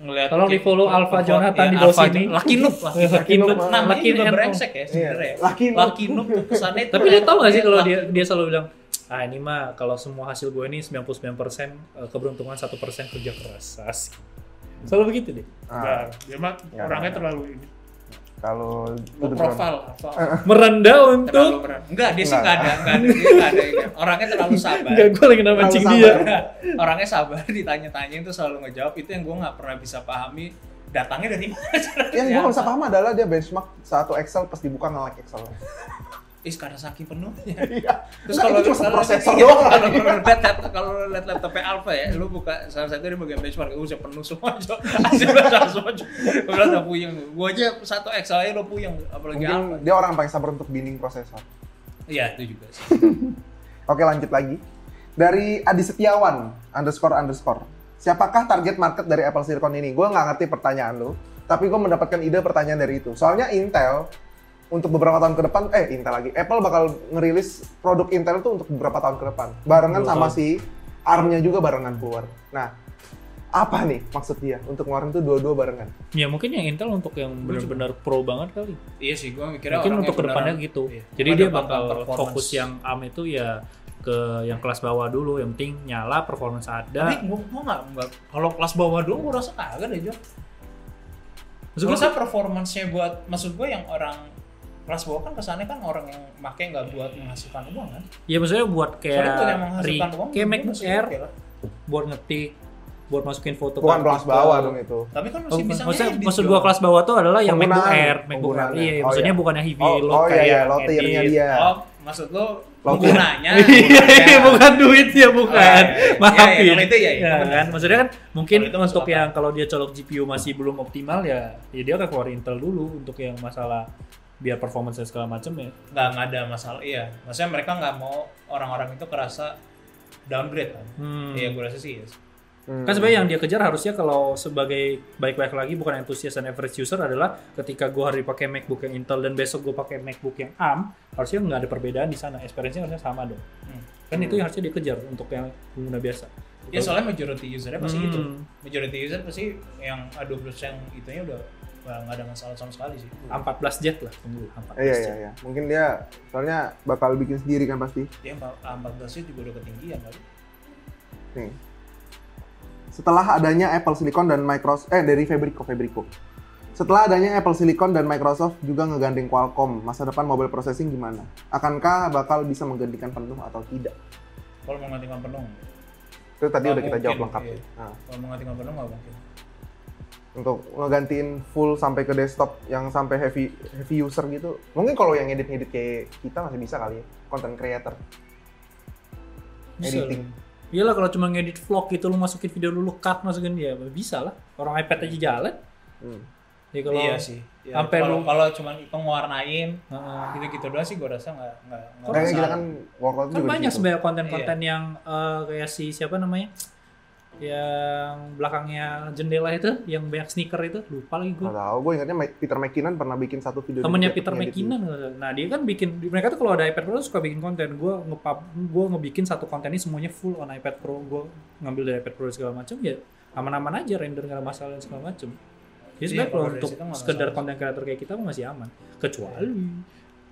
C: ngeliat
A: Tolong
C: kayak-
A: di-follow Alpha
C: perfor-
A: Jonathan
C: ya,
A: di bawah
C: Alpha
A: sini.
C: Jo- Lucky Noob lah.
A: Lucky
B: Noob,
C: Namanya
A: Lucky
C: juga
A: Noob.
C: brengsek ya sebenarnya.
B: Iya, Lucky Noob.
C: Lucky Noob tuh kesannya
A: Tapi
C: tuh
A: dia tau gak sih
C: kayak
A: kalau
C: Lucky
A: dia dia selalu bilang, ah ini mah kalau semua hasil gue ini 99% eh, keberuntungan 1% kerja keras. Asik. Selalu begitu deh. Nah,
B: Ah.
A: dia mah
B: Ya.
A: orangnya terlalu ini.
B: kalau
C: Low profile Alpha.
A: Merendah untuk
C: Terlalu berat. Enggak, dia sih
B: Enggak.
C: enggak ada, enggak ada, dia enggak ada ini. Orangnya terlalu sabar.
A: Enggak, gue lagi
B: Terlalu
A: namancing
B: sabar.
A: dia.
C: Enggak, orangnya sabar ditanya-tanya itu selalu ngejawab itu yang gue nggak pernah bisa pahami datangnya dari mana caranya.
B: yang Iya, gua nggak bisa paham adalah dia benchmark satu Excel pas dibuka nge-lag Excel
C: Ih, karena saking penuhnya.
B: iya
C: Iya. Terus
B: Nah,
C: kalau
B: itu cuma
C: kalau-
B: prosesor
C: iya,
B: doang
C: Kalau
B: lagi.
C: kalau lihat laptop, kalau lihat laptopnya Alpha ya, lu buka salah satu di bagian benchmark, uh, udah penuh semua, Jo. Asli udah semua, Jo. Gua bilang udah puyeng. Gua aja satu Excel aja lo puyeng, apalagi Alpha.
B: mungkin dia orang paling sabar untuk binning prosesor
C: Iya, itu juga sih.
B: Oke lanjut lagi. Dari Adi Setiawan, underscore underscore. Siapakah target market dari Apple Silicon ini? Gue nggak ngerti pertanyaan lu, tapi gue mendapatkan ide pertanyaan dari itu. Soalnya Intel untuk beberapa tahun ke depan, eh Intel lagi, Apple bakal ngerilis produk Intel itu untuk beberapa tahun ke depan. Barengan
A: Dua
B: sama
A: tahun.
B: si ARM-nya juga barengan keluar. Nah, apa nih maksud dia untuk ngeluarin tuh dua-dua barengan?
A: Ya mungkin yang Intel untuk yang benar-benar pro banget kali.
C: Iya sih, gua mikirnya
A: Mungkin
C: orangnya
A: untuk kedepannya
C: beneran-
A: gitu.
C: Iya.
A: Jadi
C: Ada
A: dia
C: bakal
A: bakal
C: performance.
A: fokus yang ARM itu ya ke yang kelas bawah dulu. Yang penting nyala, performance
C: Tapi
A: ada.
C: gua gua nggak nggak- kalau kelas bawah doang gua rasa kagak deh, Jo.
A: Maksud
C: Maksud
A: gua-
C: gue performance-nya buat maksud gue yang orang kelas bawah kan kesannya kan orang yang make nggak buat menghasilkan uang kan.
A: Ya maksudnya buat
C: Soalnya
A: kayak
C: buat yang
A: re-
C: menghasilkan uang.
A: kayak
C: dia
A: MacBook
C: masih
A: Air,
C: oke lah.
A: buat ngetik, buat masukin foto.
B: Bukan
A: ke
B: kelas
A: artikel.
B: bawah dong itu.
C: Tapi kan
A: Oh,
C: masih bisa
A: maksudnya,
C: ngedit,
A: maksud
C: Jo.
A: gua kelas bawah tuh adalah yang MacBook
B: Penggunaan,
A: Air, MacBook Air.
B: penggunaannya.
A: Iya,
B: Oh,
A: maksudnya
B: iya.
A: bukan yang heavy
B: Oh,
A: load
B: oh iya,
A: kayak
B: iya, low
A: yang
B: tier-nya
A: ya, edit.
B: dia.
C: Oh, maksud lo
B: Loh,
C: penggunanya.
A: Iya, bukan duit ya bukan.
C: Ya, Oh, iya, iya.
A: Maaf
C: Iya, iya, kalau itu iya, iya,
A: Ya,
C: benar.
A: kan maksudnya kan mungkin
C: Kalau itu masuk
A: untuk
C: akal.
A: yang kalau dia colok GPU masih belum optimal ya ya dia akan keluar Intel dulu untuk yang masalah biar performance segala macam ya.
C: Nggak nggak ada masalah. Iya, maksudnya mereka nggak mau orang-orang itu kerasa downgrade kan.
A: Hmm.
C: Iya gue rasa sih yes.
B: Hmm.
A: Kan sebenarnya yang dia kejar harusnya kalau sebagai baik-baik lagi bukan enthusiast dan average user adalah ketika gue hari pakai MacBook yang Intel dan besok gue pakai MacBook yang ARM harusnya nggak ada perbedaan di sana. Experience-nya harusnya sama dong.
C: Hmm.
A: Kan itu yang harusnya dia kejar untuk yang pengguna biasa.
C: Ya soalnya majority usernya pasti
A: Hmm.
C: gitu. Majority user pasti yang ah, 20% itunya udah wah, nggak ada masalah sama sekali sih.
A: 14 jet lah tunggu 14
B: Iya
A: jet.
B: iya iya. Mungkin dia soalnya bakal bikin sendiri kan pasti.
C: Dia empat- ah, 14 juga udah ketinggian kali.
B: Nih. Setelah adanya Apple Silicon dan Microsoft eh dari Fabrico Fabrico. Setelah adanya Apple Silicon dan Microsoft juga ngegandeng Qualcomm, masa depan mobile processing gimana? Akankah bakal bisa menggantikan penuh atau tidak?
C: Kalau mau menggantikan penuh,
B: Itu tadi
C: Nggak
B: udah kita jawab
C: mungkin,
B: lengkap.
C: iya.
B: Nah,
C: kalau mau menggantikan penuh nggak mungkin.
B: untuk ngegantiin full sampai ke desktop yang sampai heavy heavy user gitu. Mungkin kalau yang edit-edit kayak kita masih bisa kali ya, content creator.
A: Bisa
B: Editing.
A: lah. Iyalah kalau cuma ngedit vlog gitu lu masukin video lu, lu cut masukin dia bisa lah. Orang iPad aja jalan.
B: Hmm.
A: Ya kalau
C: iya sih. Iya.
A: sampai
C: Kalau
A: lu-
C: kalau cuma pengwarnain
A: Heeh.
C: gitu-gitu doang sih gue rasa nggak nggak nggak
B: Kayaknya kita
C: masalah.
B: kan workout
A: kan
B: juga di
A: banyak
B: situ.
A: sebenarnya konten-konten
C: Iya.
A: yang eh, kayak si siapa namanya yang belakangnya jendela itu yang banyak sneaker itu lupa lagi gue
B: Nggak tahu, gue ingatnya Ma- Peter McKinnon pernah bikin satu video.
A: temennya
B: di YouTube
A: Peter
B: ngedit
C: gitu.
A: McKinnon nah dia kan bikin mereka tuh kalau ada iPad Pro tuh suka bikin konten gue ngepub gue ngebikin satu konten ini semuanya full on iPad Pro gue ngambil dari iPad Pro dan segala macam ya aman-aman aja render nggak ada masalah dan segala macam jadi sebenarnya
C: Iya, kalau
A: kalau
C: dari
A: untuk
C: situ nggak
A: sekedar
C: masalah.
A: konten kreator kayak kita masih aman kecuali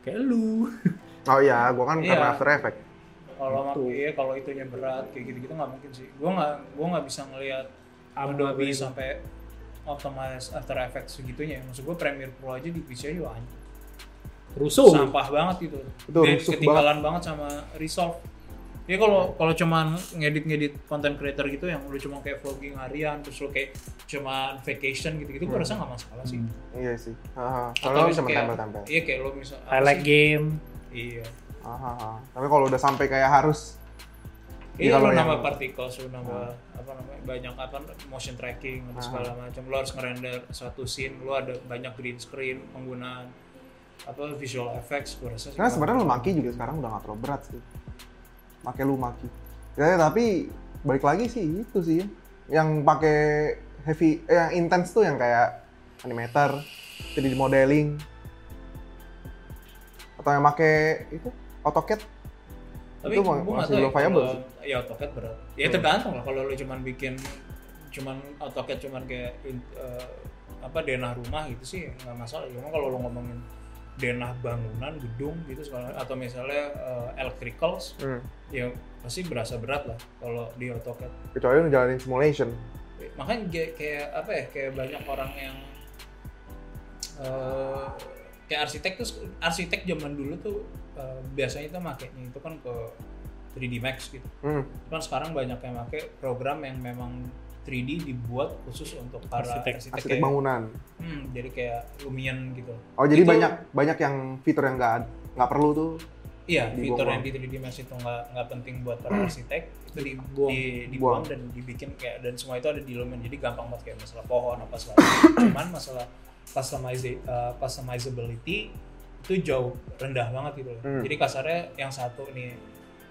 A: kayak lu
B: gitu. Oh iya, gue kan
C: Iya.
B: karena After Effects.
C: kalau mak-
A: Gitu.
C: iya kalau itunya berat kayak gitu-gitu nggak mungkin sih. Gue nggak gue nggak bisa ngelihat Adobe
A: Adobe.
C: sampai optimize After Effects segitunya. Maksud gue Premiere Pro aja di PC juga anjir.
A: rusuh
C: sampah banget itu.
B: Itu
C: Dia
B: rusuh
C: ketinggalan banget. sama Resolve. Ya kalau kalau cuman ngedit-ngedit content creator gitu yang lu cuma kayak vlogging harian terus lu kayak cuman vacation gitu-gitu gue rasa nggak masalah sih.
A: Hmm.
B: Iya sih. Haha,
C: Atau
B: Soalnya
C: lu
B: bisa
C: kayak-
B: tempel-tempel.
C: Iya kayak lu misal apa
A: highlight
C: sih?
A: game
C: Iya.
B: Haha. Tapi kalau udah sampai kayak harus Jadi
C: Iya,
B: kalau
C: lu
B: yang-
C: nambah partikel, lu nambah apa namanya banyak apa motion tracking dan segala macam. Lu harus ngerender satu scene, lu ada banyak green screen penggunaan apa visual effects gue rasa sih.
B: Karena Nah, sebenarnya lumaki juga sekarang udah nggak terlalu berat sih. Pakai lumaki. Ya, tapi balik lagi sih itu sih yang pakai heavy eh, yang intense tuh yang kayak animator, 3D modeling atau yang pakai itu AutoCAD.
C: Tapi
B: itu
C: gua
B: ma-
C: nggak
B: masih
C: tahu
B: belum viable
C: kalau-
B: sih. Iya.
C: Ya AutoCAD berat. Ya tergantung lah kalau lu cuman bikin cuman AutoCAD cuman kayak in- eh, apa denah rumah gitu sih nggak masalah. Cuma kalau lu ngomongin denah bangunan, gedung gitu segala atau misalnya eh, electricals
B: Hmm.
C: ya pasti berasa berat lah kalau di AutoCAD.
B: Kecuali lu jalanin simulation.
C: makanya kayak, kayak apa ya kayak banyak orang yang eh, kayak arsitek tuh arsitek zaman dulu tuh eh, biasanya itu makainya itu kan ke 3D Max gitu
B: Hmm.
C: cuman sekarang banyak yang pakai program yang memang 3D dibuat khusus untuk para
A: Arsitek.
C: arsitek,
B: Arsitek
C: kayak-
B: bangunan.
C: Hmm, jadi kayak Lumion gitu
B: Oh jadi
C: Itu-
B: banyak banyak yang fitur yang nggak nggak perlu tuh.
C: iya
B: Dibuang.
C: fitur yang di 3D Max itu nggak nggak penting buat para
B: Hmm.
C: arsitek itu di,
A: Buang.
C: di-
B: Buang.
C: dibuang dan dibikin kayak dan semua itu ada di Lumen jadi gampang banget kayak masalah pohon apa segala macam. cuman masalah customiza- uh, customizability itu jauh rendah banget gitu loh
B: Hmm.
C: jadi kasarnya yang satu nih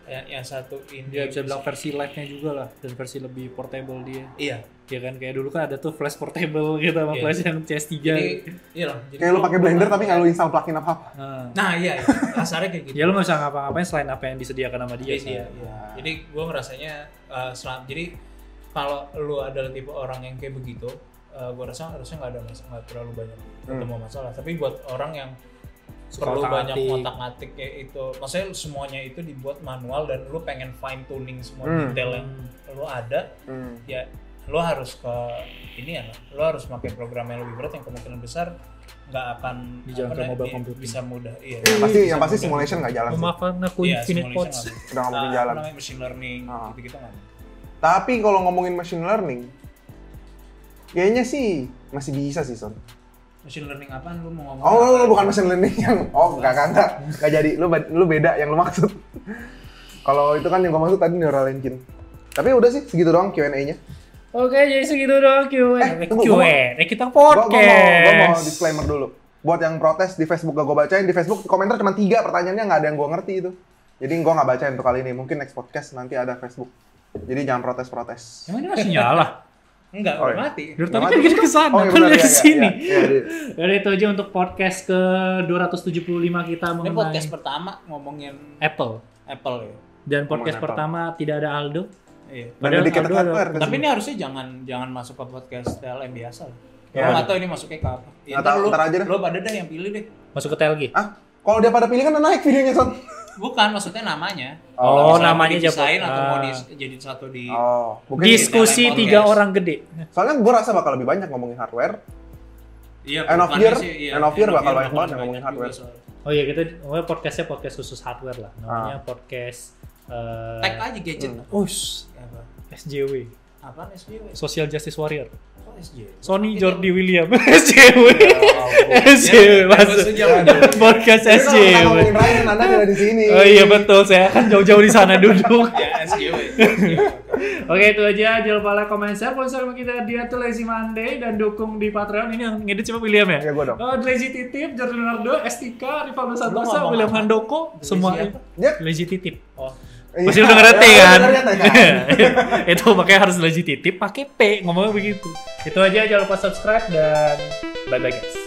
C: yang, yang satu ini
A: dia bisa bilang versi live-nya juga lah dan versi lebih portable dia
C: iya
A: ya kan kayak dulu kan ada tuh flash portable gitu sama
C: Iya.
A: flash yang CS3
C: jadi iya lah jadi
B: Kayak lu pakai blender tapi nggak lu install plugin apa apa.
A: Nah.
C: nah iya, iya. kasarnya kayak gitu
A: ya lu nggak usah ngapa-ngapain selain apa yang disediakan sama dia
C: Iya,
A: sih
C: iya, iya. Jadi gue ngerasanya uh, selam. Jadi kalau lu adalah tipe orang yang kayak begitu, uh, gue rasa harusnya nggak ada masalah, nggak terlalu banyak ketemu masalah. Tapi buat orang yang
A: Hmm. Suka
C: perlu banyak
A: otak-atik.
C: otak atik kayak itu, maksudnya semuanya itu dibuat manual dan lu pengen fine tuning semua
B: Hmm.
C: detail yang lu ada, ya lu harus ke ini ya, lu harus pakai program yang lebih berat yang kemungkinan besar nggak akan
A: Dijalankan
C: apa namanya,
A: mobile
C: di-
A: computing.
C: bisa mudah. Iya.
B: Yang pasti yang
C: Bisa
B: pasti
C: mudah.
B: simulation nggak jalan. sih.
A: memaafkan aku
C: Iya,
A: infinite
C: simulation
A: pods
C: nggak bisa.
B: Udah nggak mungkin
C: Ah,
B: jalan.
C: namanya machine learning
B: Ah.
C: gitu-gitu kan. nggak mungkin.
B: Tapi kalau ngomongin machine learning, kayaknya sih masih bisa sih Son.
C: Machine learning apaan lu mau ngomong?
B: Oh,
C: apa?
B: lu bukan machine learning yang oh enggak enggak enggak, Enggak jadi. Lu bad- lu beda yang lu maksud. kalau itu kan yang gua maksud tadi neural engine. Tapi udah sih segitu doang Q&A-nya.
A: oke jadi segitu doang Q&A
B: Eh, tunggu,
A: Q&A
B: gua mau-
A: kita
B: Gua, gua mau gua mau
A: podcast
B: disclaimer dulu. Buat yang protes di Facebook gak gue bacain, di Facebook komentar cuma tiga pertanyaannya nggak ada yang gue ngerti itu. Jadi gua nggak bacain untuk kali ini. Mungkin next podcast nanti ada Facebook. Jadi jangan protes-protes.
A: Emang ini masih nyala?
C: Enggak,
B: Oh,
C: udah
B: iya.
C: mati.
A: Dari tadi
B: Nggak
A: kan
B: mati.
A: kita kesana,
B: Oh,
A: kan
B: iya
A: dari
B: benar, iya, iya,
A: kesini.
B: iya, iya.
A: Dari itu aja untuk podcast ke 275 kita
C: Ini
A: mengenai
C: podcast pertama ngomongin
A: Apple.
C: Apple ya.
A: Dan podcast
B: Ngomongin Apple.
A: pertama tidak ada Aldo.
C: Iya.
B: Nggak
A: Padahal
B: dikit-dikit
A: Aldo
B: lapar.
A: ada-
C: Tapi ini harusnya jangan jangan masuk ke podcast TLM biasa. loh.
B: Ya.
C: Gua nggak tahu ini masuknya ke apa. Ya,
B: Nggak tahu,
C: lu,
B: ntar aja deh.
C: Lu pada deh yang pilih deh.
A: Masuk ke TLG.
B: Ah, kalau dia pada pilih kan udah naik videonya, Son.
C: Bukan, maksudnya namanya.
A: Oh,
C: Misalnya
A: namanya
C: mau dipisahin
A: Jabot.
C: atau mau
A: Ah.
C: di- jadi satu di
B: Oh, mungkin
A: Diskusi
C: Podcast.
A: tiga orang gede.
B: soalnya gua rasa bakal lebih banyak ngomongin hardware.
C: Iya,
B: End of
C: bukannya
B: year-
C: sih, iya,
B: end of year bakal banyak
C: bakal
B: banget yang ngomongin
C: juga
B: hardware.
C: soalnya.
A: Oh iya, kita oh, podcastnya podcast khusus hardware lah.
C: Ah.
A: Namanya podcast... eh,
C: Tag aja gadget.
B: Hmm.
A: Ush,
C: Apa?
A: SJW.
C: Apaan SJW?
A: Social Justice Warrior.
C: Apa SJW?
A: Sony
C: Itu-
A: Jordi William. SJW.
B: Oh,
A: SJW.
C: Ya,
A: masuk.
C: maksudnya apa?
A: Podcast
B: ngomongin
A: SJW.
B: Ryan, Anda ada di sini.
A: iya, Oh iya betul, saya kan jauh-jauh di sana duduk.
C: Ya, SJW.
A: Oke itu aja, jangan lupa like, comment, share, sponsor sama kita di Atu Lazy Monday dan dukung di Patreon. Ini yang ngedit siapa William ya?
B: Iya, gua dong.
A: Oh, Lazy Titip, Jordan Leonardo, Estika, Rivaldo
C: Lu
A: Santosa,
C: ngomong
A: William
C: apa?
A: Handoko,
C: Lazy
A: semua
C: apa?
B: Dia
A: Lazy Titip.
C: Oh,
B: Iya.
A: Pasti udah ngerti
B: Ya,
A: kan?
B: bener, ya, kan?
A: itu makanya harus Lazy Titip, pakai P, ngomongnya begitu. Itu aja, jangan lupa subscribe dan bye-bye guys.
B: kan?